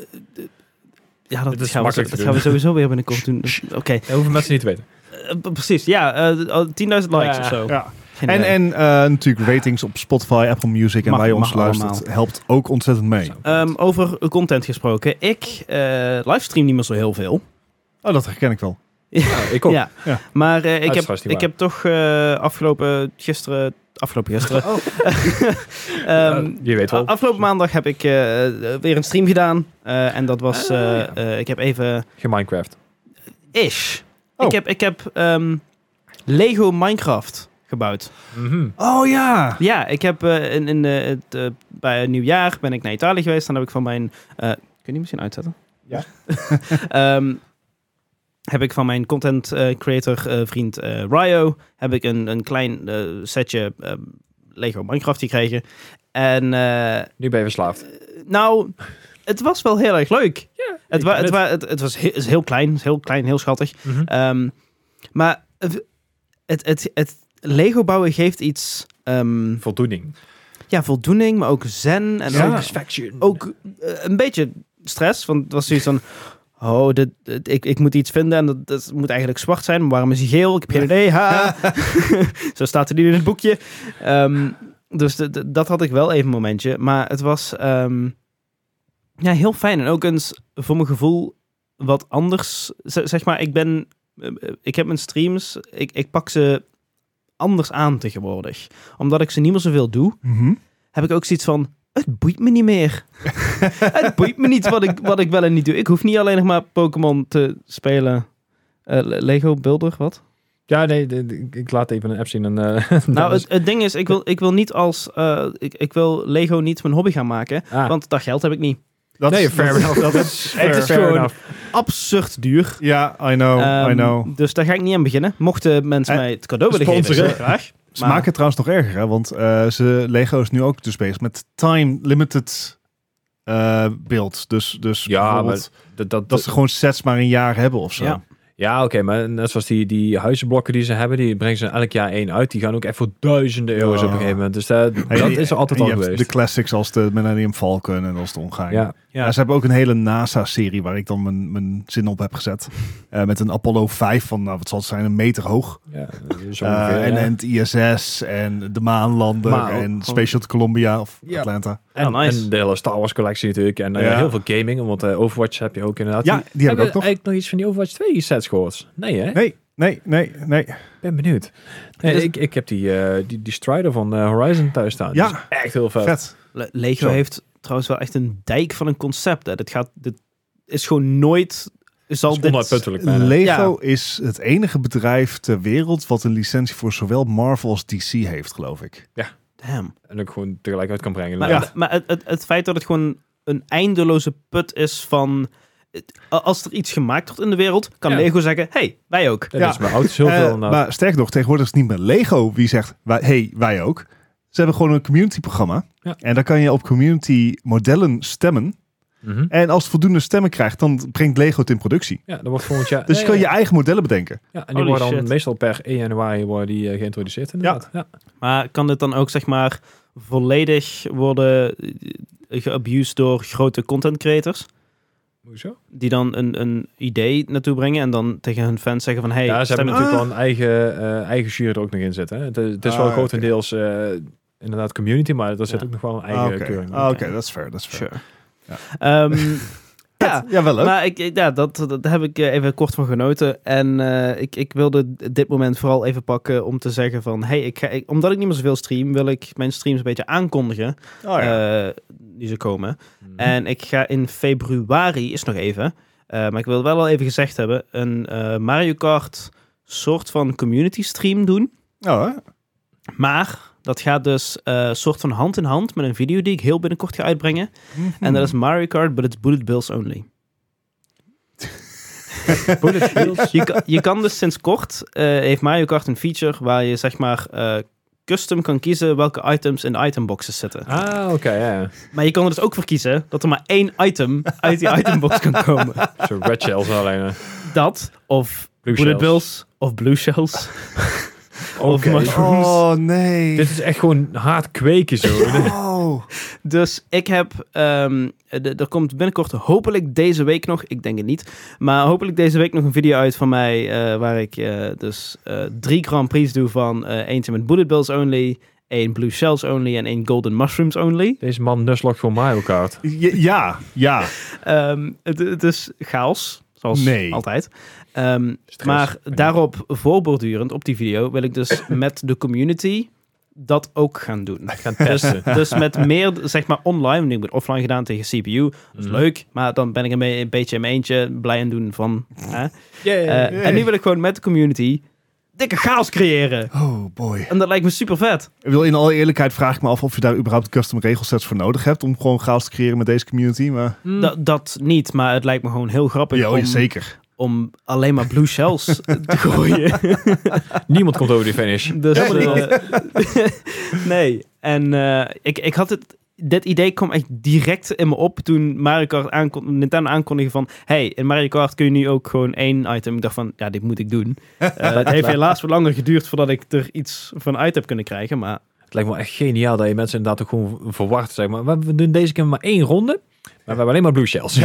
[SPEAKER 1] ja, dat,
[SPEAKER 3] Dit is
[SPEAKER 1] gaan we,
[SPEAKER 3] makkelijk
[SPEAKER 1] dat gaan
[SPEAKER 3] te
[SPEAKER 1] we
[SPEAKER 3] doen.
[SPEAKER 1] sowieso weer binnenkort doen. Dus, Oké,
[SPEAKER 3] dat hoeven mensen niet te weten.
[SPEAKER 1] Eh, p- precies. Ja, eh, oh, 10.000 likes
[SPEAKER 3] Ja.
[SPEAKER 1] of zo.
[SPEAKER 2] Ja.
[SPEAKER 1] Geen
[SPEAKER 2] En,
[SPEAKER 1] idee.
[SPEAKER 2] en eh, natuurlijk ratings op Spotify, Apple Music en
[SPEAKER 1] Mag-
[SPEAKER 2] waar je ons
[SPEAKER 1] mag
[SPEAKER 2] luistert.
[SPEAKER 1] allemaal.
[SPEAKER 2] Helpt ook ontzettend mee.
[SPEAKER 1] Ehm, over content gesproken. Ik eh, livestream niet meer zo heel veel.
[SPEAKER 2] Oh, dat herken ik wel.
[SPEAKER 3] Nou, ik ook.
[SPEAKER 1] Ja.
[SPEAKER 2] Ja.
[SPEAKER 1] Maar eh, ik, heb,
[SPEAKER 3] Uiteraard niet
[SPEAKER 1] ik
[SPEAKER 3] waar.
[SPEAKER 1] heb toch eh, afgelopen gisteren... Afgelopen gisteren.
[SPEAKER 2] Oh.
[SPEAKER 1] Ehm,
[SPEAKER 3] Eh, je weet wel.
[SPEAKER 1] afgelopen maandag heb ik eh, eh, weer een stream gedaan. Eh, en dat was...
[SPEAKER 3] Ah,
[SPEAKER 1] eh,
[SPEAKER 3] ja.
[SPEAKER 1] eh, ik heb even...
[SPEAKER 3] Geen Minecraft.
[SPEAKER 1] Ish.
[SPEAKER 2] Oh.
[SPEAKER 1] Ik heb, ik heb ehm, Lego Minecraft gebouwd.
[SPEAKER 3] Mhm.
[SPEAKER 2] Oh ja.
[SPEAKER 1] Ja, ik heb eh, in, in, eh, het, eh, bij een nieuwjaar ben ik naar Italië geweest. Dan heb ik van mijn... eh, kun je die misschien uitzetten?
[SPEAKER 2] Ja.
[SPEAKER 1] Ehm, heb ik van mijn content eh, creator eh, vriend eh Ryo... heb ik een, een klein eh, setje eh, Lego Minecraft gekregen. En eh,
[SPEAKER 3] Nu ben je verslaafd.
[SPEAKER 1] nou, het was wel heel erg leuk. het,
[SPEAKER 3] ik
[SPEAKER 1] wa- het,
[SPEAKER 3] ben het.
[SPEAKER 1] wa- het, het was he- is heel klein, is heel klein, heel schattig. Ehm, maar het, het, het, het Lego bouwen geeft iets... ehm,
[SPEAKER 3] Voldoening.
[SPEAKER 1] ja, voldoening, maar ook zen. En
[SPEAKER 2] Ja.
[SPEAKER 1] ook, ook eh, een beetje stress. Want het was zoiets van... Oh, dit, dit- ik, ik moet iets vinden en dat, dat moet eigenlijk zwart zijn. Maar waarom is hij geel? Ik heb geen idee. Ha. Zo staat het nu in het boekje. Ehm, dus de- de- dat had ik wel even een momentje. Maar het was ehm, ja, heel fijn. En ook eens voor mijn gevoel wat anders. Z- zeg maar, ik ben... eh, Ik heb mijn streams, ik, ik pak ze anders aan tegenwoordig. Omdat ik ze niet meer zoveel doe,
[SPEAKER 2] Mhm.
[SPEAKER 1] heb ik ook zoiets van. Het boeit me niet meer. het boeit me niet wat ik, wat ik wel en niet doe. Ik hoef niet alleen nog maar Pokémon te spelen. Eh, Le- Lego Builder, wat?
[SPEAKER 3] Ja, nee, de- de- ik- ik laat even een app zien. En, eh, dat
[SPEAKER 1] nou,
[SPEAKER 3] is-
[SPEAKER 1] het, het ding is, ik wil, ik wil niet als. eh, ik, ik wil Lego niet mijn hobby gaan maken.
[SPEAKER 3] Ah.
[SPEAKER 1] Want dat geld heb ik niet.
[SPEAKER 2] Dat
[SPEAKER 3] nee,
[SPEAKER 2] is-
[SPEAKER 3] fair
[SPEAKER 2] dat is-
[SPEAKER 3] enough.
[SPEAKER 2] dat is
[SPEAKER 1] Het is
[SPEAKER 2] fair.
[SPEAKER 1] gewoon- Absurd duur.
[SPEAKER 2] Ja, I
[SPEAKER 3] Oh,
[SPEAKER 2] know, I
[SPEAKER 1] Ehm,
[SPEAKER 2] know.
[SPEAKER 1] Dus daar ga ik niet aan beginnen. Mochten mensen
[SPEAKER 2] Eh,
[SPEAKER 1] mij het cadeau willen geven,
[SPEAKER 2] sponsoren.
[SPEAKER 1] zeer graag.
[SPEAKER 2] Ze maken het trouwens nog erger, hè? want eh, ze, Lego is nu ook dus bezig met time-limited eh beeld. Dus, dus
[SPEAKER 3] Ja,
[SPEAKER 2] bijvoorbeeld
[SPEAKER 3] Dat, dat,
[SPEAKER 2] dat ze gewoon sets maar een jaar hebben of zo.
[SPEAKER 1] Ja.
[SPEAKER 3] ja, oké, maar net zoals die, die huizenblokken die ze hebben, die brengen ze elk jaar één uit. Die gaan ook echt voor duizenden euro's
[SPEAKER 2] Ja.
[SPEAKER 3] op een gegeven moment. Dus dat,
[SPEAKER 2] En
[SPEAKER 3] dat
[SPEAKER 2] je-
[SPEAKER 3] is er altijd
[SPEAKER 2] en
[SPEAKER 3] al
[SPEAKER 2] je hebt
[SPEAKER 3] geweest.
[SPEAKER 2] De classics als de Millennium Falcon en als de Ongein.
[SPEAKER 3] ja.
[SPEAKER 1] Ja.
[SPEAKER 2] Ja, ze hebben ook een hele NASA-serie waar ik dan mijn, mijn zin op heb gezet. Eh, met een Apollo 5 van, nou, wat zal het zijn, een meter hoog.
[SPEAKER 3] Ja, zo
[SPEAKER 2] Eh,
[SPEAKER 3] ongeveer,
[SPEAKER 2] en,
[SPEAKER 3] ja.
[SPEAKER 2] en het ISS en de maanlander
[SPEAKER 3] Maar ook
[SPEAKER 2] en
[SPEAKER 1] gewoon-
[SPEAKER 2] Space Shuttle Columbia of
[SPEAKER 3] Ja.
[SPEAKER 2] Atlanta.
[SPEAKER 3] En-
[SPEAKER 1] Oh, nice.
[SPEAKER 3] en de hele Star Wars collectie natuurlijk. En eh,
[SPEAKER 2] Ja.
[SPEAKER 3] heel veel gaming, want eh, Overwatch heb je ook inderdaad.
[SPEAKER 2] Ja, die heb ik ook nog.
[SPEAKER 3] eigenlijk nog iets van die Overwatch 2 sets gehoord? Nee, hè?
[SPEAKER 2] Nee, nee, nee, nee.
[SPEAKER 3] Ik ben benieuwd. Nee,
[SPEAKER 1] Dus-
[SPEAKER 3] ik, ik heb die, eh, die, die Strider van eh, Horizon thuis staan.
[SPEAKER 2] Ja.
[SPEAKER 3] Ja. echt heel vet.
[SPEAKER 2] Vet.
[SPEAKER 1] Le- Lego
[SPEAKER 3] Zo.
[SPEAKER 1] heeft trouwens wel echt een dijk van een concept. Hè. Dit, gaat, dit is gewoon nooit. Zal
[SPEAKER 3] Dat is
[SPEAKER 1] dit,
[SPEAKER 3] onuitputtelijk bijna.
[SPEAKER 2] Lego is het enige bedrijf ter wereld wat een licentie voor zowel Marvel als DC heeft, geloof ik.
[SPEAKER 1] Damn.
[SPEAKER 3] En ook gewoon tegelijk uit kan brengen.
[SPEAKER 1] Maar,
[SPEAKER 3] inderdaad.
[SPEAKER 1] maar het, het, het feit dat het gewoon een eindeloze put is van... het- Als er iets gemaakt wordt in de wereld, kan
[SPEAKER 3] Ja.
[SPEAKER 1] Lego zeggen... hey, wij ook.
[SPEAKER 3] En
[SPEAKER 2] Ja.
[SPEAKER 3] dat is mijn auto's heel
[SPEAKER 2] Eh,
[SPEAKER 3] veel. nou. inderdaad.
[SPEAKER 2] maar sterker nog, tegenwoordig is het niet meer Lego wie zegt, wij, hey, wij ook. Ze hebben gewoon een community-programma.
[SPEAKER 3] Ja.
[SPEAKER 2] En daar kan je op community-modellen stemmen.
[SPEAKER 3] Mhm.
[SPEAKER 2] En als het voldoende stemmen krijgt, dan brengt Lego het in productie.
[SPEAKER 3] Ja, dan wordt volgend jaar...
[SPEAKER 2] Dus
[SPEAKER 3] Nee,
[SPEAKER 2] je kan
[SPEAKER 3] ja.
[SPEAKER 2] je eigen modellen bedenken.
[SPEAKER 3] Ja, en die
[SPEAKER 1] Holy
[SPEAKER 3] worden dan
[SPEAKER 1] shit.
[SPEAKER 3] meestal per 1 januari worden die, eh, geïntroduceerd inderdaad. Ja.
[SPEAKER 1] Maar kan dit dan ook, zeg maar, volledig worden eh, geabused door grote content creators?
[SPEAKER 3] Hoezo?
[SPEAKER 1] Die dan een, een idee naartoe brengen en dan tegen hun fans zeggen van... Hey,
[SPEAKER 3] ja, ze
[SPEAKER 1] stem-
[SPEAKER 3] hebben
[SPEAKER 2] Ah.
[SPEAKER 3] natuurlijk wel een eigen, eh, eigen jury er ook nog in zitten. Hè. Het, is- het is
[SPEAKER 2] Ah,
[SPEAKER 3] wel
[SPEAKER 2] oké.
[SPEAKER 3] grotendeels eh, inderdaad community, maar er zit
[SPEAKER 1] Ja.
[SPEAKER 3] ook nog wel een
[SPEAKER 2] Ah,
[SPEAKER 3] eigen
[SPEAKER 2] Oké,
[SPEAKER 3] keuring.
[SPEAKER 2] Ah, oké,
[SPEAKER 1] Oké.
[SPEAKER 2] dat is fair. Dat is fair.
[SPEAKER 1] Sure. Ehm, ja,
[SPEAKER 2] Ja, wel leuk.
[SPEAKER 1] Maar ik, ik- ja, dat, dat daar heb ik eh, even kort van genoten. En eh, ik, ik wilde d- dit moment vooral even pakken om te zeggen van... Hey, ik ga, ik- omdat ik niet meer zoveel stream, wil ik mijn streams een beetje aankondigen.
[SPEAKER 2] oh, ja.
[SPEAKER 1] eh, die ze komen.
[SPEAKER 3] Mhm.
[SPEAKER 1] En ik ga in februari, is nog even... eh, maar ik wil wel al even gezegd hebben... een eh, Mario Kart soort van community stream doen.
[SPEAKER 3] eh,
[SPEAKER 2] Oh, hè?
[SPEAKER 1] Maar dat gaat dus eh, soort van hand in hand met een video die ik heel binnenkort ga uitbrengen. En
[SPEAKER 2] Hmm.
[SPEAKER 1] dat is Mario Kart, but it's bullet bills only.
[SPEAKER 3] Bullet bills?
[SPEAKER 1] je, kan, je kan dus sinds kort, eh, heeft Mario Kart een feature waar je zeg maar eh, custom kan kiezen welke items in de itemboxes zitten.
[SPEAKER 3] Ah, oké, ja.
[SPEAKER 1] Maar je kan er dus ook voor kiezen dat er maar één item uit die itembox kan komen.
[SPEAKER 3] Zo'n red shells alleen. eh.
[SPEAKER 1] Dat, of
[SPEAKER 3] Blue
[SPEAKER 1] bullet
[SPEAKER 3] shells.
[SPEAKER 1] bills, of blue shells. Of
[SPEAKER 3] Oké.
[SPEAKER 1] mushroom.
[SPEAKER 2] Oh, nee.
[SPEAKER 3] Dit is echt gewoon hard kweken zo.
[SPEAKER 2] Oh.
[SPEAKER 1] Dus ik heb, ehm, de- er komt binnenkort hopelijk deze week nog, ik denk het niet, maar hopelijk deze week nog een video uit van mij eh, waar ik eh, dus eh, drie Grand Prix doe van eh, eentje met Bullet Bills only, één Blue Shells only en één Golden Mushrooms only.
[SPEAKER 3] Deze man nuslokt gewoon Mario Kart.
[SPEAKER 2] Ja, ja, ja.
[SPEAKER 1] Ehm, het, het is chaos, zoals
[SPEAKER 2] Nee.
[SPEAKER 1] altijd. Ehm,
[SPEAKER 3] Stress.
[SPEAKER 1] maar daarop voorbordurend op die video wil ik dus met de community dat ook gaan doen.
[SPEAKER 3] Gaan testen.
[SPEAKER 1] Dus met meer, zeg maar online. want Ik ben offline gedaan tegen CPU. Dat is
[SPEAKER 2] Mhm.
[SPEAKER 3] Mm.
[SPEAKER 1] leuk. Maar dan ben ik een, be- een beetje in mijn eentje blij aan doen van. Hè? Eh,
[SPEAKER 2] Yay.
[SPEAKER 1] En nu wil ik gewoon met de community dikke chaos creëren.
[SPEAKER 2] Oh boy.
[SPEAKER 1] En dat lijkt me super vet.
[SPEAKER 2] Ik wil in alle eerlijkheid vraag ik me af of je daar überhaupt custom regelsets voor nodig hebt om gewoon chaos te creëren met deze community. Maar
[SPEAKER 1] dat niet, maar het lijkt me gewoon heel grappig
[SPEAKER 2] Mhm. ja, oh,
[SPEAKER 1] om,
[SPEAKER 2] zeker.
[SPEAKER 1] om alleen maar blue shells te gooien.
[SPEAKER 3] Niemand komt over die finish.
[SPEAKER 1] Dus,
[SPEAKER 3] Helemaal
[SPEAKER 1] eh, nee, en eh, ik, ik had het. Dit idee kwam echt direct in me op toen Mario Kart aankon Nintendo aankondigde van... hey, in Mario Kart kun je nu ook gewoon één item. Ik dacht van, ja, dit moet ik doen. Eh, het heeft helaas wat langer geduurd voordat ik er iets van uit heb kunnen krijgen. Maar
[SPEAKER 3] Het lijkt me echt geniaal dat je mensen inderdaad ook gewoon verwacht. Zeg maar. We- We doen deze keer maar één ronde. Maar we hebben alleen maar blue shells.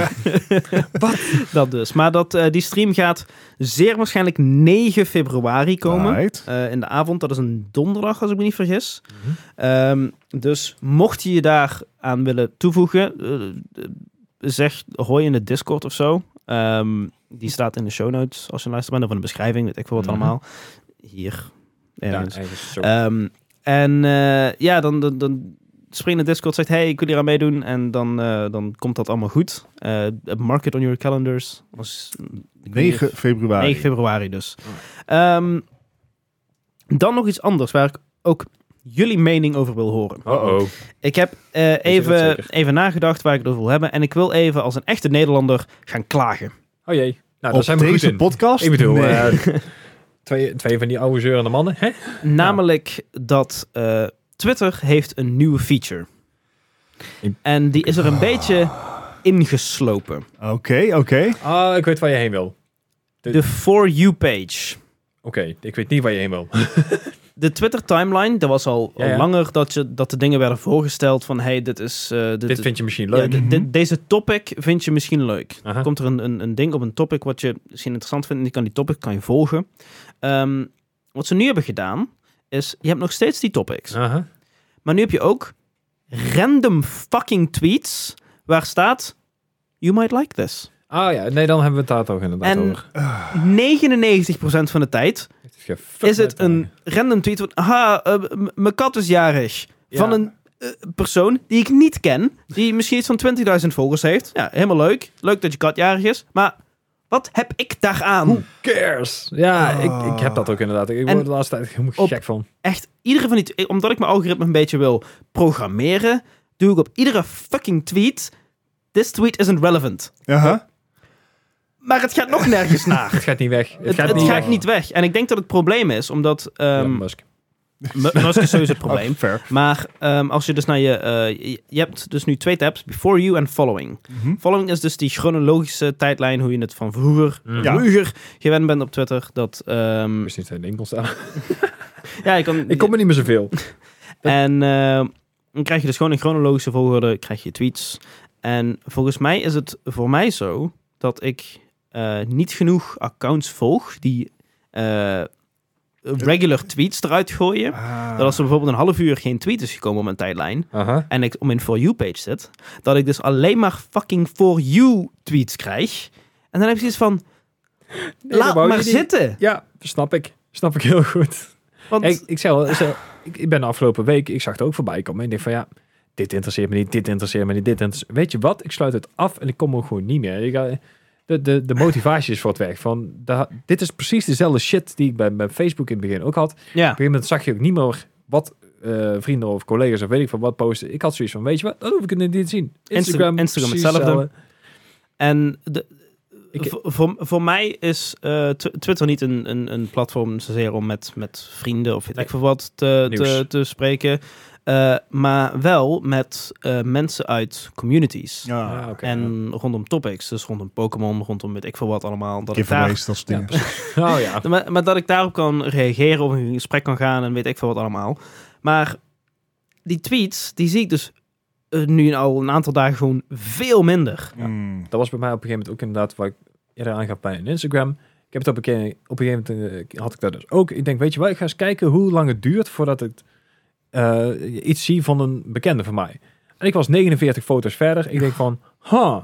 [SPEAKER 1] dat dus. Maar dat, eh, die stream gaat zeer waarschijnlijk 9 februari komen.
[SPEAKER 2] Right.
[SPEAKER 1] Eh, in de avond. Dat is een donderdag, als ik me niet vergis.
[SPEAKER 3] Mhm.
[SPEAKER 1] Ehm, dus mocht je je daar aan willen toevoegen, eh, eh, zeg hoi in de Discord of zo. Ehm, die staat in de show notes als je luistert bent, of in de beschrijving, weet ik veel wat
[SPEAKER 3] Mhm.
[SPEAKER 1] allemaal. Hier.
[SPEAKER 3] Ja, dus- Eh,
[SPEAKER 1] Ergens.
[SPEAKER 3] eigenlijk zo.
[SPEAKER 1] Ehm, en eh, ja, dan, dan, dan spring in de Discord, zegt hey, ik wil hier aan meedoen. En dan, eh, dan komt dat allemaal goed. Eh, mark it on your calendars. Als,
[SPEAKER 2] 9 februari.
[SPEAKER 1] 9 februari dus. Ehm, dan nog iets anders waar ik ook jullie mening over wil horen.
[SPEAKER 3] Uh-oh.
[SPEAKER 1] Ik heb eh,
[SPEAKER 3] het
[SPEAKER 1] even,
[SPEAKER 3] zeker?
[SPEAKER 1] even nagedacht waar ik het over wil hebben. En ik wil even als een echte Nederlander gaan klagen.
[SPEAKER 3] Oh jee. Nou, daar
[SPEAKER 2] Op
[SPEAKER 3] zijn we goed
[SPEAKER 2] deze
[SPEAKER 3] in.
[SPEAKER 2] podcast?
[SPEAKER 3] Ik bedoel,
[SPEAKER 2] Nee.
[SPEAKER 3] eh, twee, twee van die oude zeurende mannen. Hè?
[SPEAKER 1] Namelijk dat eh, Twitter heeft een nieuwe feature.
[SPEAKER 3] Ik-
[SPEAKER 1] En die is er een beetje ingeslopen.
[SPEAKER 2] Oké, oké.
[SPEAKER 3] Ah, ik weet waar je heen wil. Dit-
[SPEAKER 1] De For You page.
[SPEAKER 3] Oké, ik weet niet waar je heen wil.
[SPEAKER 1] De Twitter timeline, dat was al, al
[SPEAKER 3] Ja, ja.
[SPEAKER 1] langer dat, je, dat de dingen werden voorgesteld van... hey, dit is... eh, dit,
[SPEAKER 3] Dit
[SPEAKER 1] is-
[SPEAKER 3] vind je misschien
[SPEAKER 1] Ja,
[SPEAKER 3] leuk.
[SPEAKER 1] de- de- deze topic vind je misschien leuk.
[SPEAKER 3] Aha.
[SPEAKER 1] Komt er een, een, een ding op een topic wat je misschien interessant vindt en die kan die topic kan je volgen. Ehm, wat ze nu hebben gedaan is, je hebt nog steeds die topics,
[SPEAKER 3] Aha.
[SPEAKER 1] maar nu heb je ook random fucking tweets waar staat you might like this.
[SPEAKER 3] Ah ja, nee, dan hebben we het daar toch inderdaad
[SPEAKER 1] En-
[SPEAKER 3] over.
[SPEAKER 1] 99% van de tijd
[SPEAKER 3] Het is gefuckt
[SPEAKER 1] is het
[SPEAKER 3] met-
[SPEAKER 1] een random tweet van aha, eh, m- mijn kat is jarig.
[SPEAKER 3] Ja.
[SPEAKER 1] Van een eh, persoon die ik niet ken, die misschien iets van 20.000 volgers heeft. Ja, helemaal leuk. Leuk dat je kat jarig is. Maar wat heb ik daaraan?
[SPEAKER 3] Who cares? Ja,
[SPEAKER 2] Ah.
[SPEAKER 3] ik, ik heb dat ook inderdaad. Ik
[SPEAKER 1] En
[SPEAKER 3] word de laatste tijd helemaal
[SPEAKER 1] op-
[SPEAKER 3] gek van.
[SPEAKER 1] Echt, iedere van die... tw- Omdat ik mijn algoritme een beetje wil programmeren, doe ik op iedere fucking tweet... This tweet isn't relevant.
[SPEAKER 2] Aha.
[SPEAKER 1] Maar het gaat nog nergens naar.
[SPEAKER 3] Het gaat niet weg. Het,
[SPEAKER 1] Het,
[SPEAKER 3] gaat
[SPEAKER 1] het
[SPEAKER 3] niet
[SPEAKER 1] gaat
[SPEAKER 3] weg.
[SPEAKER 1] niet weg. En ik denk dat het probleem is, omdat...
[SPEAKER 3] Ja,
[SPEAKER 1] ehm
[SPEAKER 3] Musk.
[SPEAKER 1] Mu- Musk is sowieso het probleem.
[SPEAKER 2] Oh, fair.
[SPEAKER 1] Maar ehm, als je dus naar je, eh, je... Je hebt dus nu twee tabs. Before you en following.
[SPEAKER 2] Mhm.
[SPEAKER 1] Following is dus die chronologische tijdlijn, hoe je het van vroeger,
[SPEAKER 3] Mm.
[SPEAKER 2] Ja.
[SPEAKER 1] vroeger gewend bent op Twitter. Dat, ehm,
[SPEAKER 3] Is niet zijn winkel staan.
[SPEAKER 1] ja, je kan,
[SPEAKER 3] Ik kom er niet meer zoveel.
[SPEAKER 1] En ehm, dan krijg je dus gewoon in chronologische volgorde krijg je tweets. En volgens mij is het voor mij zo dat ik eh, niet genoeg accounts volg die eh, regular tweets eruit gooien.
[SPEAKER 2] Ah.
[SPEAKER 1] Dat als er bijvoorbeeld een half uur geen tweet is gekomen op mijn tijdlijn
[SPEAKER 3] Aha.
[SPEAKER 1] en ik om in For You page zit, dat ik dus alleen maar fucking For You tweets krijg. En dan heb je iets van,
[SPEAKER 3] Nee, dat
[SPEAKER 1] Laat
[SPEAKER 3] wou
[SPEAKER 1] maar
[SPEAKER 3] je niet.
[SPEAKER 1] zitten.
[SPEAKER 3] Ja, snap ik. Snap ik heel goed.
[SPEAKER 1] Want
[SPEAKER 3] Ik, ik, zei al, ik, zei al, ik, ik ben de afgelopen week, ik zag het ook voorbij komen. En ik denk van ja, dit interesseert me niet, dit interesseert me niet, dit interesseert Weet je wat? Ik sluit het af en ik kom er gewoon niet meer. Ik, eh, de, de, de motivatie is voor het weg. Van, da- dit is precies dezelfde shit die ik bij, bij Facebook in het begin ook had.
[SPEAKER 1] ja,
[SPEAKER 3] Op een gegeven moment zag je ook niet meer wat eh, vrienden of collega's of weet ik van wat posten. Ik had zoiets van, weet je wat, dat hoef ik het niet te zien.
[SPEAKER 1] Insta- Instagram
[SPEAKER 3] precies
[SPEAKER 1] hetzelfde. en de,
[SPEAKER 3] Ik-
[SPEAKER 1] voor- voor, voor mij is eh, Tw- Twitter niet een, een, een platform zozeer om met, met vrienden of weet
[SPEAKER 3] Nee.
[SPEAKER 1] ik veel wat te,
[SPEAKER 3] Nieuws.
[SPEAKER 1] te, te spreken. Eh, maar wel met eh, mensen uit communities.
[SPEAKER 2] Ja,
[SPEAKER 3] Ah, oké.
[SPEAKER 1] En rondom topics, dus rondom Pokémon, rondom weet ik veel wat allemaal. Dat ik daar,
[SPEAKER 2] giveaways, dat soort
[SPEAKER 3] Ja,
[SPEAKER 2] dingen.
[SPEAKER 3] precies. Oh ja.
[SPEAKER 1] maar, maar dat ik daarop kan reageren of in een gesprek kan gaan en weet ik veel wat allemaal. Maar die tweets, die zie ik dus eh, nu al een aantal dagen gewoon veel minder.
[SPEAKER 3] Ja.
[SPEAKER 2] Mm.
[SPEAKER 3] Dat was bij mij op een gegeven moment ook inderdaad waar ik eerder aangaf bij een Instagram. Ik heb het op een, keer, op een gegeven moment eh, had ik dat dus ook. Ik denk, weet je wel, ik ga eens kijken hoe lang het duurt voordat ik eh, iets zie van een bekende van mij. En ik was 49 foto's verder. Ik denk van, huh,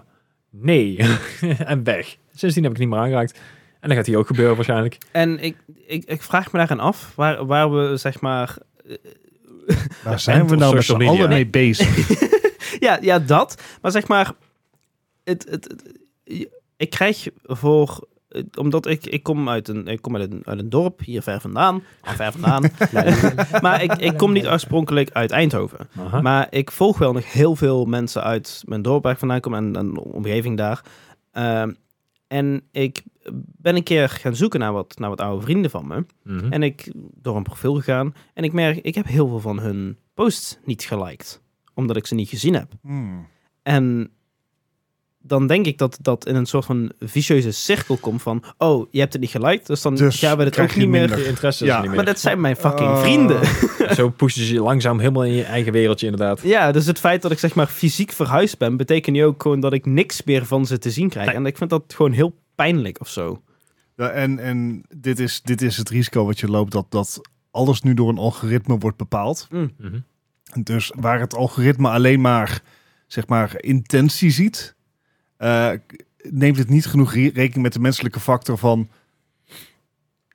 [SPEAKER 3] nee. en weg. Sindsdien heb ik het niet meer aangeraakt. En dan gaat hier ook gebeuren waarschijnlijk.
[SPEAKER 1] En ik, ik, ik vraag me daaraan af waar, waar we zeg maar.
[SPEAKER 2] Daar zijn we
[SPEAKER 3] op
[SPEAKER 2] nou met z'n
[SPEAKER 3] social media.
[SPEAKER 2] allen mee bezig.
[SPEAKER 1] Ja, ja, dat. Maar zeg maar. Het, het, het- je- ik krijg voor. het- Omdat ik, ik kom, uit een, ik kom uit, een, uit een dorp hier ver vandaan. Ah, Ver vandaan. maar ik, ik kom niet oorspronkelijk uit Eindhoven.
[SPEAKER 3] Aha.
[SPEAKER 1] Maar ik volg wel nog heel veel mensen uit mijn dorp waar ik vandaan kom en, en de omgeving daar. Ehm, en ik ben een keer gaan zoeken naar wat, naar wat oude vrienden van me.
[SPEAKER 3] Mhm.
[SPEAKER 1] En ik door een profiel gegaan. En ik merk, ik heb heel veel van hun posts niet geliked. Omdat ik ze niet gezien heb.
[SPEAKER 2] Mm.
[SPEAKER 1] En dan denk ik dat dat in een soort van vicieuze cirkel komt van... Oh, je hebt het niet geliked, dus dan
[SPEAKER 2] Dus
[SPEAKER 1] gaan we het
[SPEAKER 2] krijg
[SPEAKER 1] ook
[SPEAKER 2] je
[SPEAKER 1] niet meer...
[SPEAKER 2] minder.
[SPEAKER 3] Je interesse is
[SPEAKER 2] Ja,
[SPEAKER 3] er niet meer.
[SPEAKER 1] Maar dat zijn mijn fucking
[SPEAKER 2] Oh.
[SPEAKER 1] vrienden.
[SPEAKER 3] Zo pushen ze je langzaam helemaal in je eigen wereldje inderdaad.
[SPEAKER 1] Ja, dus het feit dat ik zeg maar fysiek verhuisd ben... betekent nu ook gewoon dat ik niks meer van ze te zien krijg. En ik vind dat gewoon heel pijnlijk of zo.
[SPEAKER 2] Ja, en en dit, is, dit is het risico wat je loopt, dat, dat alles nu door een algoritme wordt bepaald.
[SPEAKER 3] Mhm.
[SPEAKER 2] Dus waar het algoritme alleen maar, zeg maar intentie ziet, eh, neemt het niet genoeg re- rekening met de menselijke factor van.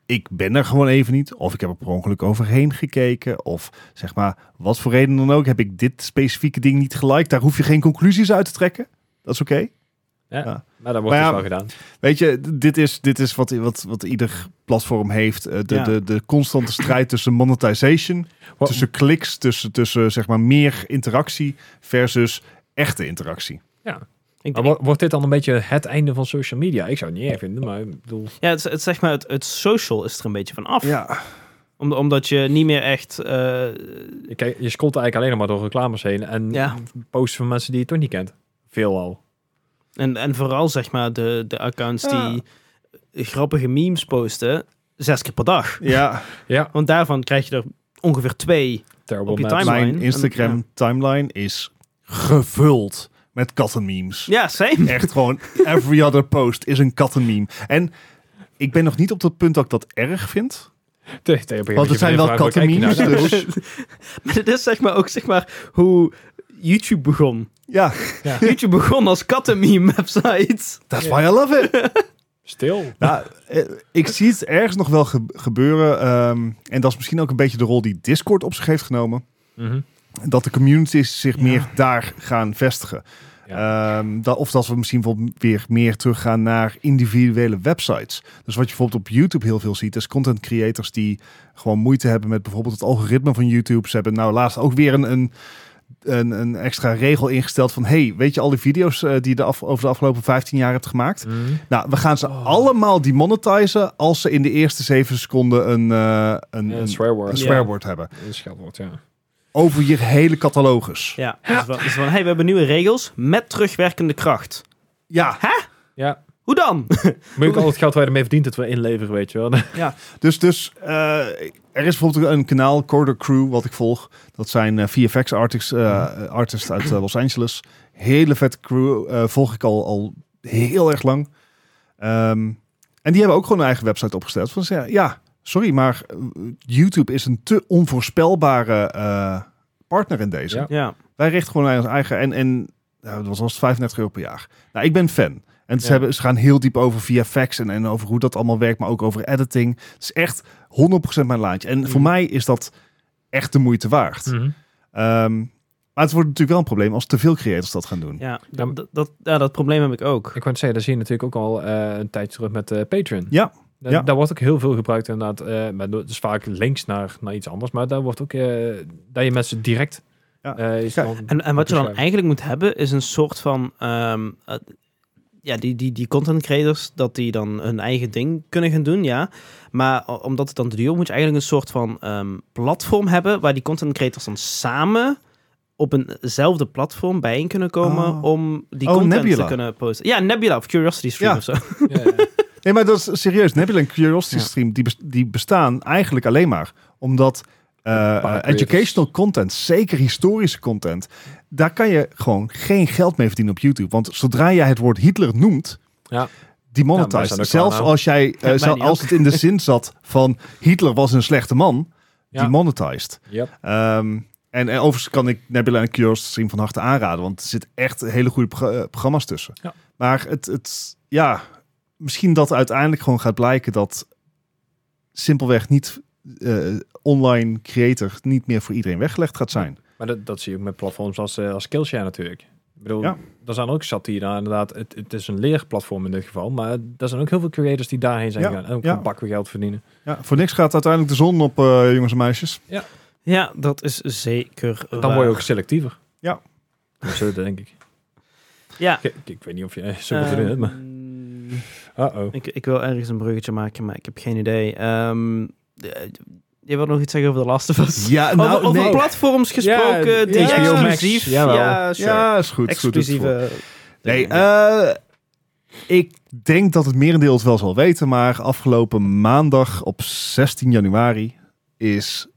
[SPEAKER 2] Ik ben er gewoon even niet. Of ik heb er per ongeluk overheen gekeken. Of zeg maar, wat voor reden dan ook, heb ik dit specifieke ding niet geliked. Daar hoef je geen conclusies uit te trekken. Dat is oké.
[SPEAKER 3] Maar dat
[SPEAKER 2] Maar
[SPEAKER 3] wordt dus
[SPEAKER 2] ja,
[SPEAKER 3] wel gedaan.
[SPEAKER 2] Weet je, d- dit is, dit is wat, wat, wat ieder platform heeft. Eh, De,
[SPEAKER 1] Ja.
[SPEAKER 2] de, de constante strijd tussen monetization
[SPEAKER 3] Wat-
[SPEAKER 2] tussen kliks, tussen, tussen zeg maar meer interactie versus echte interactie.
[SPEAKER 1] Ik,
[SPEAKER 3] Maar wo- wordt dit dan een beetje het einde van social media? Ik zou het niet erg vinden, maar ik bedoel...
[SPEAKER 1] ja, het, het, zeg maar, het, het social is er een beetje van af.
[SPEAKER 2] Ja,
[SPEAKER 1] Om- omdat je niet meer echt... eh,
[SPEAKER 3] Je, kijkt- je scrolt eigenlijk alleen nog maar door reclames heen en
[SPEAKER 1] ja.
[SPEAKER 3] posts van mensen die je toch niet kent. Veelal.
[SPEAKER 1] En, en vooral zeg maar de, de accounts
[SPEAKER 2] Ja.
[SPEAKER 1] die grappige memes posten zes keer per dag.
[SPEAKER 2] ja.
[SPEAKER 3] Ja,
[SPEAKER 1] Want daarvan krijg je er ongeveer twee.
[SPEAKER 3] terrible
[SPEAKER 1] Op je
[SPEAKER 3] maps.
[SPEAKER 1] timeline.
[SPEAKER 2] mijn Instagram
[SPEAKER 1] En-
[SPEAKER 2] timeline is gevuld met kattenmemes.
[SPEAKER 1] Ja, same.
[SPEAKER 2] Echt gewoon, every other post is een kattenmeme. En ik ben nog niet op dat punt dat ik dat erg vind.
[SPEAKER 3] Te- te- op een gegeven
[SPEAKER 2] Want
[SPEAKER 3] moment
[SPEAKER 2] het zijn
[SPEAKER 3] je
[SPEAKER 2] wel
[SPEAKER 3] vraagt, waar kijk je
[SPEAKER 2] kattenmemes.
[SPEAKER 3] naar?
[SPEAKER 2] Dus
[SPEAKER 1] Maar dit is zeg maar ook zeg maar hoe YouTube begon.
[SPEAKER 2] ja,
[SPEAKER 1] YouTube begon als kattenmeme website.
[SPEAKER 2] that's why I love it.
[SPEAKER 3] Stil.
[SPEAKER 2] Nou, eh, ik zie het ergens nog wel ge- gebeuren. ehm, en dat is misschien ook een beetje de rol die Discord op zich heeft genomen.
[SPEAKER 3] Mhm.
[SPEAKER 2] dat de communities zich meer daar gaan vestigen. Ehm, dat, of dat we misschien bijvoorbeeld weer meer teruggaan naar individuele websites. Dus wat je bijvoorbeeld op YouTube heel veel ziet, is content creators die gewoon moeite hebben met bijvoorbeeld het algoritme van YouTube. Ze hebben nou laatst ook weer een, een, een, een extra regel ingesteld van: hey, weet je al die video's eh, die je de af, over de afgelopen 15 jaar hebt gemaakt?
[SPEAKER 3] Mhm.
[SPEAKER 2] Nou, we gaan ze
[SPEAKER 3] Oh.
[SPEAKER 2] allemaal demonetizen als ze in de eerste 7 seconden een, eh, een,
[SPEAKER 3] Een
[SPEAKER 2] een,
[SPEAKER 3] swear word.
[SPEAKER 2] een
[SPEAKER 1] Ja.
[SPEAKER 2] swearwoord hebben.
[SPEAKER 3] Een scheldwoord, ja.
[SPEAKER 2] Over je hele catalogus.
[SPEAKER 1] Ja, dus van, dus van hey, we hebben nieuwe regels met terugwerkende kracht.
[SPEAKER 2] Ja,
[SPEAKER 3] Ja.
[SPEAKER 1] Hoe dan?
[SPEAKER 3] Moet ik al het geld waar je ermee verdient dat we inleveren, weet je wel.
[SPEAKER 2] Dus, dus eh, er is bijvoorbeeld een kanaal, Corridor Crew, wat ik volg. Dat zijn eh, VFX artists, eh, artists uit eh, Los Angeles. Hele vette crew, eh, volg ik al, al heel erg lang. Ehm, en die hebben ook gewoon een eigen website opgesteld. Van, ze- ja, sorry, maar eh, YouTube is een te onvoorspelbare eh, partner in deze.
[SPEAKER 3] Ja.
[SPEAKER 1] Ja,
[SPEAKER 2] Wij richten gewoon ons eigen. En, en nou, dat was als 35 euro per jaar. Nou, ik ben fan. En ze,
[SPEAKER 3] Ja.
[SPEAKER 2] hebben, ze gaan heel diep over VFX en, en over hoe dat allemaal werkt, maar ook over editing. Het is echt 100% mijn laantje. En voor
[SPEAKER 1] Mm.
[SPEAKER 2] mij is dat echt de moeite waard.
[SPEAKER 3] Mhm.
[SPEAKER 2] Ehm, maar het wordt natuurlijk wel een probleem als te veel creators dat gaan doen.
[SPEAKER 1] ja,
[SPEAKER 3] Ja, maar-
[SPEAKER 1] dat, dat, ja, dat probleem heb ik ook.
[SPEAKER 3] Ik wou het zeggen, daar zie je natuurlijk ook al eh, een tijdje terug met eh, Patreon.
[SPEAKER 2] Ja.
[SPEAKER 3] Da-
[SPEAKER 2] Ja.
[SPEAKER 3] Daar wordt ook heel veel gebruikt inderdaad. eh maar dat is vaak links naar, naar iets anders. Maar daar wordt ook... eh dat je mensen direct...
[SPEAKER 2] Ja.
[SPEAKER 3] eh, is
[SPEAKER 2] Ja.
[SPEAKER 3] dan-
[SPEAKER 1] En, en wat je dan
[SPEAKER 3] beschrijven.
[SPEAKER 1] eigenlijk moet hebben, is een soort van ehm, eh, ja, die, die, die content creators, dat die dan hun eigen ding kunnen gaan doen, ja. Maar o- omdat het dan te duur moet je eigenlijk een soort van ehm, platform hebben waar die content creators dan samen op eenzelfde platform bijeen kunnen komen
[SPEAKER 2] Oh.
[SPEAKER 1] om die
[SPEAKER 2] Oh,
[SPEAKER 1] content
[SPEAKER 2] Nebula.
[SPEAKER 1] te kunnen posten. Ja, Nebula of Curiosity Stream
[SPEAKER 2] Ja.
[SPEAKER 1] of zo.
[SPEAKER 3] Ja, ja.
[SPEAKER 2] Nee, maar dat is serieus. Nebula en Curiosity
[SPEAKER 1] Ja.
[SPEAKER 2] Stream, die, bes- die bestaan eigenlijk alleen maar omdat eh,
[SPEAKER 3] creators.
[SPEAKER 2] educational content, zeker historische content, daar kan je gewoon geen geld mee verdienen op YouTube. Want zodra jij het woord Hitler noemt,
[SPEAKER 3] Ja.
[SPEAKER 2] die
[SPEAKER 3] Ja, maar
[SPEAKER 2] monetize.
[SPEAKER 3] is dat ook
[SPEAKER 2] Zelfs
[SPEAKER 3] wel, nou?
[SPEAKER 2] als, jij, eh,
[SPEAKER 1] mij
[SPEAKER 2] zelf-
[SPEAKER 1] niet
[SPEAKER 2] als het in de zin zat van Hitler was een slechte man,
[SPEAKER 3] Ja.
[SPEAKER 2] die monetized.
[SPEAKER 3] Yep.
[SPEAKER 2] Ehm, en, en overigens kan ik Nebula en Curiosity Stream van harte aanraden, want er zit echt hele goede pro- eh, programma's tussen.
[SPEAKER 3] Ja.
[SPEAKER 2] Maar het, het, ja, misschien dat uiteindelijk gewoon gaat blijken dat simpelweg niet eh, online creator niet meer voor iedereen weggelegd gaat zijn.
[SPEAKER 3] Maar dat, dat zie je ook met platforms als, eh, als Skillshare natuurlijk. Ik bedoel,
[SPEAKER 2] Ja.
[SPEAKER 3] daar zijn ook satire inderdaad. Het, het is een leerplatform in dit geval. Maar er zijn ook heel veel creators die daarheen zijn
[SPEAKER 2] Ja,
[SPEAKER 3] gegaan. En ook
[SPEAKER 2] ja.
[SPEAKER 3] een bak weer geld verdienen.
[SPEAKER 2] Ja, voor niks gaat uiteindelijk de zon op, eh, jongens en meisjes.
[SPEAKER 1] Ja, dat is zeker
[SPEAKER 3] Dan
[SPEAKER 1] waar.
[SPEAKER 3] word je ook selectiever.
[SPEAKER 2] Ja.
[SPEAKER 3] Zo denk ik.
[SPEAKER 1] Ja.
[SPEAKER 3] Ik, ik weet niet of je eh, zo bedoelt,
[SPEAKER 1] Ehm,
[SPEAKER 3] maar... Uh-oh.
[SPEAKER 1] ik, ik wil ergens een bruggetje maken, maar ik heb geen idee. Ehm, eh, je wil nog iets zeggen over The Last of Us?
[SPEAKER 2] Ja, nou,
[SPEAKER 1] over over
[SPEAKER 2] nee.
[SPEAKER 1] platforms gesproken,
[SPEAKER 3] Ja,
[SPEAKER 1] die
[SPEAKER 2] ja.
[SPEAKER 1] exclusief.
[SPEAKER 3] Jawel.
[SPEAKER 1] Ja, sure.
[SPEAKER 2] Ja, is goed. is goed, is goed.
[SPEAKER 1] exclusieve.
[SPEAKER 2] Nee,
[SPEAKER 1] dingen.
[SPEAKER 2] eh, ik denk dat het merendeel het wel zal weten, maar afgelopen maandag op 16 januari is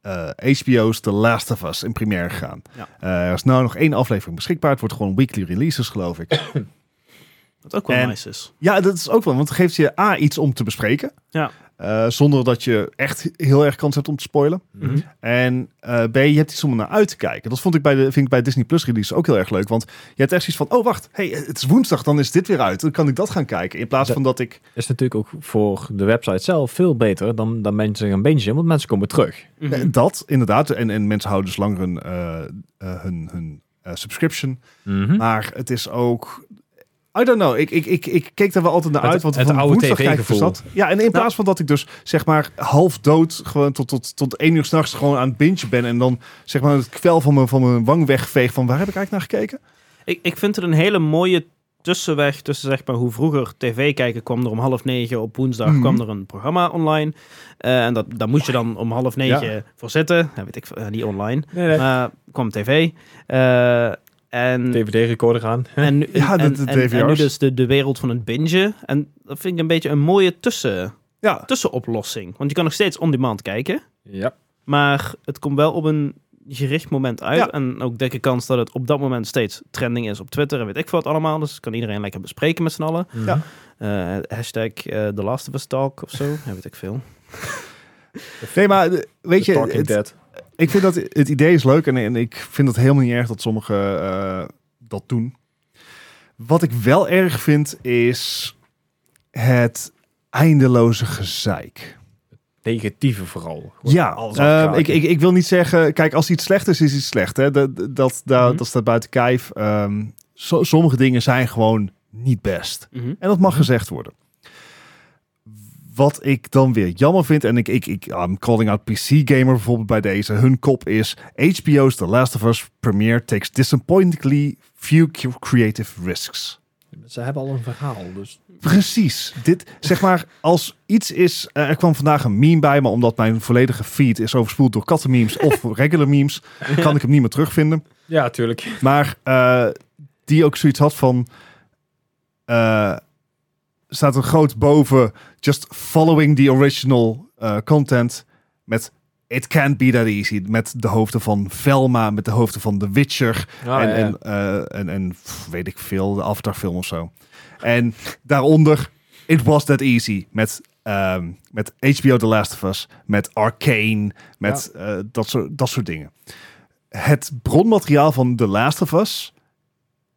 [SPEAKER 2] eh, HBO's The Last of Us in première gegaan.
[SPEAKER 1] Ja.
[SPEAKER 2] Eh, er is nou nog één aflevering beschikbaar. Het wordt gewoon weekly releases, geloof ik.
[SPEAKER 1] Wat ook wel
[SPEAKER 2] en-
[SPEAKER 1] nice is.
[SPEAKER 2] ja, dat is ook wel, want het geeft je A, iets om te bespreken.
[SPEAKER 1] Ja.
[SPEAKER 2] Eh, zonder dat je echt heel erg kans hebt om te spoilen.
[SPEAKER 3] Mhm.
[SPEAKER 2] En eh, B, je hebt iets om naar uit te kijken. Dat vond ik bij de, vind ik bij Disney Plus release ook heel erg leuk. Want je hebt echt iets van, oh wacht, hey, het is woensdag, dan is dit weer uit. Dan kan ik dat gaan kijken. In plaats
[SPEAKER 3] Dat-
[SPEAKER 2] van dat ik...
[SPEAKER 3] Is natuurlijk ook voor de website zelf veel beter dan, dan mensen gaan bingen. Want mensen komen terug.
[SPEAKER 1] Mhm.
[SPEAKER 2] eh, Dat, inderdaad. En, en mensen houden dus langer hun, eh, eh, hun, hun eh, subscription.
[SPEAKER 3] Mhm.
[SPEAKER 2] Maar het is ook... I don't know. Ik, ik, ik, ik keek daar wel altijd naar
[SPEAKER 3] Het-
[SPEAKER 2] uit. Want
[SPEAKER 3] het
[SPEAKER 2] van
[SPEAKER 3] oude Nou.
[SPEAKER 2] woensdag
[SPEAKER 3] TV
[SPEAKER 2] kijken
[SPEAKER 3] gevoel.
[SPEAKER 2] was dat. Ja, en in plaats van dat ik dus zeg maar half dood gewoon tot, tot, tot één uur s'nachts gewoon aan het bintje ben. En dan zeg maar het kwel van mijn, van mijn wang wegveeg van waar heb ik eigenlijk naar gekeken?
[SPEAKER 1] Ik, ik vind het een hele mooie tussenweg tussen zeg maar hoe vroeger tv kijken kwam er om half negen op woensdag
[SPEAKER 2] Mhm.
[SPEAKER 1] kwam er een programma online Eh, en dat daar moest je dan om half negen voor zitten ja, weet ik eh, niet online
[SPEAKER 3] Nee, nee.
[SPEAKER 1] maar kwam tv Eh, en
[SPEAKER 3] DVD-recorder aan.
[SPEAKER 1] En, nu-
[SPEAKER 2] Ja,
[SPEAKER 1] en,
[SPEAKER 2] dat- dat
[SPEAKER 1] en- en
[SPEAKER 2] DVR's.
[SPEAKER 1] nu dus de, de wereld van het bingen. En dat vind ik een beetje een mooie tussen,
[SPEAKER 2] Ja,
[SPEAKER 1] tussenoplossing. Want je kan nog steeds on-demand kijken.
[SPEAKER 3] Ja.
[SPEAKER 1] Maar het komt wel op een gericht moment uit.
[SPEAKER 2] Ja.
[SPEAKER 1] En ook dikke kans dat het op dat moment steeds trending is op Twitter. En weet ik veel wat allemaal. Dus dat kan iedereen lekker bespreken met z'n allen.
[SPEAKER 3] Ja.
[SPEAKER 1] Eh, hashtag eh The Last of Us Talk of zo. Ja, weet ik veel.
[SPEAKER 2] Nee, maar eh, weet je,
[SPEAKER 3] Talking
[SPEAKER 2] het-
[SPEAKER 3] Dead.
[SPEAKER 2] ik vind dat het idee is leuk en, en ik vind het helemaal niet erg dat sommigen eh, dat doen. Wat ik wel erg vind is het eindeloze gezeik.
[SPEAKER 3] Negatieve vooral. Gewoon
[SPEAKER 2] Ja,
[SPEAKER 3] alles
[SPEAKER 2] ehm,
[SPEAKER 3] afkraken.
[SPEAKER 2] ik, ik, ik wil niet zeggen, kijk, als iets slecht is, is iets slecht. Hè? Dat, dat, dat,
[SPEAKER 1] Mhm.
[SPEAKER 2] dat staat buiten kijf. Ehm, so- sommige dingen zijn gewoon niet best.
[SPEAKER 1] Mhm.
[SPEAKER 2] En dat mag gezegd worden. Wat ik dan weer jammer vind, en ik, ik, ik I'm calling out PC Gamer bijvoorbeeld bij deze. Hun kop is HBO's The Last of Us premiere takes disappointingly few cu- creative risks.
[SPEAKER 3] Ze hebben al een verhaal, dus...
[SPEAKER 2] Precies. Dit, zeg maar, als iets is... eh, er kwam vandaag een meme bij, maar omdat mijn volledige feed is overspoeld door kattenmemes of regular memes, kan ik hem niet meer terugvinden.
[SPEAKER 3] Ja, tuurlijk.
[SPEAKER 2] Maar eh, die ook zoiets had van... eh, staat er groot boven... Just following the original eh, content. Met It can't be that easy. Met de hoofden van Velma. Met de hoofden van The Witcher.
[SPEAKER 3] Ah,
[SPEAKER 2] en, En, eh, en, en pff, weet ik veel. De Avatar film of zo. En daaronder... It was that easy. Met, ehm, met HBO The Last of Us. Met Arcane. Met eh, dat, soort, dat soort dingen het bronmateriaal van The Last of Us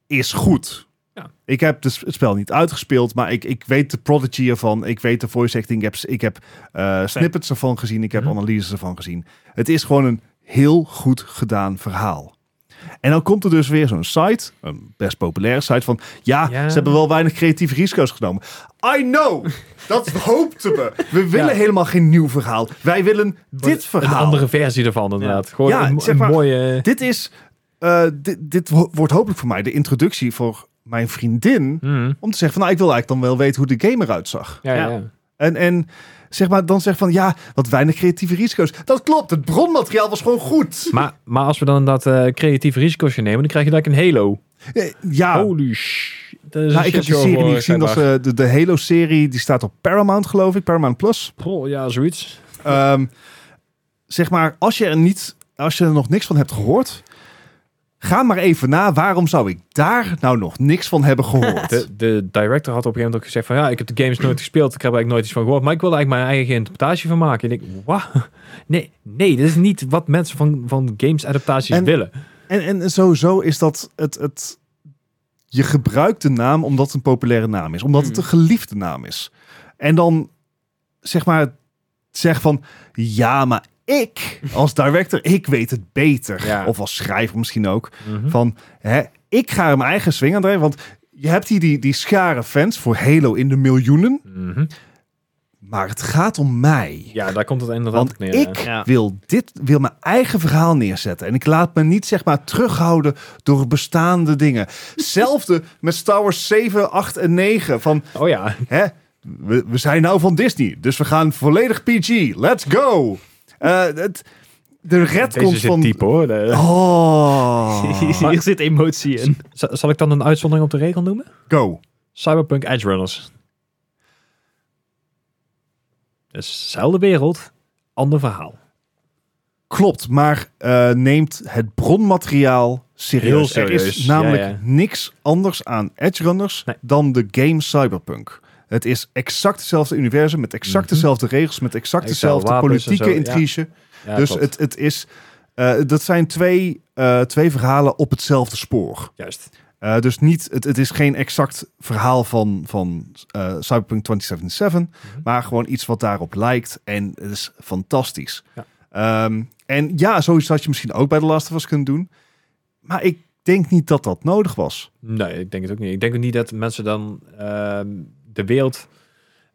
[SPEAKER 2] is goed.
[SPEAKER 3] Ja.
[SPEAKER 2] Ik heb dus het spel niet uitgespeeld, maar ik, ik weet de prodigy ervan. Ik weet de voice acting. Ik heb, ik heb eh, snippets ervan gezien. Ik heb
[SPEAKER 3] Mhm.
[SPEAKER 2] analyses ervan gezien. Het is gewoon een heel goed gedaan verhaal. En dan komt er dus weer zo'n site, een best populaire site, van ja,
[SPEAKER 3] Ja.
[SPEAKER 2] ze hebben wel weinig creatieve risico's genomen. I know! Dat hoopten we. We willen
[SPEAKER 3] Ja.
[SPEAKER 2] helemaal geen nieuw verhaal. Wij willen dit verhaal.
[SPEAKER 3] Een andere versie ervan, inderdaad. Gewoon
[SPEAKER 2] Ja,
[SPEAKER 3] een,
[SPEAKER 2] zeg
[SPEAKER 3] een
[SPEAKER 2] maar-
[SPEAKER 3] mooie...
[SPEAKER 2] Dit is. eh, dit, dit wo- wordt hopelijk voor mij de introductie voor mijn vriendin
[SPEAKER 3] Mhm.
[SPEAKER 2] om te zeggen van nou, ik wil eigenlijk dan wel weten hoe de game eruit zag.
[SPEAKER 3] Ja, ja.
[SPEAKER 1] Ja.
[SPEAKER 3] ja.
[SPEAKER 2] En, en zeg maar dan zeg van ja, wat weinig creatieve risico's. Dat klopt, het bronmateriaal was gewoon goed.
[SPEAKER 3] Maar, maar als we dan dat eh, creatieve risico's gaan nemen, dan krijg je gelijk een Halo.
[SPEAKER 2] Eh, Ja,
[SPEAKER 3] Holy sh. Dat is
[SPEAKER 2] nou,
[SPEAKER 3] een
[SPEAKER 2] ik heb die
[SPEAKER 3] shitshow
[SPEAKER 2] serie niet
[SPEAKER 3] geworden,
[SPEAKER 2] gezien. Dat is,
[SPEAKER 3] schijnbaar.
[SPEAKER 2] eh, de, de Halo-serie, die staat op Paramount geloof ik, Paramount Plus.
[SPEAKER 3] Pro, ja, zoiets.
[SPEAKER 2] Ehm, zeg maar, als je, er niet, als je er nog niks van hebt gehoord, ga maar even na. Waarom zou ik daar nou nog niks van hebben gehoord?
[SPEAKER 3] De, de director had op een gegeven moment ook gezegd van ja, ik heb de games nooit gespeeld, ik heb er eigenlijk nooit iets van gehoord, maar ik wil er eigenlijk mijn eigen interpretatie van maken. En ik denk, wat? Nee, nee, dit is niet wat mensen van, van games adaptaties
[SPEAKER 2] En-
[SPEAKER 3] willen.
[SPEAKER 2] en, en sowieso is dat het, het. Je gebruikt de naam omdat het een populaire naam is, omdat het een geliefde naam is. En dan zeg maar, zeg van ja, maar ik als director, ik weet het beter.
[SPEAKER 3] Ja.
[SPEAKER 2] Of als schrijver misschien ook. Van, hè, ik ga er mijn eigen swing aan drijven. Want je hebt hier die, die schare fans voor Halo in de miljoenen.
[SPEAKER 3] Mhm.
[SPEAKER 2] Maar het gaat om mij.
[SPEAKER 3] Ja, daar komt het inderdaad
[SPEAKER 2] Want
[SPEAKER 3] op neer.
[SPEAKER 2] ik
[SPEAKER 3] ja.
[SPEAKER 1] Ja.
[SPEAKER 2] wil, dit, wil mijn eigen verhaal neerzetten. En ik laat me niet zeg maar terughouden door bestaande dingen. Hetzelfde met Star Wars 7, 8 en 9. Van,
[SPEAKER 3] Oh ja,
[SPEAKER 2] hè, we, we zijn nou van Disney. Dus we gaan volledig PG. Let's go. Eh, het, de
[SPEAKER 3] deze
[SPEAKER 2] redcons
[SPEAKER 3] zit
[SPEAKER 2] van...
[SPEAKER 3] diep hoor. De-
[SPEAKER 2] Oh.
[SPEAKER 1] Hier zit emotie in.
[SPEAKER 3] Z- Zal ik dan een uitzondering op de regel noemen?
[SPEAKER 2] Go.
[SPEAKER 3] Cyberpunk Edge Runners. Dus zelfde wereld, ander verhaal.
[SPEAKER 2] Klopt, maar eh, neemt het bronmateriaal serieus.
[SPEAKER 3] Heel
[SPEAKER 2] Er
[SPEAKER 3] serieus,
[SPEAKER 2] is namelijk
[SPEAKER 3] ja, ja.
[SPEAKER 2] niks anders aan Edge Runners
[SPEAKER 3] Nee.
[SPEAKER 2] dan de game Cyberpunk. Het is exact hetzelfde universum, met exact
[SPEAKER 3] Mhm.
[SPEAKER 2] dezelfde regels, met exact
[SPEAKER 3] Exact,
[SPEAKER 2] dezelfde
[SPEAKER 3] wapens en
[SPEAKER 2] politieke
[SPEAKER 3] zo, ja.
[SPEAKER 2] intrige.
[SPEAKER 3] Ja,
[SPEAKER 2] dus
[SPEAKER 3] klopt.
[SPEAKER 2] het, het is, eh, dat zijn twee, eh, twee verhalen op hetzelfde spoor.
[SPEAKER 3] Juist.
[SPEAKER 2] Eh, dus niet, het, het is geen exact verhaal van, van eh, Cyberpunk 2077,
[SPEAKER 3] Mhm.
[SPEAKER 2] maar gewoon iets wat daarop lijkt. En het is fantastisch.
[SPEAKER 3] Ja.
[SPEAKER 2] Ehm, en ja, zoiets had je misschien ook bij The Last of Us kunnen doen. Maar ik denk niet dat dat nodig was.
[SPEAKER 3] Nee, ik denk het ook niet. Ik denk ook niet dat mensen dan ehm, de wereld...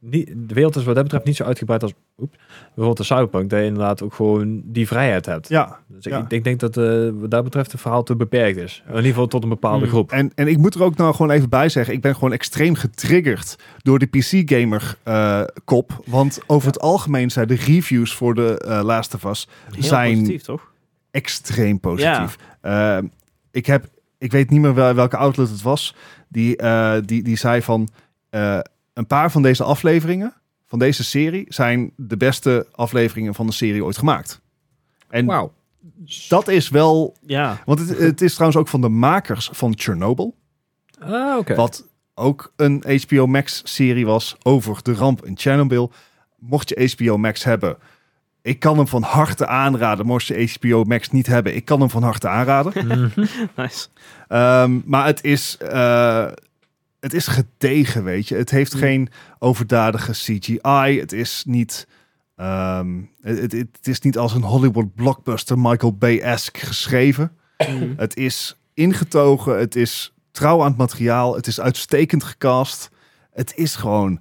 [SPEAKER 3] Niet, de wereld is wat dat betreft niet zo uitgebreid als oep, bijvoorbeeld de Cyberpunk, dat je inderdaad ook gewoon die vrijheid hebt.
[SPEAKER 2] Ja.
[SPEAKER 3] Dus ik,
[SPEAKER 2] ja.
[SPEAKER 3] ik denk- denk dat eh, wat dat betreft het verhaal te beperkt is. In ieder geval tot een bepaalde
[SPEAKER 2] Mm.
[SPEAKER 1] Hmm.
[SPEAKER 3] groep.
[SPEAKER 2] En, en ik moet er ook nou gewoon even bij zeggen, ik ben gewoon extreem getriggerd door de PC-gamer-kop. eh, want over het algemeen zijn de reviews voor de eh, Last of Us
[SPEAKER 1] Heel
[SPEAKER 2] Zijn-
[SPEAKER 1] positief, toch?
[SPEAKER 2] extreem positief. Ehm, ik, heb, ik weet niet meer wel, welke outlet het was. Die, eh, die, die zei van eh, een paar van deze afleveringen van deze serie zijn de beste afleveringen van de serie ooit gemaakt. En
[SPEAKER 3] Wauw.
[SPEAKER 2] dat is wel.
[SPEAKER 1] Ja.
[SPEAKER 2] Want het, het is trouwens ook van de makers van Chernobyl.
[SPEAKER 3] Ah, oké.
[SPEAKER 2] Wat ook een HBO Max serie was over de ramp in Chernobyl. Mocht je HBO Max hebben, ik kan hem van harte aanraden. Mocht je HBO Max niet hebben, ik kan hem van harte aanraden.
[SPEAKER 3] Mhm.
[SPEAKER 1] Nice.
[SPEAKER 2] Ehm, maar het is, eh, het is gedegen, weet je. Het heeft
[SPEAKER 1] Mm.
[SPEAKER 2] geen overdadige CGI. Het is niet, ehm, het, het, het is niet als een Hollywood blockbuster Michael Bay-esque geschreven. Het is ingetogen. Het is trouw aan het materiaal. Het is uitstekend gecast. Het is gewoon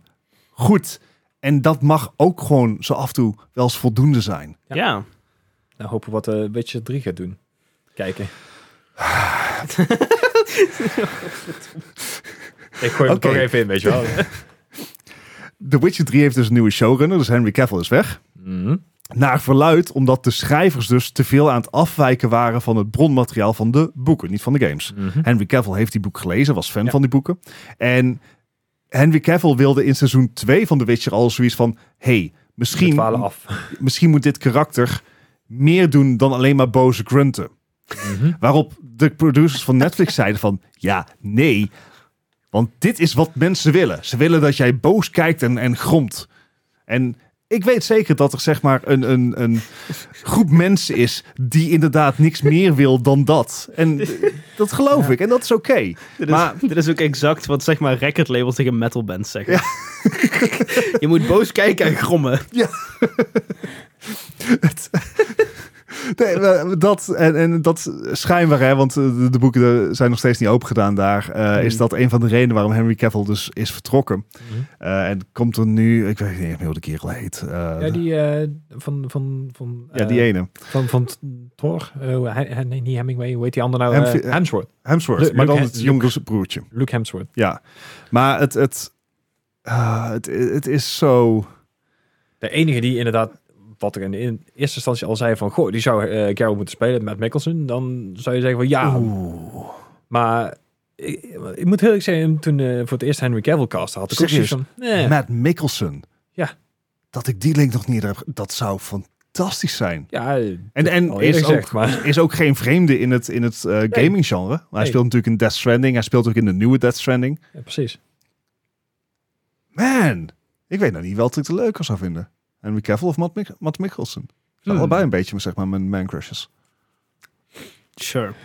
[SPEAKER 2] goed. En dat mag ook gewoon zo af en toe wel eens voldoende zijn.
[SPEAKER 3] Ja.
[SPEAKER 1] ja.
[SPEAKER 3] Nou, hopen we wat eh Witcher 3 gaat doen. Kijken. ik gooi hem
[SPEAKER 2] Oké.
[SPEAKER 3] toch even in, weet je wel.
[SPEAKER 2] The Witcher 3 heeft dus een nieuwe showrunner. Dus Henry Cavill is weg.
[SPEAKER 3] Mhm.
[SPEAKER 2] Naar verluid omdat de schrijvers dus te veel aan het afwijken waren van het bronmateriaal van de boeken, niet van de games.
[SPEAKER 3] Mhm.
[SPEAKER 2] Henry Cavill heeft die boek gelezen, was fan
[SPEAKER 3] Ja.
[SPEAKER 2] van die boeken. En Henry Cavill wilde in seizoen 2 van The Witcher al zoiets van: hey,
[SPEAKER 3] We
[SPEAKER 2] misschien,
[SPEAKER 3] dwalen af.
[SPEAKER 2] misschien moet dit karakter meer doen dan alleen maar boze grunten.
[SPEAKER 3] Mhm.
[SPEAKER 2] Waarop de producers van Netflix zeiden van, ja, nee. Want dit is wat mensen willen. Ze willen dat jij boos kijkt en, en gromt. En ik weet zeker dat er zeg maar een, een, een groep mensen is die inderdaad niks meer wil dan dat. En eh, dat geloof ik. En dat is oké.
[SPEAKER 1] Dit,
[SPEAKER 2] Maar-
[SPEAKER 1] is, dit is ook exact wat zeg maar record labels tegen metal bands zeggen. je moet boos kijken en grommen.
[SPEAKER 2] Het- Nee, maar dat, en, en dat schijnbaar, hè, want eh, de, de boeken eh, zijn nog steeds niet open gedaan daar. eh,
[SPEAKER 3] Hmm.
[SPEAKER 2] Is dat een van de redenen waarom Henry Cavill dus is vertrokken.
[SPEAKER 3] Mhm.
[SPEAKER 2] Eh, en komt er nu, ik weet niet echt meer hoe de kerel heet. eh,
[SPEAKER 3] Ja, die eh, van, van, van,
[SPEAKER 2] ja, die
[SPEAKER 3] eh,
[SPEAKER 2] ene.
[SPEAKER 3] Van, van T- Thor. Eh, hoe- hij- hij- nee, niet Hemingway. Hoe heet die andere nou?
[SPEAKER 2] Hem-
[SPEAKER 3] Eh, Hemsworth.
[SPEAKER 2] Hemsworth,
[SPEAKER 3] Luke-
[SPEAKER 2] maar dan
[SPEAKER 3] Luke-
[SPEAKER 2] het jongere broertje.
[SPEAKER 3] Luke Hemsworth.
[SPEAKER 2] Ja, maar het, het, ah, het, het is zo...
[SPEAKER 3] De enige die inderdaad, wat ik in de in eerste instantie al zei van... Goh, die zou eh Carol moeten spelen met Mickelson. Dan zou je zeggen van ja.
[SPEAKER 2] Oeh.
[SPEAKER 3] Maar ik, ik moet heel eerlijk zeggen, toen eh, voor het eerst Henry Cavill cast had ik ook
[SPEAKER 2] Serieus?
[SPEAKER 3] zoiets van... "Eh, Nee.
[SPEAKER 2] Matt Mickelson.
[SPEAKER 3] Ja.
[SPEAKER 2] Dat ik die link nog niet heb. Dat zou fantastisch zijn.
[SPEAKER 3] Ja, eh,
[SPEAKER 2] En, en
[SPEAKER 3] al
[SPEAKER 2] is,
[SPEAKER 3] eerlijk gezegd,
[SPEAKER 2] ook,
[SPEAKER 3] maar...
[SPEAKER 2] is ook geen vreemde in het, in het eh, gaming genre. Maar hij
[SPEAKER 3] Nee.
[SPEAKER 2] speelt natuurlijk in Death Stranding. Hij speelt ook in de nieuwe Death Stranding.
[SPEAKER 3] Ja, precies.
[SPEAKER 2] Man, ik weet nou niet welke ik er leuker zou vinden. Henry Cavill of Matt, Mik Matt Mickelson. Dat zijn
[SPEAKER 3] Hmm.
[SPEAKER 2] Allebei een beetje zeg maar, mijn man crushes.
[SPEAKER 1] Sure. Dus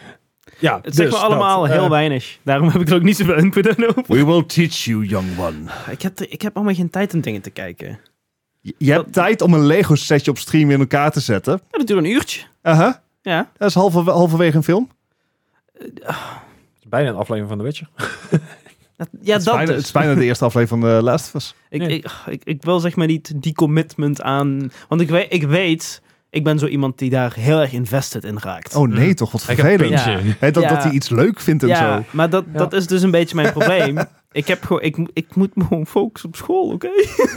[SPEAKER 1] eh,
[SPEAKER 3] Ja, dus eh,
[SPEAKER 1] Het zegt me allemaal heel weinig. Daarom heb ik er ook niet zoveel input aan over.
[SPEAKER 2] We will teach you, young one.
[SPEAKER 1] Ik heb, er- ik heb allemaal geen tijd om dingen te kijken. Ja,
[SPEAKER 2] Je, je hebt tijd om een Lego setje op stream in elkaar te zetten.
[SPEAKER 1] dat duurt een uurtje.
[SPEAKER 2] Aha.
[SPEAKER 1] Ja.
[SPEAKER 2] Dat is halverwe- halverwege een film.
[SPEAKER 3] Bijna een aflevering van The Witcher.
[SPEAKER 1] Dat, ja,
[SPEAKER 2] het, is
[SPEAKER 1] dat
[SPEAKER 2] bijna,
[SPEAKER 1] dus.
[SPEAKER 2] het is bijna de eerste aflevering van eh, The Last of Us.
[SPEAKER 1] Ik,
[SPEAKER 3] Nee.
[SPEAKER 1] ik, ik, ik wil zeg maar niet die commitment aan... Want ik weet, ik weet, ik ben zo iemand die daar heel erg invested in raakt.
[SPEAKER 2] Oh nee,
[SPEAKER 3] Mm.
[SPEAKER 2] toch? Wat
[SPEAKER 3] Hij gaat
[SPEAKER 2] vervelend.
[SPEAKER 1] Ja.
[SPEAKER 3] pinchen.
[SPEAKER 2] Hè, dat,
[SPEAKER 1] Ja.
[SPEAKER 2] dat hij iets leuk vindt en
[SPEAKER 1] ja,
[SPEAKER 2] zo.
[SPEAKER 1] maar dat,
[SPEAKER 3] Ja.
[SPEAKER 1] dat is dus een beetje mijn probleem. ik, heb gewoon, ik, mo- ik moet me gewoon focussen op school, oké?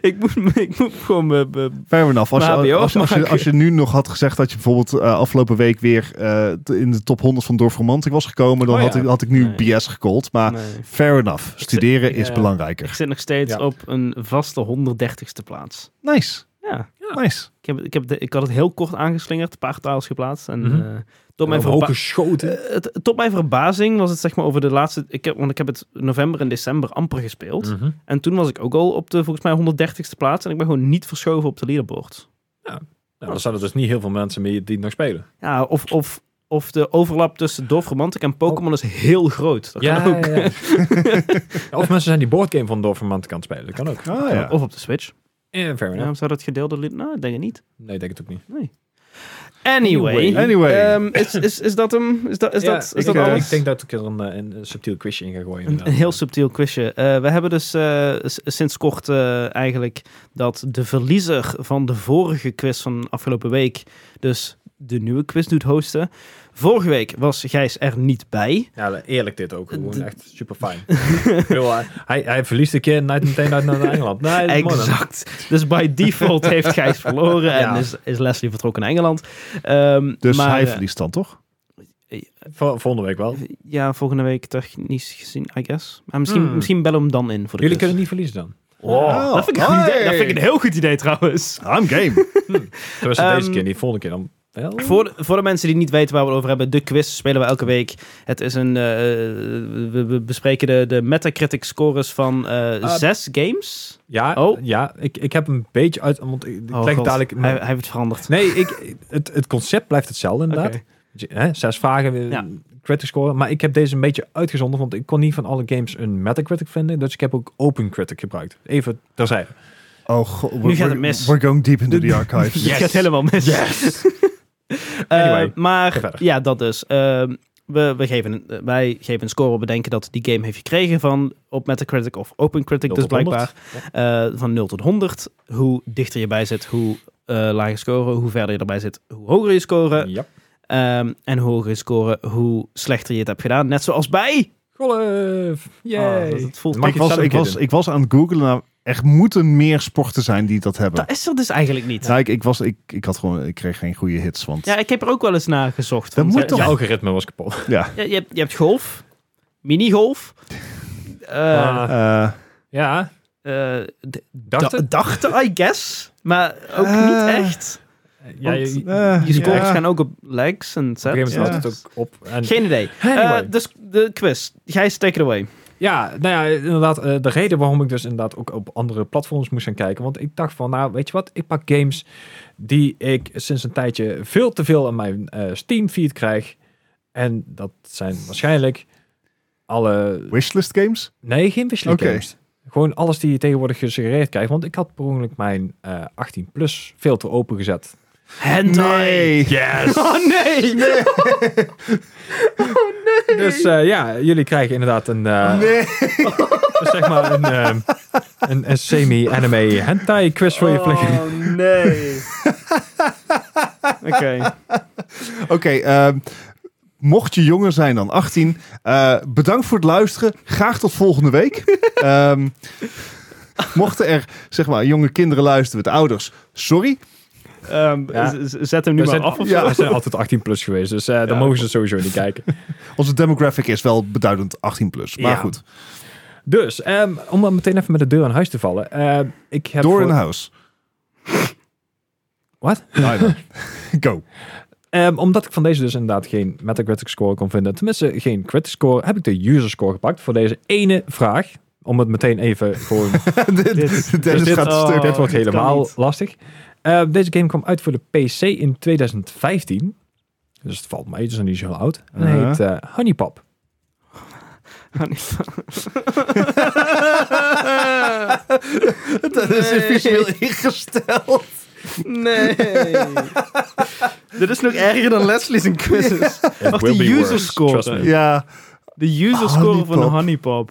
[SPEAKER 1] ik, moet, me- ik moet gewoon... me- me-
[SPEAKER 2] Fair enough. Als je,
[SPEAKER 1] Maar
[SPEAKER 2] als,
[SPEAKER 1] HBO
[SPEAKER 2] als, als je,
[SPEAKER 1] maken.
[SPEAKER 2] als je nu nog had gezegd dat je bijvoorbeeld eh, afgelopen week weer eh, t- in de top 100 van Dorf Romantic was gekomen, dan
[SPEAKER 3] Oh ja.
[SPEAKER 2] had, ik, had ik nu
[SPEAKER 1] Nee.
[SPEAKER 2] BS gecallt. Maar
[SPEAKER 1] nee.
[SPEAKER 2] fair enough. Studeren
[SPEAKER 1] ik,
[SPEAKER 2] is
[SPEAKER 1] eh,
[SPEAKER 2] belangrijker.
[SPEAKER 1] Ik zit nog steeds
[SPEAKER 3] Ja.
[SPEAKER 1] op een vaste 130ste plaats.
[SPEAKER 2] Nice.
[SPEAKER 1] Ja.
[SPEAKER 3] Ja.
[SPEAKER 2] Nice.
[SPEAKER 1] Ik, heb, ik, heb de- ik had het heel kort aangeslingerd, een paar titles geplaatst. En
[SPEAKER 3] Mhm.
[SPEAKER 1] eh, tot, mijn verba-
[SPEAKER 3] Omhoog geschoten.
[SPEAKER 1] eh, het- tot mijn verbazing was het zeg maar over de laatste... Ik heb, want ik heb het november en december amper gespeeld.
[SPEAKER 3] Mhm.
[SPEAKER 1] En toen was ik ook al op de volgens mij 130ste plaats. En ik ben gewoon niet verschoven op de leaderboard.
[SPEAKER 3] Nou, dan zijn er dus niet heel veel mensen meer die het nog spelen.
[SPEAKER 1] Ja, of, of, of de overlap tussen Dorf Romantic en Pokémon is heel groot. Dat kan ook.
[SPEAKER 3] ja. Ja, of mensen zijn die boardgame van Dorfermant kan spelen. Dat kan ook.
[SPEAKER 2] Ah, ja.
[SPEAKER 1] Of op de Switch.
[SPEAKER 3] Eh, fair enough.
[SPEAKER 1] Ja, zou dat gedeelde... li- Nou, ik denk ik niet.
[SPEAKER 3] Nee, ik denk het ook niet.
[SPEAKER 1] Anyway.
[SPEAKER 2] Anyway.
[SPEAKER 1] Ehm, is, is, is dat hem? Is dat, is
[SPEAKER 3] Ja,
[SPEAKER 1] dat, is
[SPEAKER 3] ik,
[SPEAKER 1] dat
[SPEAKER 3] eh,
[SPEAKER 1] alles?
[SPEAKER 3] Ik denk dat ik er een, eh, een subtiel quizje in ga gooien.
[SPEAKER 1] Een,
[SPEAKER 3] inderdaad.
[SPEAKER 1] een heel subtiel quizje. Eh, we hebben dus eh, s- sinds kort eh, eigenlijk dat de verliezer van de vorige quiz van afgelopen week, dus de nieuwe quiz doet hosten. Vorige week was Gijs er niet bij.
[SPEAKER 3] Ja, eerlijk dit ook. Gewoon
[SPEAKER 1] De-
[SPEAKER 3] echt super fijn. eh, hij, hij verliest een keer night meteen uit naar Engeland. Nee, dat is mooi dan.
[SPEAKER 1] Exact. Dus by default heeft Gijs verloren en
[SPEAKER 3] Ja.
[SPEAKER 1] is, is Leslie vertrokken naar Engeland. Ehm,
[SPEAKER 2] Dus
[SPEAKER 1] maar,
[SPEAKER 2] hij
[SPEAKER 1] eh,
[SPEAKER 2] verliest dan toch?
[SPEAKER 3] Vol- volgende week wel.
[SPEAKER 1] Ja, volgende week technisch gezien, I guess. Maar misschien,
[SPEAKER 3] Hmm.
[SPEAKER 1] misschien bellen we hem dan in voor de
[SPEAKER 3] Jullie
[SPEAKER 1] quiz.
[SPEAKER 3] kunnen Oh, niet verliezen dan.
[SPEAKER 1] Oh, dat, vind ik een goed
[SPEAKER 2] hey.
[SPEAKER 1] idee. dat vind ik een heel goed idee trouwens.
[SPEAKER 2] I'm game.
[SPEAKER 3] Tenminste, deze
[SPEAKER 1] Ehm,
[SPEAKER 3] keer niet. Volgende keer dan. Wel?
[SPEAKER 1] Voor de, voor de mensen die niet weten waar we het over hebben, de quiz spelen we elke week. Het is een. eh, we, we bespreken de, de Metacritic scores van eh,
[SPEAKER 3] Ah.
[SPEAKER 1] zes games.
[SPEAKER 3] Ja,
[SPEAKER 1] Oh.
[SPEAKER 3] ja ik, ik heb een beetje uit... Want ik, ik
[SPEAKER 1] Oh,
[SPEAKER 3] leg
[SPEAKER 1] God.
[SPEAKER 3] dadelijk...
[SPEAKER 1] Hij, hij heeft het veranderd.
[SPEAKER 3] Nee, ik, het, het concept blijft hetzelfde inderdaad.
[SPEAKER 1] Oké.
[SPEAKER 3] Dus, hè, zes vragen,
[SPEAKER 1] Ja.
[SPEAKER 3] ja. critic score. Maar ik heb deze een beetje uitgezonden, want ik kon niet van alle games een metacritic vinden. Dus ik heb ook open critic gebruikt. Even terzijde.
[SPEAKER 2] Oh god. we-
[SPEAKER 1] Nu gaat het
[SPEAKER 2] we-
[SPEAKER 1] mis.
[SPEAKER 2] We're going deep into the archives.
[SPEAKER 1] Dus Het gaat helemaal mis. Eh,
[SPEAKER 3] Anyway,
[SPEAKER 1] maar
[SPEAKER 3] ga verder.
[SPEAKER 1] ja, dat dus. Eh, we, we geven, een- eh, wij geven een score. We bedenken dat die game heeft gekregen van op Metacritic of OpenCritic, dus
[SPEAKER 3] Nul tot honderd.
[SPEAKER 1] blijkbaar. Eh, van 0 tot 100. Hoe dichter je bij zit, hoe eh lager scoren. Hoe verder je erbij zit, hoe hoger je scoren.
[SPEAKER 3] Ja.
[SPEAKER 1] Ehm, en hoe hoger je scoren, hoe slechter je het hebt gedaan. Net zoals bij.
[SPEAKER 3] Golf!
[SPEAKER 1] Ah,
[SPEAKER 3] Yay!
[SPEAKER 1] dat, dat voelt.
[SPEAKER 3] Mag
[SPEAKER 2] ik,
[SPEAKER 3] ik
[SPEAKER 2] was,
[SPEAKER 3] zelf een
[SPEAKER 2] ik,
[SPEAKER 3] keer
[SPEAKER 2] was,
[SPEAKER 3] doen?
[SPEAKER 2] ik was aan het googlen. Nou, er moeten meer sporten zijn die dat hebben.
[SPEAKER 1] Dat is er dus eigenlijk niet.
[SPEAKER 2] Ja, ik, ik, was, ik, ik, had gewoon, ik kreeg geen goede hits, want
[SPEAKER 1] Ja, ik heb er ook wel eens naar gezocht.
[SPEAKER 2] Dat
[SPEAKER 1] Want,
[SPEAKER 2] moet
[SPEAKER 1] eh,
[SPEAKER 2] toch?
[SPEAKER 3] Je
[SPEAKER 1] ja,
[SPEAKER 3] algoritme was kapot.
[SPEAKER 2] ja.
[SPEAKER 1] ja, je, hebt, je hebt golf, minigolf. eh
[SPEAKER 3] Ah,
[SPEAKER 2] Eh,
[SPEAKER 3] ja,
[SPEAKER 1] eh, d-
[SPEAKER 3] dacht
[SPEAKER 1] da-
[SPEAKER 3] het?
[SPEAKER 1] dachten, I guess. Maar ook
[SPEAKER 2] Eh,
[SPEAKER 1] niet echt.
[SPEAKER 3] Ah. Ja, je,
[SPEAKER 1] want,
[SPEAKER 3] op een
[SPEAKER 2] eh,
[SPEAKER 1] Je scores
[SPEAKER 2] ja.
[SPEAKER 1] gaan ook op legs en
[SPEAKER 3] gegeven moment
[SPEAKER 1] sets.
[SPEAKER 2] Ja.
[SPEAKER 3] houdt het ook op. En,
[SPEAKER 1] Geen idee.
[SPEAKER 3] Anyway.
[SPEAKER 1] Eh, dus de quiz. Gijs, take it away.
[SPEAKER 3] Ja, nou ja, inderdaad. eh, de reden waarom ik dus inderdaad ook op andere platforms moest gaan kijken. Want ik dacht van, nou, weet je wat? Ik pak games die ik sinds een tijdje veel te veel aan mijn eh, Steam feed krijg. En dat zijn waarschijnlijk alle...
[SPEAKER 2] Wishlist games?
[SPEAKER 3] Nee, geen wishlist
[SPEAKER 2] Oké.
[SPEAKER 3] games. Gewoon alles die je tegenwoordig gesuggereerd krijgt. Want ik had per ongeluk mijn eh, 18 plus filter opengezet.
[SPEAKER 1] Hentai.
[SPEAKER 2] Nee.
[SPEAKER 3] Yes!
[SPEAKER 1] Oh nee.
[SPEAKER 3] Dus eh, ja, jullie krijgen inderdaad een, eh,
[SPEAKER 2] Nee.
[SPEAKER 3] zeg maar een, ehm, een, een semi-anime hentai quiz voor je flikker.
[SPEAKER 1] Oh nee. Oké.
[SPEAKER 2] Oké, ehm, mocht je jonger zijn dan 18, eh, bedankt voor het luisteren. Graag tot volgende week. Ehm, mochten er, zeg maar, jonge kinderen luisteren met ouders, sorry.
[SPEAKER 1] Ehm,
[SPEAKER 3] Ja.
[SPEAKER 1] z- z- Zet hem nu
[SPEAKER 3] We
[SPEAKER 1] maar
[SPEAKER 3] zijn,
[SPEAKER 1] af of
[SPEAKER 2] Ja.
[SPEAKER 1] zo.
[SPEAKER 3] we zijn altijd 18 plus geweest, dus eh, dan
[SPEAKER 1] Ja.
[SPEAKER 3] mogen ze sowieso niet kijken.
[SPEAKER 2] Onze demographic is wel beduidend 18 plus. Maar
[SPEAKER 3] Ja.
[SPEAKER 2] goed,
[SPEAKER 3] Dus, ehm, om dan meteen even met de deur aan huis te vallen. ehm, ik heb
[SPEAKER 2] door
[SPEAKER 3] voor-
[SPEAKER 2] in huis.
[SPEAKER 3] Wat?
[SPEAKER 2] I know. Go.
[SPEAKER 3] Ehm, omdat ik van deze dus inderdaad geen Metacritic score kon vinden, tenminste geen critic score, heb ik de user score gepakt voor deze ene vraag. Om het meteen even gewoon.
[SPEAKER 2] dit,
[SPEAKER 1] Dit-
[SPEAKER 2] Dennis
[SPEAKER 3] dit-
[SPEAKER 2] gaat
[SPEAKER 1] oh.
[SPEAKER 2] stuk.
[SPEAKER 3] dit wordt
[SPEAKER 1] dit kan
[SPEAKER 3] helemaal
[SPEAKER 1] niet.
[SPEAKER 3] lastig. Ehm, deze game kwam uit voor de PC in 2015. Dus het valt mee, het is nog niet zo heel oud. En hij
[SPEAKER 2] Uh-huh.
[SPEAKER 3] heet eh, Honeypop.
[SPEAKER 2] Dat is visueel ingesteld.
[SPEAKER 1] Nee. Dit is nog erger dan Leslie's en quizzes. Wacht,
[SPEAKER 3] will
[SPEAKER 1] de
[SPEAKER 3] be
[SPEAKER 1] user
[SPEAKER 3] worse, trust
[SPEAKER 1] score.
[SPEAKER 3] me.
[SPEAKER 2] Ja,
[SPEAKER 1] De user score van
[SPEAKER 2] Honeypop.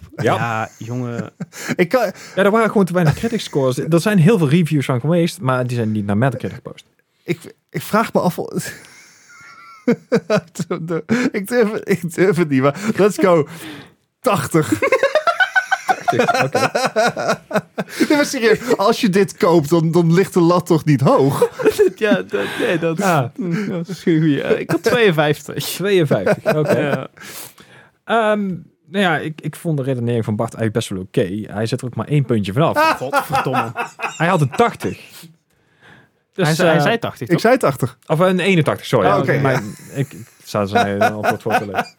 [SPEAKER 1] Honeypop.
[SPEAKER 3] Ja.
[SPEAKER 1] jongen.
[SPEAKER 2] ik kan,
[SPEAKER 3] Ja, er waren gewoon te weinig critic scores. Er zijn heel veel reviews van geweest, maar die zijn niet naar Metacritic gepost.
[SPEAKER 2] Ik, ik vraag me af. of- ik, durf, het- ik durf het niet, maar let's go. 80.
[SPEAKER 3] Oké.
[SPEAKER 2] Nee, maar serieus, als je dit koopt, dan, dan ligt de lat toch niet hoog?
[SPEAKER 1] Ja, dat, nee, dat,
[SPEAKER 3] Ah.
[SPEAKER 1] mm, dat is geen goeie. Eh, Ik had 52.
[SPEAKER 3] 52. Oké.
[SPEAKER 1] Ja.
[SPEAKER 3] Ehm, nou ja, ik, ik vond de redenering van Bart eigenlijk best wel oké. Hij zet er ook maar één puntje vanaf.
[SPEAKER 1] Godverdomme.
[SPEAKER 3] Hij had een 80. Dus,
[SPEAKER 1] hij, zei, hij
[SPEAKER 3] eh,
[SPEAKER 1] zei 80,
[SPEAKER 2] Ik
[SPEAKER 1] toch?
[SPEAKER 2] zei 80.
[SPEAKER 3] Of een 81, sorry.
[SPEAKER 2] Ah,
[SPEAKER 3] Ja,
[SPEAKER 2] oké,
[SPEAKER 3] maar ik, ik zou zijn antwoord voor te lezen.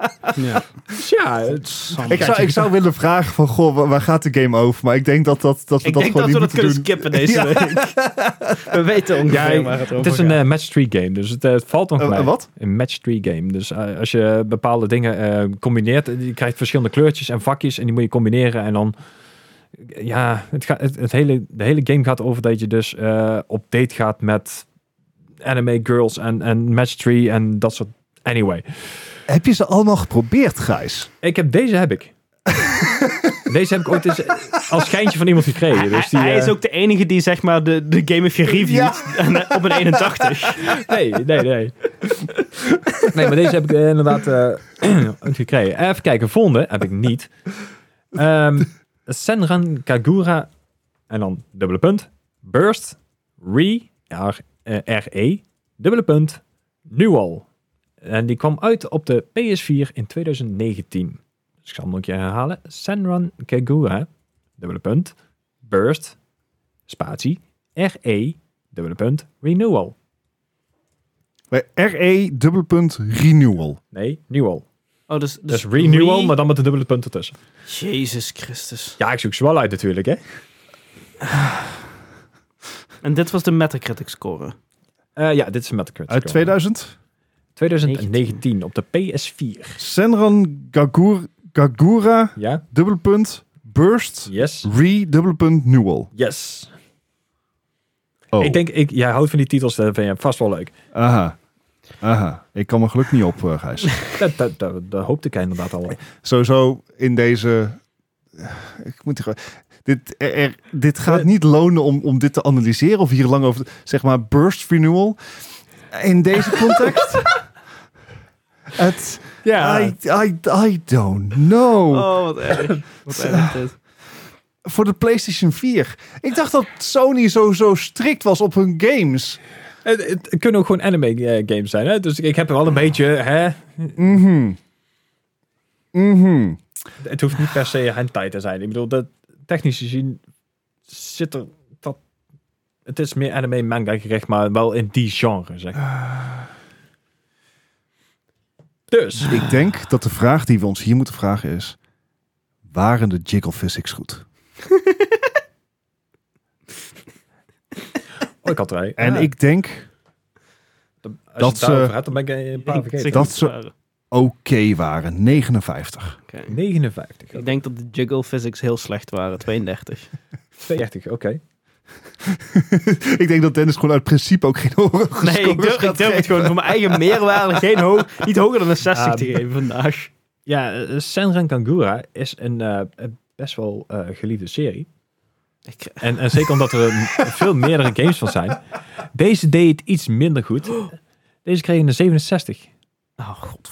[SPEAKER 1] Ja.
[SPEAKER 3] Dus ja, het-
[SPEAKER 2] Ik zou, ik zou willen vragen van, goh, wa- waar gaat de game over? Maar ik denk dat, dat, dat we
[SPEAKER 1] Ik
[SPEAKER 2] dat
[SPEAKER 1] denk
[SPEAKER 2] gewoon
[SPEAKER 1] dat we
[SPEAKER 2] niet
[SPEAKER 1] dat kunnen
[SPEAKER 2] moeten doen.
[SPEAKER 1] skippen deze
[SPEAKER 2] Ja.
[SPEAKER 1] week. We weten
[SPEAKER 3] ja,
[SPEAKER 1] ongeveer
[SPEAKER 3] ik-
[SPEAKER 1] waar het over
[SPEAKER 3] het is een
[SPEAKER 1] gaat.
[SPEAKER 3] eh, match 3 game, dus het, eh, het valt nog
[SPEAKER 2] Eh,
[SPEAKER 3] mee.
[SPEAKER 2] eh, wat?
[SPEAKER 3] Een match 3 game. Dus eh, als je bepaalde dingen eh, combineert, eh, je krijgt verschillende kleurtjes en vakjes en die moet je combineren. En dan, ja, het gaat het, het hele, de hele game gaat over dat je dus eh, op date gaat met anime girls en, en match 3 en dat soort... Anyway,
[SPEAKER 2] Heb je ze allemaal geprobeerd, Gijs?
[SPEAKER 3] ik heb, deze heb ik. deze heb ik ooit eens als schijntje van iemand gekregen. Dus die,
[SPEAKER 1] hij, hij
[SPEAKER 3] eh,
[SPEAKER 1] is ook de enige die zeg maar de, de game heeft gereviewd en, eh, op een 81.
[SPEAKER 3] Nee, nee, nee. Nee, maar deze heb ik eh, inderdaad eh, gekregen. Even kijken, volgende heb ik niet. Ehm, Senran Kagura en dan dubbele punt. Burst, Re, R, eh, RE, dubbele punt, nu al. En die kwam uit op de PS4 in 2019. Dus ik zal hem nog een keer herhalen. Senran Kagura, dubbele punt, Burst, spatie, RE, dubbele punt, Renewal.
[SPEAKER 2] Bij RE dubbele punt renewal.
[SPEAKER 3] Nee, Newell.
[SPEAKER 1] Oh, dus,
[SPEAKER 3] Dus, Renewal, maar dan met de dubbele punt ertussen.
[SPEAKER 1] Jezus Christus.
[SPEAKER 3] Ja, ik zoek ze wel uit natuurlijk, hè.
[SPEAKER 1] En dit was de Metacritic score.
[SPEAKER 3] Eh, ja, dit is een Metacritic.
[SPEAKER 2] Uit 2000.
[SPEAKER 3] 2019 op de PS4.
[SPEAKER 2] Senran Gagur, Gagura
[SPEAKER 3] Ja?
[SPEAKER 2] dubbele punt burst
[SPEAKER 3] Yes.
[SPEAKER 2] re dubbele punt renewal.
[SPEAKER 3] Yes.
[SPEAKER 2] Oh.
[SPEAKER 3] Ik denk, ik, jij houdt van die titels, dat vind je vast wel leuk.
[SPEAKER 2] Aha. Aha. Ik kan mijn geluk niet op, eh, Gijs.
[SPEAKER 3] Dat, dat, dat, dat hoopte ik inderdaad al.
[SPEAKER 2] Sowieso in deze... Ik moet hier gewoon... Dit, er- er- dit gaat niet lonen om, om dit te analyseren of hier lang over... Zeg maar burst renewal. In deze context... Het,
[SPEAKER 3] Ah,
[SPEAKER 2] I, I, I don't
[SPEAKER 3] Oh.
[SPEAKER 2] know.
[SPEAKER 1] Oh, wat erg. Wat erg dit.
[SPEAKER 2] Voor de PlayStation 4. Ik dacht dat Sony zo, zo strikt was op hun games.
[SPEAKER 3] Het, het kunnen ook gewoon anime eh, games zijn, hè. Dus ik, ik heb er wel een beetje, hè.
[SPEAKER 2] Mhm. Mhm.
[SPEAKER 3] Het hoeft niet per se hentai te zijn. Ik bedoel, dat, technisch gezien zit er dat... Het is meer anime manga gericht, maar wel in die genre, zeg. maar. Dus,
[SPEAKER 2] Ik denk dat de vraag die we ons hier moeten vragen is: waren de jiggle physics goed?
[SPEAKER 3] oh, ik had er
[SPEAKER 2] En ik denk
[SPEAKER 3] Als dat
[SPEAKER 2] dat eh,
[SPEAKER 3] je het daarover
[SPEAKER 2] ze-
[SPEAKER 3] hebt, dan ben ik eh, een paar
[SPEAKER 1] Ik
[SPEAKER 3] vergeten.
[SPEAKER 1] zeg
[SPEAKER 2] Dat
[SPEAKER 1] niet
[SPEAKER 2] ze-
[SPEAKER 1] waar.
[SPEAKER 2] oké waren, 59.
[SPEAKER 1] Oké.
[SPEAKER 3] 59.
[SPEAKER 1] Ik denk dat de jiggle physics heel slecht waren. 32.
[SPEAKER 3] 32, oké.
[SPEAKER 2] ik denk dat Dennis gewoon uit principe ook geen horen
[SPEAKER 1] Nee, ik durf, ik durf het gewoon voor mijn eigen meerwaarde geen hoog, niet hoger dan een 60 te
[SPEAKER 3] Ah,
[SPEAKER 1] geven vandaag.
[SPEAKER 3] Ja, eh, Senran Kangura is een eh, een best wel eh, geliefde serie.
[SPEAKER 1] Ik-
[SPEAKER 3] En, en zeker omdat er een- veel meerdere games van zijn. Deze deed het iets minder goed. Deze kreeg een 67.
[SPEAKER 1] Oh, god.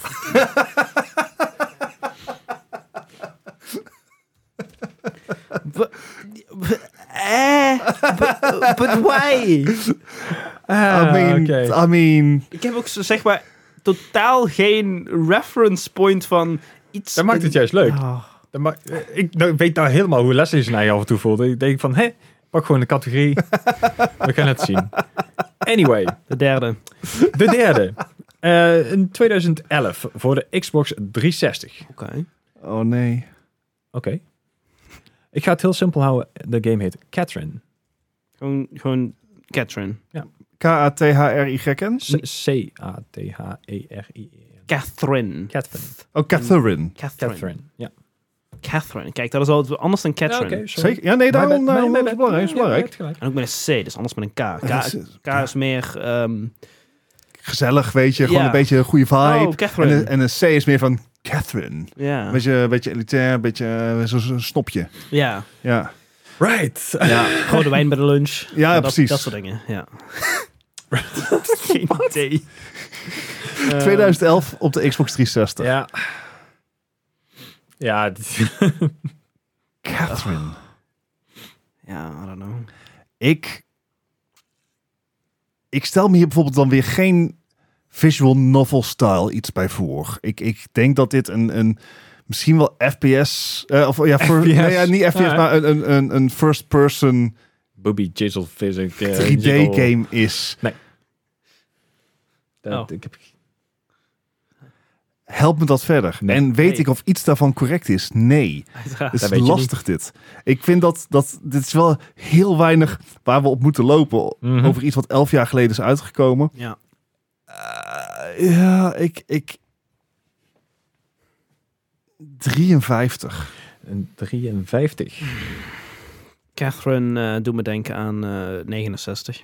[SPEAKER 1] But, eh, but, but why? Ah,
[SPEAKER 2] I mean, I mean,
[SPEAKER 1] Ik heb ook zo, zeg maar totaal geen reference point van iets.
[SPEAKER 3] Dat maakt het juist leuk.
[SPEAKER 1] Oh.
[SPEAKER 3] Dat ma- eh, ik nou- weet nou helemaal hoe Leslie zijn eigen af en toe voelt. Ik denk van, hé, pak gewoon de categorie. We gaan het zien. Anyway,
[SPEAKER 1] De derde.
[SPEAKER 3] de derde. Eh, in 2011 voor de Xbox 360. Oké.
[SPEAKER 1] Oké.
[SPEAKER 2] oh nee.
[SPEAKER 3] Ik ga het heel simpel houden. De game heet Catherine.
[SPEAKER 1] Gewoon, gewoon Catherine.
[SPEAKER 2] K-A-T-H-R-Y-N?
[SPEAKER 3] C- E C-A-T-H-E-R-I-E.
[SPEAKER 1] Catherine.
[SPEAKER 3] Catherine.
[SPEAKER 2] Oh, Catherine.
[SPEAKER 1] Catherine.
[SPEAKER 3] Catherine. Ja.
[SPEAKER 1] Catherine. Kijk, dat is al wat anders dan Catherine.
[SPEAKER 2] Zeker? Ja, nee, daarom, eh, daarom dat is belangrijk. is belangrijk.
[SPEAKER 1] En ook met een C, dus anders met een K.
[SPEAKER 2] Dat
[SPEAKER 1] K,
[SPEAKER 2] is-
[SPEAKER 1] K is meer. ehm,
[SPEAKER 2] Gezellig, weet je. Gewoon
[SPEAKER 1] Ja.
[SPEAKER 2] een beetje een goede vibe.
[SPEAKER 1] oh,
[SPEAKER 2] en,
[SPEAKER 1] Catherine.
[SPEAKER 2] een, en een C is meer van Catherine.
[SPEAKER 1] ja.
[SPEAKER 2] Beetje, een beetje elitair, een beetje eh, zo- zo'n snopje.
[SPEAKER 1] ja.
[SPEAKER 2] Ja.
[SPEAKER 3] Right.
[SPEAKER 1] Ja, gewoon de wijn bij de lunch.
[SPEAKER 2] Ja,
[SPEAKER 1] dat,
[SPEAKER 2] precies.
[SPEAKER 1] Dat soort dingen, ja. Geen idee. Eh,
[SPEAKER 2] 2011 op de Xbox 360.
[SPEAKER 3] Ja. Ja, dit-
[SPEAKER 2] Catherine.
[SPEAKER 1] Ja, I don't know.
[SPEAKER 2] Ik... Ik stel me hier bijvoorbeeld dan weer geen visual novel style iets bij voor. Ik, ik denk dat dit een... een misschien wel FPS... eh, of ja, voor,
[SPEAKER 3] FPS.
[SPEAKER 2] Nee, ja, niet FPS,
[SPEAKER 3] Ja.
[SPEAKER 2] maar een, een, een, een first-person
[SPEAKER 3] Booby Jizzle Physic. eh, jizzle.
[SPEAKER 2] 3D-game is.
[SPEAKER 3] Dat-
[SPEAKER 1] Oh.
[SPEAKER 3] ik heb-
[SPEAKER 2] Help me dat verder.
[SPEAKER 3] Nee.
[SPEAKER 2] En weet
[SPEAKER 1] Nee. Ah,
[SPEAKER 2] ik of iets daarvan correct is? Nee.
[SPEAKER 1] Uiteraard.
[SPEAKER 2] Het
[SPEAKER 3] Dat
[SPEAKER 2] is
[SPEAKER 3] weet je
[SPEAKER 2] lastig dit. Ik vind dat, dat dit is wel heel weinig waar we op moeten lopen
[SPEAKER 3] Mhm.
[SPEAKER 2] over iets wat elf jaar geleden is uitgekomen.
[SPEAKER 1] Ja.
[SPEAKER 2] Eh, ja, ik, ik 53.
[SPEAKER 3] Een 53.
[SPEAKER 1] Catherine eh, doet me denken aan eh, 69.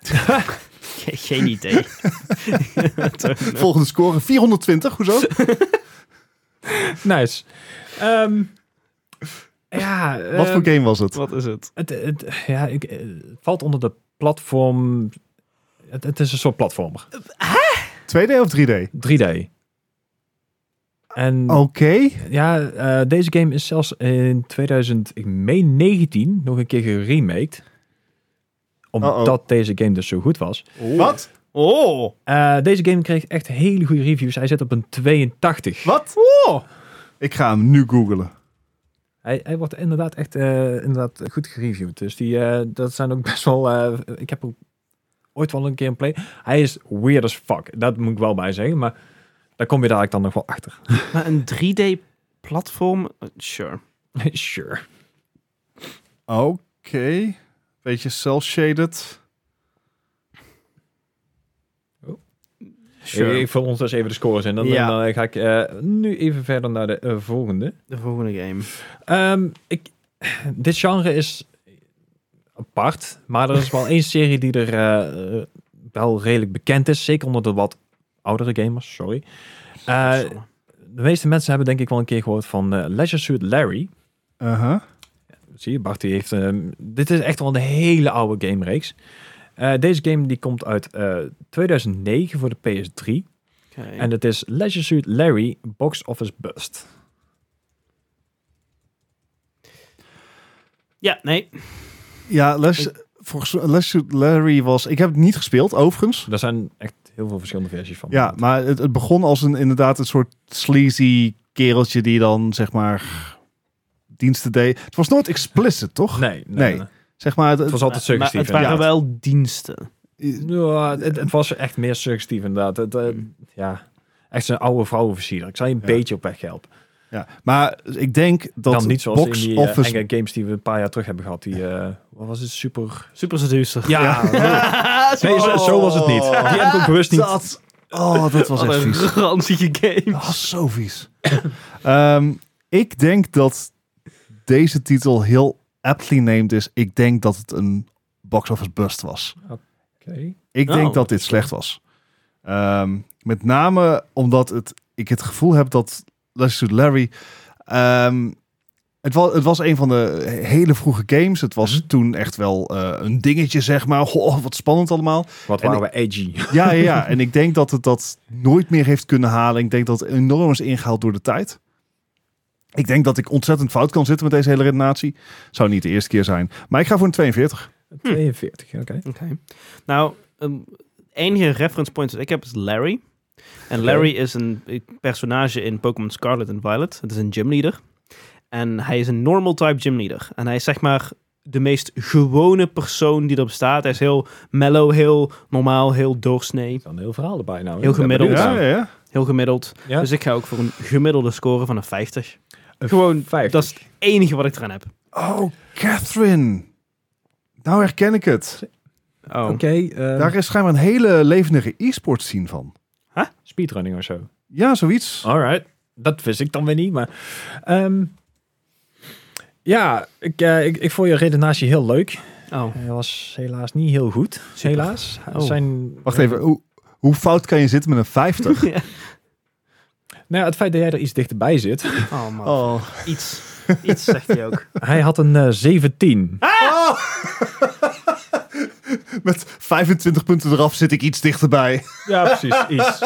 [SPEAKER 1] Ge- Geen idee.
[SPEAKER 2] Volgende score 420. Hoezo?
[SPEAKER 3] nice. Ehm, ja,
[SPEAKER 2] Wat voor
[SPEAKER 3] ehm,
[SPEAKER 2] game was het?
[SPEAKER 1] Wat is het?
[SPEAKER 3] Het, het- ja, ik, eh, het valt onder de platform... Het, het is een soort platformer.
[SPEAKER 2] 2D of 3D?
[SPEAKER 3] 3D. En
[SPEAKER 2] Oké.
[SPEAKER 3] ja, eh, deze game is zelfs in 2019 nog een keer geremaked. Omdat
[SPEAKER 2] Uh-oh.
[SPEAKER 3] deze game dus zo goed was.
[SPEAKER 2] Wat?
[SPEAKER 1] Oh!
[SPEAKER 3] Eh, deze game kreeg echt hele goede reviews. Hij zit op een 82.
[SPEAKER 2] Wat? Ik ga hem nu googlen.
[SPEAKER 3] Hij, hij wordt inderdaad echt eh, inderdaad goed gereviewd. Dus die, eh, dat zijn ook best wel... eh, ik heb ook ooit wel een keer een play... Hij is weird as fuck. Dat moet ik wel bij zeggen. Maar daar kom je dadelijk dan nog wel achter.
[SPEAKER 1] Maar een 3D-platform? Eh, Sure.
[SPEAKER 3] sure.
[SPEAKER 2] Oké. Beetje cel-shaded.
[SPEAKER 1] sure.
[SPEAKER 3] Ik, ik vul ons dus even de scores in. Dan,
[SPEAKER 1] Ja.
[SPEAKER 3] dan, eh, ga ik eh, nu even verder naar de eh, volgende.
[SPEAKER 1] De volgende game.
[SPEAKER 3] Ehm, ik, dit genre is apart, maar er is wel één serie die er eh, eh, wel redelijk bekend is. Zeker onder de wat oudere gamers, sorry. Eh, de meeste mensen hebben denk ik wel een keer gehoord van eh, Leisure Suit Larry.
[SPEAKER 2] Uh-huh.
[SPEAKER 3] Zie je, Bart die heeft... ehm, dit is echt wel een hele oude gamereeks. Eh deze game die komt uit eh, 2009 voor de PS3.
[SPEAKER 1] Oké.
[SPEAKER 3] En het is Leisure Suit Larry Box Office Bust.
[SPEAKER 1] Ja, nee.
[SPEAKER 2] Ja, Les, volgens Les Shoot Larry was... Ik heb het niet gespeeld, overigens.
[SPEAKER 3] Daar zijn echt heel veel verschillende versies van.
[SPEAKER 2] Ja, maar het, het begon als een inderdaad een soort sleazy kereltje die dan zeg maar diensten deed. Het was nooit explicit, toch?
[SPEAKER 3] Nee, nee,
[SPEAKER 2] Nee.
[SPEAKER 3] nee.
[SPEAKER 2] Zeg maar, het,
[SPEAKER 3] Eh, Het was
[SPEAKER 1] Eh,
[SPEAKER 3] altijd
[SPEAKER 1] Maar
[SPEAKER 3] suggestief.
[SPEAKER 1] het waren
[SPEAKER 2] ja.
[SPEAKER 1] wel diensten.
[SPEAKER 2] het-
[SPEAKER 3] Ja, het, het was echt meer suggestief inderdaad. Het, eh, ja, echt zo'n oude vrouwenversierder. Ik zou je een
[SPEAKER 2] Hmm. Ja.
[SPEAKER 3] beetje op weg helpen.
[SPEAKER 2] ja. maar ik denk dat
[SPEAKER 3] Dan niet zoals
[SPEAKER 2] box
[SPEAKER 3] in die eh,
[SPEAKER 2] office.
[SPEAKER 3] enge games die we een paar jaar terug hebben gehad. Die, eh, wat was het? Super...
[SPEAKER 1] Super seducer.
[SPEAKER 3] Ja. Nee, zo, zo was het niet. Die heb ik ook bewust niet.
[SPEAKER 2] Dat, oh, dat was
[SPEAKER 1] Wat
[SPEAKER 2] echt
[SPEAKER 1] een
[SPEAKER 2] vies.
[SPEAKER 1] ranzige game.
[SPEAKER 2] Dat was Ah, zo vies. Ehm, ik denk dat deze titel heel aptly named is. Ik denk dat het een box office bust was.
[SPEAKER 3] Oké.
[SPEAKER 2] Ik
[SPEAKER 1] Oh,
[SPEAKER 2] denk dat dit slecht was. Ehm, met name omdat het, ik het gevoel heb dat Let's Do Larry... ehm, het, was, het was een van de hele vroege games. Het was toen echt wel eh, een dingetje, zeg maar. Goh, wat spannend allemaal.
[SPEAKER 3] Wat
[SPEAKER 2] En
[SPEAKER 3] waren we edgy.
[SPEAKER 2] Ja, ja, ja. En ik denk dat het dat nooit meer heeft kunnen halen. Ik denk dat het enorm is ingehaald door de tijd. Ik denk dat ik ontzettend fout kan zitten met deze hele redenatie. Zou niet de eerste keer zijn. Maar ik ga voor een 42.
[SPEAKER 3] 42, oké.
[SPEAKER 2] Hm.
[SPEAKER 1] Oké. Nou, um, enige reference point dat ik heb is Larry. En Larry is een eh, personage in Pokémon Scarlet en Violet. Het is een gymleader. En hij is een normal type gymleader. En hij is zeg maar de meest gewone persoon die er bestaat. Hij is heel mellow, heel normaal, heel doorsnee,
[SPEAKER 3] Dan een heel verhaal erbij nou.
[SPEAKER 1] Heel
[SPEAKER 3] Ik ben
[SPEAKER 1] gemiddeld.
[SPEAKER 3] benieuwd.
[SPEAKER 2] Ja, ja, ja.
[SPEAKER 1] heel gemiddeld.
[SPEAKER 3] Ja. Dus
[SPEAKER 1] Dus ik ga ook voor een gemiddelde score van een 50.
[SPEAKER 3] Een
[SPEAKER 1] Gewoon,
[SPEAKER 3] 50.
[SPEAKER 1] dat is het enige wat ik eraan heb.
[SPEAKER 2] Oh, Catherine. Nou herken ik het.
[SPEAKER 1] Oh.
[SPEAKER 3] Oké, eh,
[SPEAKER 2] Daar is schijnbaar een hele levendige e-sport scene van.
[SPEAKER 3] speedrunning of zo.
[SPEAKER 2] Ja, zoiets.
[SPEAKER 3] Alright. Dat wist ik dan weer niet, maar... ehm, ja, ik, eh, ik, ik vond je redenatie heel leuk.
[SPEAKER 1] Oh.
[SPEAKER 3] Hij was helaas niet heel goed. Helaas. Er
[SPEAKER 1] Oh.
[SPEAKER 3] Zijn,
[SPEAKER 2] Wacht even. Hoe, hoe fout kan je zitten met een 50?
[SPEAKER 3] Nou, ja, het feit dat jij er iets dichterbij zit.
[SPEAKER 1] Oh man.
[SPEAKER 2] Oh.
[SPEAKER 1] Iets. Iets zegt hij ook.
[SPEAKER 3] hij had een eh, 17.
[SPEAKER 2] Oh! met 25 punten eraf zit ik iets dichterbij.
[SPEAKER 3] Ja, precies. Iets.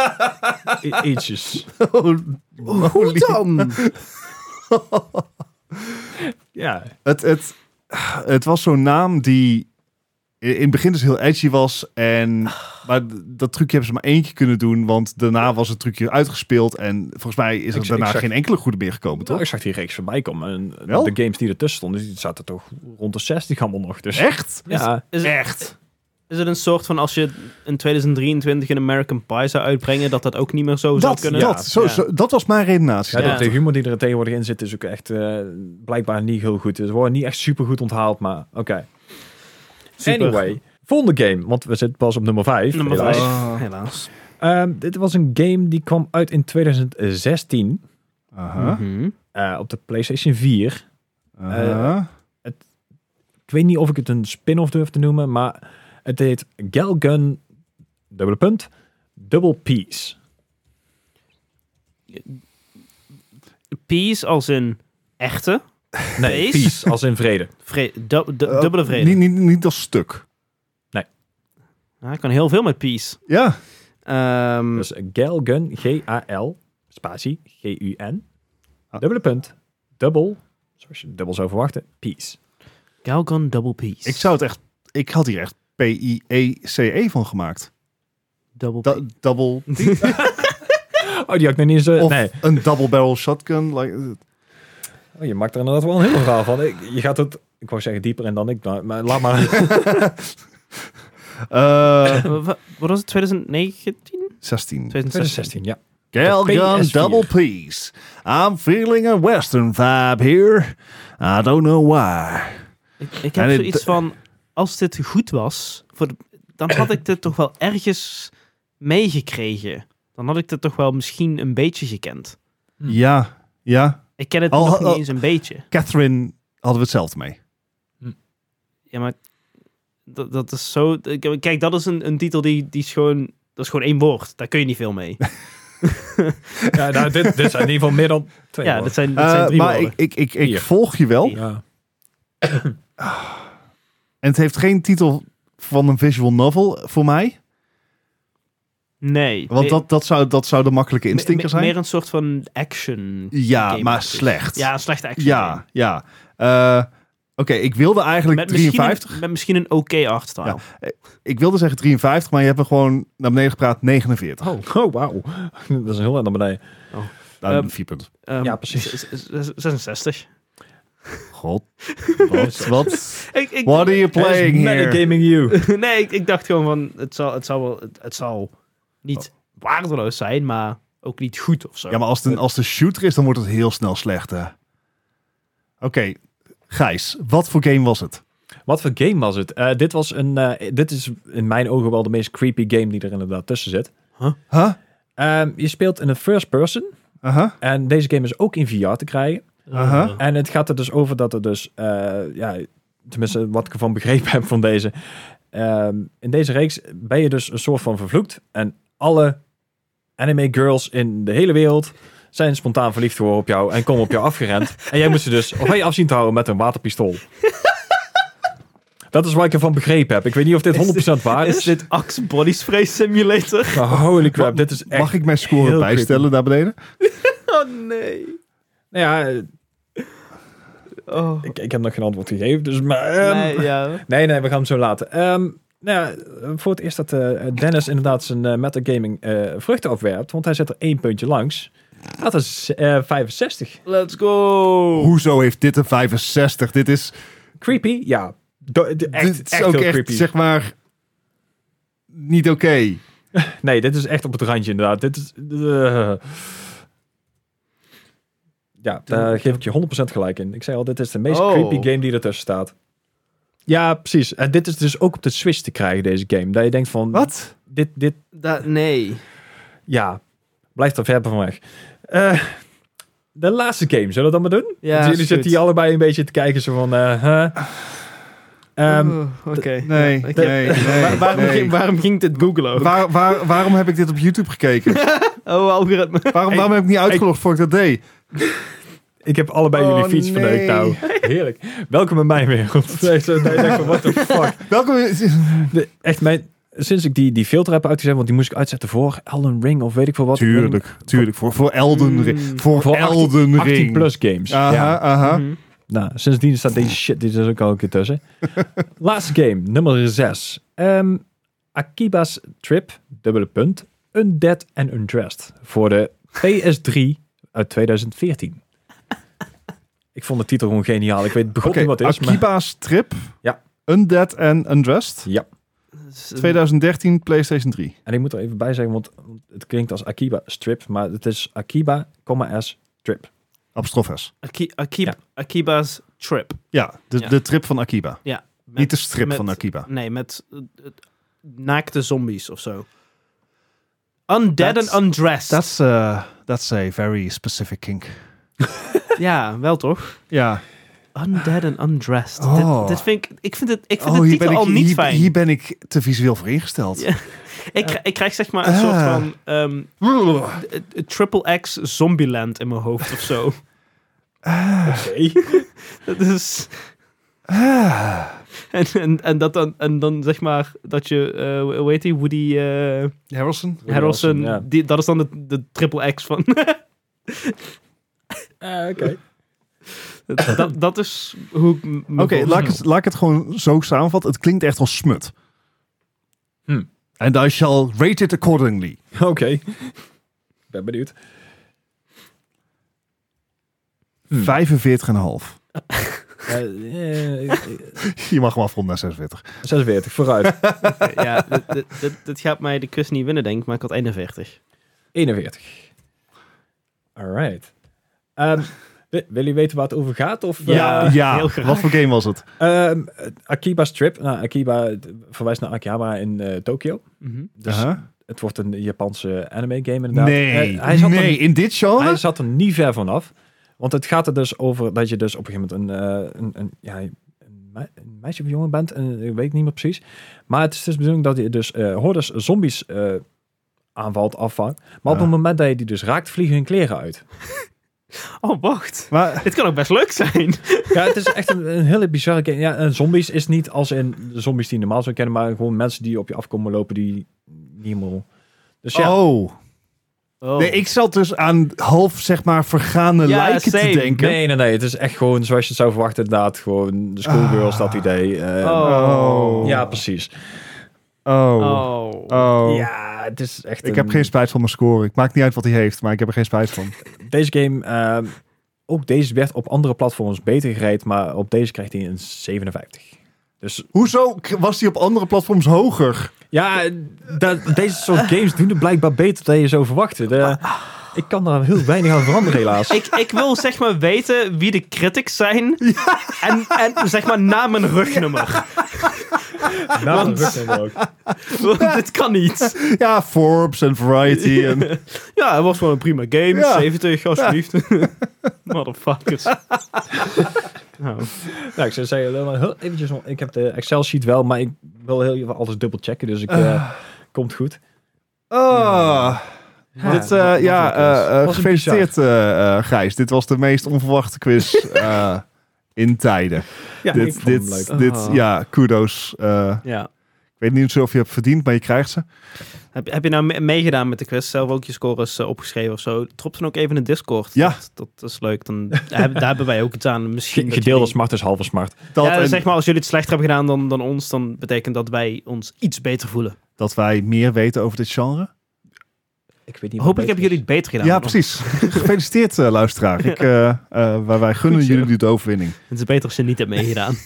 [SPEAKER 3] I- ietsjes.
[SPEAKER 2] Oh,
[SPEAKER 1] Hoe dan?
[SPEAKER 3] Ja.
[SPEAKER 2] Het, het, het was zo'n naam die in het begin dus heel edgy was. En,
[SPEAKER 1] Ah.
[SPEAKER 2] maar d- dat trucje hebben ze maar eentje kunnen doen. Want daarna was het trucje uitgespeeld. En volgens mij is er
[SPEAKER 3] Ik-
[SPEAKER 2] daarna
[SPEAKER 3] ik zag-
[SPEAKER 2] geen enkele goede meer gekomen, toch?
[SPEAKER 3] Nou, ik zag die reeks voorbij komen. En
[SPEAKER 2] Wel?
[SPEAKER 3] de games die ertussen stonden, die zaten toch rond de 60 allemaal nog. Dus.
[SPEAKER 2] Echt?
[SPEAKER 3] Ja.
[SPEAKER 1] Is het,
[SPEAKER 2] Echt?
[SPEAKER 1] is het een soort van als je in 2023 een American Pie zou uitbrengen, dat dat ook niet meer zo zou
[SPEAKER 2] Dat,
[SPEAKER 1] kunnen?
[SPEAKER 2] dat,
[SPEAKER 3] Ja,
[SPEAKER 2] zo,
[SPEAKER 1] ja.
[SPEAKER 2] Zo, dat was mijn redenatie.
[SPEAKER 3] Ja,
[SPEAKER 1] Ja.
[SPEAKER 3] De, de humor die er tegenwoordig in zit is ook echt eh, blijkbaar niet heel goed. Het wordt niet echt super goed onthaald, maar oké.
[SPEAKER 1] Super.
[SPEAKER 3] Anyway, volgende game, want we zitten pas op nummer 5.
[SPEAKER 1] Nummer
[SPEAKER 2] helaas.
[SPEAKER 1] 5,
[SPEAKER 2] Ah.
[SPEAKER 1] helaas.
[SPEAKER 3] dit was een game die kwam uit in 2016
[SPEAKER 2] Aha,
[SPEAKER 1] Mhm.
[SPEAKER 3] eh, op de PlayStation 4.
[SPEAKER 2] aha.
[SPEAKER 1] Eh,
[SPEAKER 3] ik weet niet of ik het een spin-off durf te noemen, maar het heet Galgun, dubbele punt, Double Peace.
[SPEAKER 1] Peace als in echte.
[SPEAKER 3] Nee,
[SPEAKER 1] Peace?
[SPEAKER 3] peace, als in vrede.
[SPEAKER 1] Vre- du- du- dubbele
[SPEAKER 2] Oh,
[SPEAKER 1] vrede.
[SPEAKER 2] Niet, niet, niet als stuk.
[SPEAKER 1] Ah, ik kan heel veel met peace.
[SPEAKER 2] Ja.
[SPEAKER 1] Ehm,
[SPEAKER 3] Dus Galgun, G-A-L, spatie, G-U-N,
[SPEAKER 2] Ah.
[SPEAKER 3] dubbele punt, dubbel, zoals je dubbel zou verwachten, peace.
[SPEAKER 1] Galgun Double Peace.
[SPEAKER 2] Ik zou het echt... Ik had hier echt P-I-E-C-E E van gemaakt.
[SPEAKER 1] Double
[SPEAKER 2] Da- double...
[SPEAKER 3] Oh, die had ik nog niet eens... eh,
[SPEAKER 2] Of
[SPEAKER 3] nee,
[SPEAKER 2] een double barrel shotgun. Like,
[SPEAKER 3] oh, je maakt er inderdaad wel een heel verhaal van. Ik- je gaat het, ik wou zeggen dieper in dan ik, maar, maar laat maar.
[SPEAKER 2] eh,
[SPEAKER 1] Peace. Wa- Wat was het, 2019? 2016.
[SPEAKER 2] 16.
[SPEAKER 3] 2016, ja.
[SPEAKER 2] Galgun
[SPEAKER 3] PS4.
[SPEAKER 2] Double Peace. I'm feeling a western vibe here. I don't know why.
[SPEAKER 1] Ik, ik
[SPEAKER 2] En
[SPEAKER 1] heb
[SPEAKER 2] het-
[SPEAKER 1] zoiets van, als dit goed was, voor de- dan had ik dit toch wel ergens meegekregen. Dan had ik dit toch wel misschien een beetje gekend.
[SPEAKER 3] Hm.
[SPEAKER 2] Ja, ja.
[SPEAKER 1] Ik ken het
[SPEAKER 2] Al-
[SPEAKER 1] nog niet
[SPEAKER 2] al-
[SPEAKER 1] eens een beetje.
[SPEAKER 2] Catherine hadden we hetzelfde mee.
[SPEAKER 1] Ja, maar dat, dat is zo... ik- Kijk, dat is een, een titel die, die is gewoon... Dat is gewoon één woord. Daar kun je niet veel mee.
[SPEAKER 3] ja nou, dit, dit zijn in ieder geval meer dan twee
[SPEAKER 1] ja, dat
[SPEAKER 3] woorden.
[SPEAKER 1] zijn, dat zijn
[SPEAKER 2] Eh,
[SPEAKER 1] drie
[SPEAKER 2] maar ik,
[SPEAKER 1] woorden.
[SPEAKER 2] ik, ik, ik
[SPEAKER 3] Hier.
[SPEAKER 2] volg je wel.
[SPEAKER 1] Hier.
[SPEAKER 3] Ja.
[SPEAKER 2] En het heeft geen titel van een visual novel voor mij.
[SPEAKER 1] Nee.
[SPEAKER 2] Want
[SPEAKER 1] me-
[SPEAKER 2] dat, dat, zou, dat zou de makkelijke
[SPEAKER 1] me-
[SPEAKER 2] instinker
[SPEAKER 1] me-
[SPEAKER 2] zijn.
[SPEAKER 1] Meer een soort van action.
[SPEAKER 2] ja,
[SPEAKER 1] game
[SPEAKER 2] maar
[SPEAKER 1] natuurlijk.
[SPEAKER 2] slecht.
[SPEAKER 1] Ja, een slechte action. game.
[SPEAKER 2] ja. ja. Eh, Oké, ik wilde eigenlijk
[SPEAKER 1] Met misschien,
[SPEAKER 2] 53.
[SPEAKER 1] een, met misschien een oké artstyle.
[SPEAKER 2] Ja. Ik wilde zeggen 53, maar je hebt me gewoon naar beneden gepraat 49.
[SPEAKER 3] Oh, oh wauw. Dat is een heel eind naar beneden.
[SPEAKER 2] Nou,
[SPEAKER 1] Ehm,
[SPEAKER 2] vier punten.
[SPEAKER 1] Ehm,
[SPEAKER 3] Ja, precies.
[SPEAKER 1] z- z- z- 66.
[SPEAKER 2] God. Wat? wat?
[SPEAKER 1] Ik, ik,
[SPEAKER 2] What are you playing here?
[SPEAKER 3] Metagaming you.
[SPEAKER 1] nee, ik, ik dacht gewoon van, het zal, het zal wel, het, het zal niet waardeloos zijn, maar ook niet goed of zo.
[SPEAKER 2] Ja, maar als de, als de shooter is, dan wordt het heel snel slecht, hè? Oké, Gijs, wat voor game was het?
[SPEAKER 3] Wat voor game was het? Eh, dit, was een, eh, dit is in mijn ogen wel de meest creepy game die er inderdaad tussen zit.
[SPEAKER 2] Huh?
[SPEAKER 3] Ehm, je speelt in een first person.
[SPEAKER 2] Aha.
[SPEAKER 3] En deze game is ook in VR te krijgen.
[SPEAKER 2] Aha.
[SPEAKER 3] En het gaat er dus over dat er dus eh, ja, tenminste wat ik ervan begrepen heb van deze. Ehm, in deze reeks ben je dus een soort van vervloekt. En alle anime girls in de hele wereld zijn spontaan verliefd geworden op jou en komen op jou afgerend. En jij moet ze dus of je afzien te houden met een waterpistool. Dat is wat ik ervan begrepen heb. Ik weet niet of dit
[SPEAKER 1] Is dit-
[SPEAKER 3] 100% waar is.
[SPEAKER 1] Is dit Axe Body Spray Simulator?
[SPEAKER 3] Maar holy crap, dit is echt...
[SPEAKER 2] Mag ik mijn score
[SPEAKER 3] heel
[SPEAKER 2] bijstellen daar beneden?
[SPEAKER 1] Oh nee.
[SPEAKER 3] Nou ja, eh,
[SPEAKER 1] Oh.
[SPEAKER 3] ik, ik heb nog geen antwoord gegeven, dus... Maar, ehm,
[SPEAKER 1] nee, ja.
[SPEAKER 3] Nee, nee, we gaan hem zo laten. Ehm, nou ja, voor het eerst dat eh, Dennis inderdaad zijn eh, metagaming eh, vruchten afwerpt, want hij zet er één puntje langs. Dat is eh, 65.
[SPEAKER 1] Let's go.
[SPEAKER 2] Hoezo heeft dit een 65? Dit is,
[SPEAKER 3] Creepy? Ja. Do- de- echt
[SPEAKER 2] dit is
[SPEAKER 3] echt
[SPEAKER 2] ook
[SPEAKER 3] heel
[SPEAKER 2] echt,
[SPEAKER 3] creepy.
[SPEAKER 2] zeg maar, niet oké.
[SPEAKER 3] Nee, dit is echt op het randje inderdaad. Dit is... eh. ja, daar geef ik je 100% gelijk in. Ik zei al, dit is de meest
[SPEAKER 1] Oh.
[SPEAKER 3] creepy game die ertussen staat. Ja, precies. En dit is dus ook op de Switch te krijgen, deze game. Dat je denkt van...
[SPEAKER 2] Wat?
[SPEAKER 3] Dit, dit,
[SPEAKER 1] Da- nee.
[SPEAKER 3] ja, blijf er ver van weg. Eh, de laatste game, zullen we dat maar doen?
[SPEAKER 1] Ja,
[SPEAKER 3] Want
[SPEAKER 1] is
[SPEAKER 3] jullie
[SPEAKER 1] goed.
[SPEAKER 3] zitten hier allebei een beetje te kijken, zo van... eh, huh. Ehm,
[SPEAKER 1] Oh, Oké.
[SPEAKER 2] Nee,
[SPEAKER 1] Ja,
[SPEAKER 2] nee,
[SPEAKER 1] ik-
[SPEAKER 2] nee.
[SPEAKER 1] Waar- waarom,
[SPEAKER 2] nee.
[SPEAKER 1] Ging, waarom ging dit Google ook?
[SPEAKER 2] Waar- waar- waarom heb ik dit op YouTube gekeken?
[SPEAKER 1] Oh, algoritme.
[SPEAKER 2] Waarom, waarom heb ik niet uitgelogd voor ik dat deed?
[SPEAKER 3] ik heb allebei
[SPEAKER 2] Oh,
[SPEAKER 3] jullie fiets
[SPEAKER 2] nee.
[SPEAKER 3] verneukt nou. Heerlijk. Welkom in mijn wereld. Nee, zo- nee, ik denk van, what the fuck.
[SPEAKER 2] Welkom.
[SPEAKER 3] De- echt, mijn, sinds ik die, die filter heb uitgezet, want die moest ik uitzetten voor Elden Ring of weet ik veel wat.
[SPEAKER 2] Tuurlijk, tuurlijk. Voor, voor Elden Ring.
[SPEAKER 1] Mm.
[SPEAKER 2] Voor,
[SPEAKER 3] Voor 18
[SPEAKER 2] Elden
[SPEAKER 3] 18
[SPEAKER 2] Ring.
[SPEAKER 3] plus games.
[SPEAKER 2] Hmm. Aha,
[SPEAKER 3] Ja.
[SPEAKER 2] aha.
[SPEAKER 1] Mhm.
[SPEAKER 3] Nou, sindsdien staat deze shit die er ook al een keer tussen. Laatste game, nummer 6. Akiba's Trip, dubbele punt. Undead and Undressed voor de PS3 uit 2014. Ik vond de titel gewoon geniaal. Ik weet begon
[SPEAKER 2] Oké,
[SPEAKER 3] niet wat het is, maar
[SPEAKER 2] Akiba's Trip.
[SPEAKER 3] Ja.
[SPEAKER 2] Undead and Undressed.
[SPEAKER 3] ja.
[SPEAKER 1] Dat is-
[SPEAKER 2] 2013, PlayStation 3.
[SPEAKER 3] En ik moet er even bij zeggen, want het klinkt als Akiba Strip, maar het is Akiba, comma, S, Trip.
[SPEAKER 2] Apostrof S.
[SPEAKER 1] Aki- Akib-
[SPEAKER 3] Ja.
[SPEAKER 1] Akiba's Trip.
[SPEAKER 2] Ja, de,
[SPEAKER 1] Ja.
[SPEAKER 2] de trip van Akiba.
[SPEAKER 1] Met-
[SPEAKER 2] niet de strip
[SPEAKER 1] met-
[SPEAKER 2] van Akiba.
[SPEAKER 1] Nee, met eh, eh, naakte zombies of zo. Undead
[SPEAKER 2] That's-
[SPEAKER 1] and undressed.
[SPEAKER 2] That's, uh, that's a very specific kink.
[SPEAKER 1] Ja, wel toch?
[SPEAKER 2] Ja.
[SPEAKER 1] Undead and undressed.
[SPEAKER 2] Oh.
[SPEAKER 1] Dit, dit vind ik, ik vind het, ik vind
[SPEAKER 2] Oh,
[SPEAKER 1] de
[SPEAKER 2] hier ben,
[SPEAKER 1] titel
[SPEAKER 2] ik,
[SPEAKER 1] al niet
[SPEAKER 2] hier,
[SPEAKER 1] fijn.
[SPEAKER 2] hier ben ik te visueel voor ingesteld.
[SPEAKER 1] Ja. ik, kri- ik krijg zeg maar een
[SPEAKER 2] Ah.
[SPEAKER 1] soort van ehm, eh, eh, triple X Zombieland in mijn hoofd of zo. Dat is...
[SPEAKER 2] Ah.
[SPEAKER 1] En, en, en, dat dan, en dan zeg maar dat je, eh hoe heet die, Woody eh,
[SPEAKER 2] Harrelson?
[SPEAKER 3] Woody
[SPEAKER 1] Harrelson,
[SPEAKER 3] Harrelson, ja.
[SPEAKER 1] die, dat is dan de, de triple X van...
[SPEAKER 3] Ah, oké.
[SPEAKER 1] dat, dat, dat is hoe ik m- me
[SPEAKER 2] Oké,
[SPEAKER 1] voor-
[SPEAKER 2] laat, ik het- laat ik het gewoon zo samenvatten. Het klinkt echt als smut.
[SPEAKER 1] Hmm.
[SPEAKER 3] Hm.
[SPEAKER 2] And I shall rate it accordingly.
[SPEAKER 3] Oké. Ben benieuwd.
[SPEAKER 1] Hmm.
[SPEAKER 2] 45,5.
[SPEAKER 3] Eh, eh, eh,
[SPEAKER 2] Je mag hem afronden naar 46.
[SPEAKER 3] 46, vooruit.
[SPEAKER 1] Ja, dit, dit- dit- dit gaat mij de kus niet winnen, denk ik, maar ik had 41.
[SPEAKER 3] 41. Alright. Ehm, wi- wil je weten waar het over gaat? Of, eh,
[SPEAKER 1] Ja.
[SPEAKER 2] ja,
[SPEAKER 1] heel graag.
[SPEAKER 2] wat voor game was het?
[SPEAKER 3] ehm, Akiba's Trip. Nou, Akiba verwijst naar Akihabara in eh, Tokio.
[SPEAKER 1] Mhm.
[SPEAKER 3] Dus
[SPEAKER 2] Uh-huh.
[SPEAKER 3] het wordt een Japanse anime game inderdaad.
[SPEAKER 2] Nee,
[SPEAKER 3] Eh, hij, zat
[SPEAKER 2] nee, in dit
[SPEAKER 3] er,
[SPEAKER 2] genre?
[SPEAKER 3] hij zat er niet ver vanaf. Want het gaat er dus over dat je dus op een gegeven moment een, eh, een, een, ja, een mei- een meisje of jongen bent. En, ik weet het niet meer precies. Maar het is dus de bedoeling dat je dus eh hordes zombies eh, aanvalt, afvangt. Maar op
[SPEAKER 2] Ja.
[SPEAKER 3] het moment dat je die dus raakt, vliegen hun kleren uit.
[SPEAKER 1] Oh, wacht.
[SPEAKER 2] Maar,
[SPEAKER 1] Dit kan ook best leuk zijn.
[SPEAKER 3] Ja, het is echt een, een hele bizarre game. Ja, en zombies is niet als in de zombies die je normaal zou kennen, maar gewoon mensen die op je afkomen lopen die niet helemaal... Dus ja,
[SPEAKER 2] oh.
[SPEAKER 1] Oh.
[SPEAKER 2] Nee, ik zat dus aan half, zeg maar, vergane
[SPEAKER 1] Ja,
[SPEAKER 2] lijken
[SPEAKER 1] same.
[SPEAKER 2] te denken.
[SPEAKER 3] nee, nee, nee. Het is echt gewoon zoals je het zou verwachten, inderdaad. Gewoon de
[SPEAKER 2] Ah.
[SPEAKER 3] schoolgirls, dat idee. eh,
[SPEAKER 1] Oh.
[SPEAKER 3] Ja, precies.
[SPEAKER 2] Oh. Oh.
[SPEAKER 1] Oh.
[SPEAKER 3] Ja, het is echt
[SPEAKER 2] Ik heb
[SPEAKER 3] een-
[SPEAKER 2] geen spijt van mijn score. Ik maak niet uit wat hij heeft, maar ik heb er geen spijt van.
[SPEAKER 3] Deze game, ehm, ook deze werd op andere platforms beter gereed, maar op deze krijgt hij een 57. Dus
[SPEAKER 2] Hoezo k- was hij op andere platforms hoger?
[SPEAKER 3] ja, dat, deze soort games doen het blijkbaar beter dan je zou verwachten. De-
[SPEAKER 2] Ah.
[SPEAKER 3] ik kan daar heel weinig aan veranderen, helaas.
[SPEAKER 1] Ik, ik wil zeg maar weten wie de critics zijn. En, en zeg maar na mijn rugnummer.
[SPEAKER 3] Nou,
[SPEAKER 1] Want-
[SPEAKER 3] dat lukt hem ook.
[SPEAKER 1] Want dit kan niet.
[SPEAKER 2] Ja, Forbes en Variety en...
[SPEAKER 1] Ja, het was wel een prima game.
[SPEAKER 2] Ja.
[SPEAKER 1] 70, alsjeblieft. Motherfuckers. Nou,
[SPEAKER 3] Nou, ik zou zeggen, eh, maar heel eventjes, nog- ik heb de Excel-sheet wel, maar ik wil heel even alles dubbel checken, dus ik, eh, komt goed.
[SPEAKER 2] Ah. dit, eh,
[SPEAKER 3] wat- wat
[SPEAKER 2] ja,
[SPEAKER 3] een quiz.
[SPEAKER 2] eh, eh,
[SPEAKER 3] Wat een
[SPEAKER 2] gefeliciteerd eh, eh, Gijs. Dit was de meest onverwachte quiz eh, in tijden.
[SPEAKER 1] ja,
[SPEAKER 3] ik
[SPEAKER 2] dit,
[SPEAKER 3] vond hem
[SPEAKER 2] dit,
[SPEAKER 3] leuk.
[SPEAKER 2] dit,
[SPEAKER 1] Ah.
[SPEAKER 2] ja, kudos. Eh,
[SPEAKER 1] ja.
[SPEAKER 2] ik weet niet of je hebt verdiend, maar je krijgt ze.
[SPEAKER 1] Heb, heb je nou me- meegedaan met de quiz? Zelf ook je scores eh, opgeschreven of zo? Drop dan ook even in de Discord.
[SPEAKER 2] Ja.
[SPEAKER 1] Dat, dat is leuk. Dan hebben, daar hebben wij ook iets aan. Misschien dat
[SPEAKER 3] Gedeelde
[SPEAKER 1] jullie-
[SPEAKER 3] smart is halve smart.
[SPEAKER 2] Dat,
[SPEAKER 1] ja,
[SPEAKER 2] en
[SPEAKER 1] zeg maar, als jullie het slechter hebben gedaan dan, dan ons, dan betekent dat wij ons iets beter voelen.
[SPEAKER 2] dat wij meer weten over dit genre.
[SPEAKER 3] Ik weet niet wat
[SPEAKER 1] Hopelijk
[SPEAKER 3] beter
[SPEAKER 1] hebben
[SPEAKER 3] is.
[SPEAKER 1] jullie het beter gedaan.
[SPEAKER 2] Ja,
[SPEAKER 1] dan
[SPEAKER 2] precies. Gefeliciteerd, eh, luisteraar. Ik, eh, eh, wij, wij gunnen
[SPEAKER 3] Goed zo.
[SPEAKER 2] jullie de overwinning.
[SPEAKER 1] ons. Het is beter als je niet hebt meegedaan.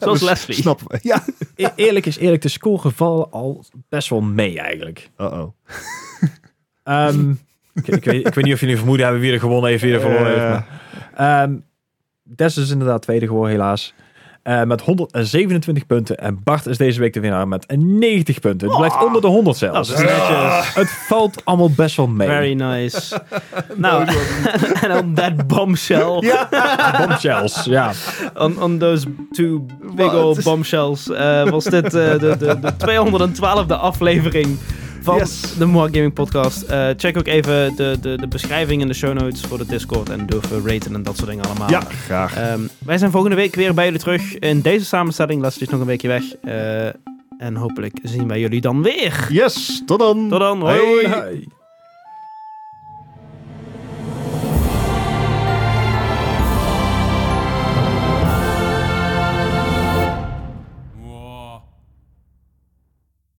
[SPEAKER 1] Zoals
[SPEAKER 2] Dus
[SPEAKER 1] Leslie.
[SPEAKER 2] Snap. Ja.
[SPEAKER 3] E- eerlijk is eerlijk, de score gevallen al best wel mee eigenlijk.
[SPEAKER 2] Uh-oh.
[SPEAKER 3] Ehm, ik, ik, weet, ik weet niet of jullie een vermoeden hebben wie er gewonnen heeft, wie er verloren heeft.
[SPEAKER 2] Eh,
[SPEAKER 3] maar- Ehm, Des is inderdaad tweede geworden, helaas. Eh, met 127 punten. En Bart is deze week de winnaar met 90 punten. Het blijft onder de 100
[SPEAKER 1] Dat
[SPEAKER 3] zelfs.
[SPEAKER 1] is netjes.
[SPEAKER 3] Het valt allemaal best wel mee.
[SPEAKER 1] Very nice. nou, en on that bombshell.
[SPEAKER 2] ja.
[SPEAKER 3] Bombshells, ja.
[SPEAKER 1] On, on those two big
[SPEAKER 2] Wat?
[SPEAKER 1] old bombshells eh, was dit eh, de, de, de 212e aflevering van
[SPEAKER 2] Yes.
[SPEAKER 1] de More Gaming Podcast. Eh, check ook even de, de, de beschrijving en de show notes voor de Discord en durven raten en dat soort dingen allemaal.
[SPEAKER 2] ja, graag.
[SPEAKER 1] Ehm, wij zijn volgende week weer bij jullie terug in deze samenstelling. Leslie is nog een weekje weg. Eh, en hopelijk zien wij jullie dan weer.
[SPEAKER 2] Yes, tot dan.
[SPEAKER 1] Tot dan. hoi.
[SPEAKER 2] Hey.
[SPEAKER 1] hoi.
[SPEAKER 3] Hey.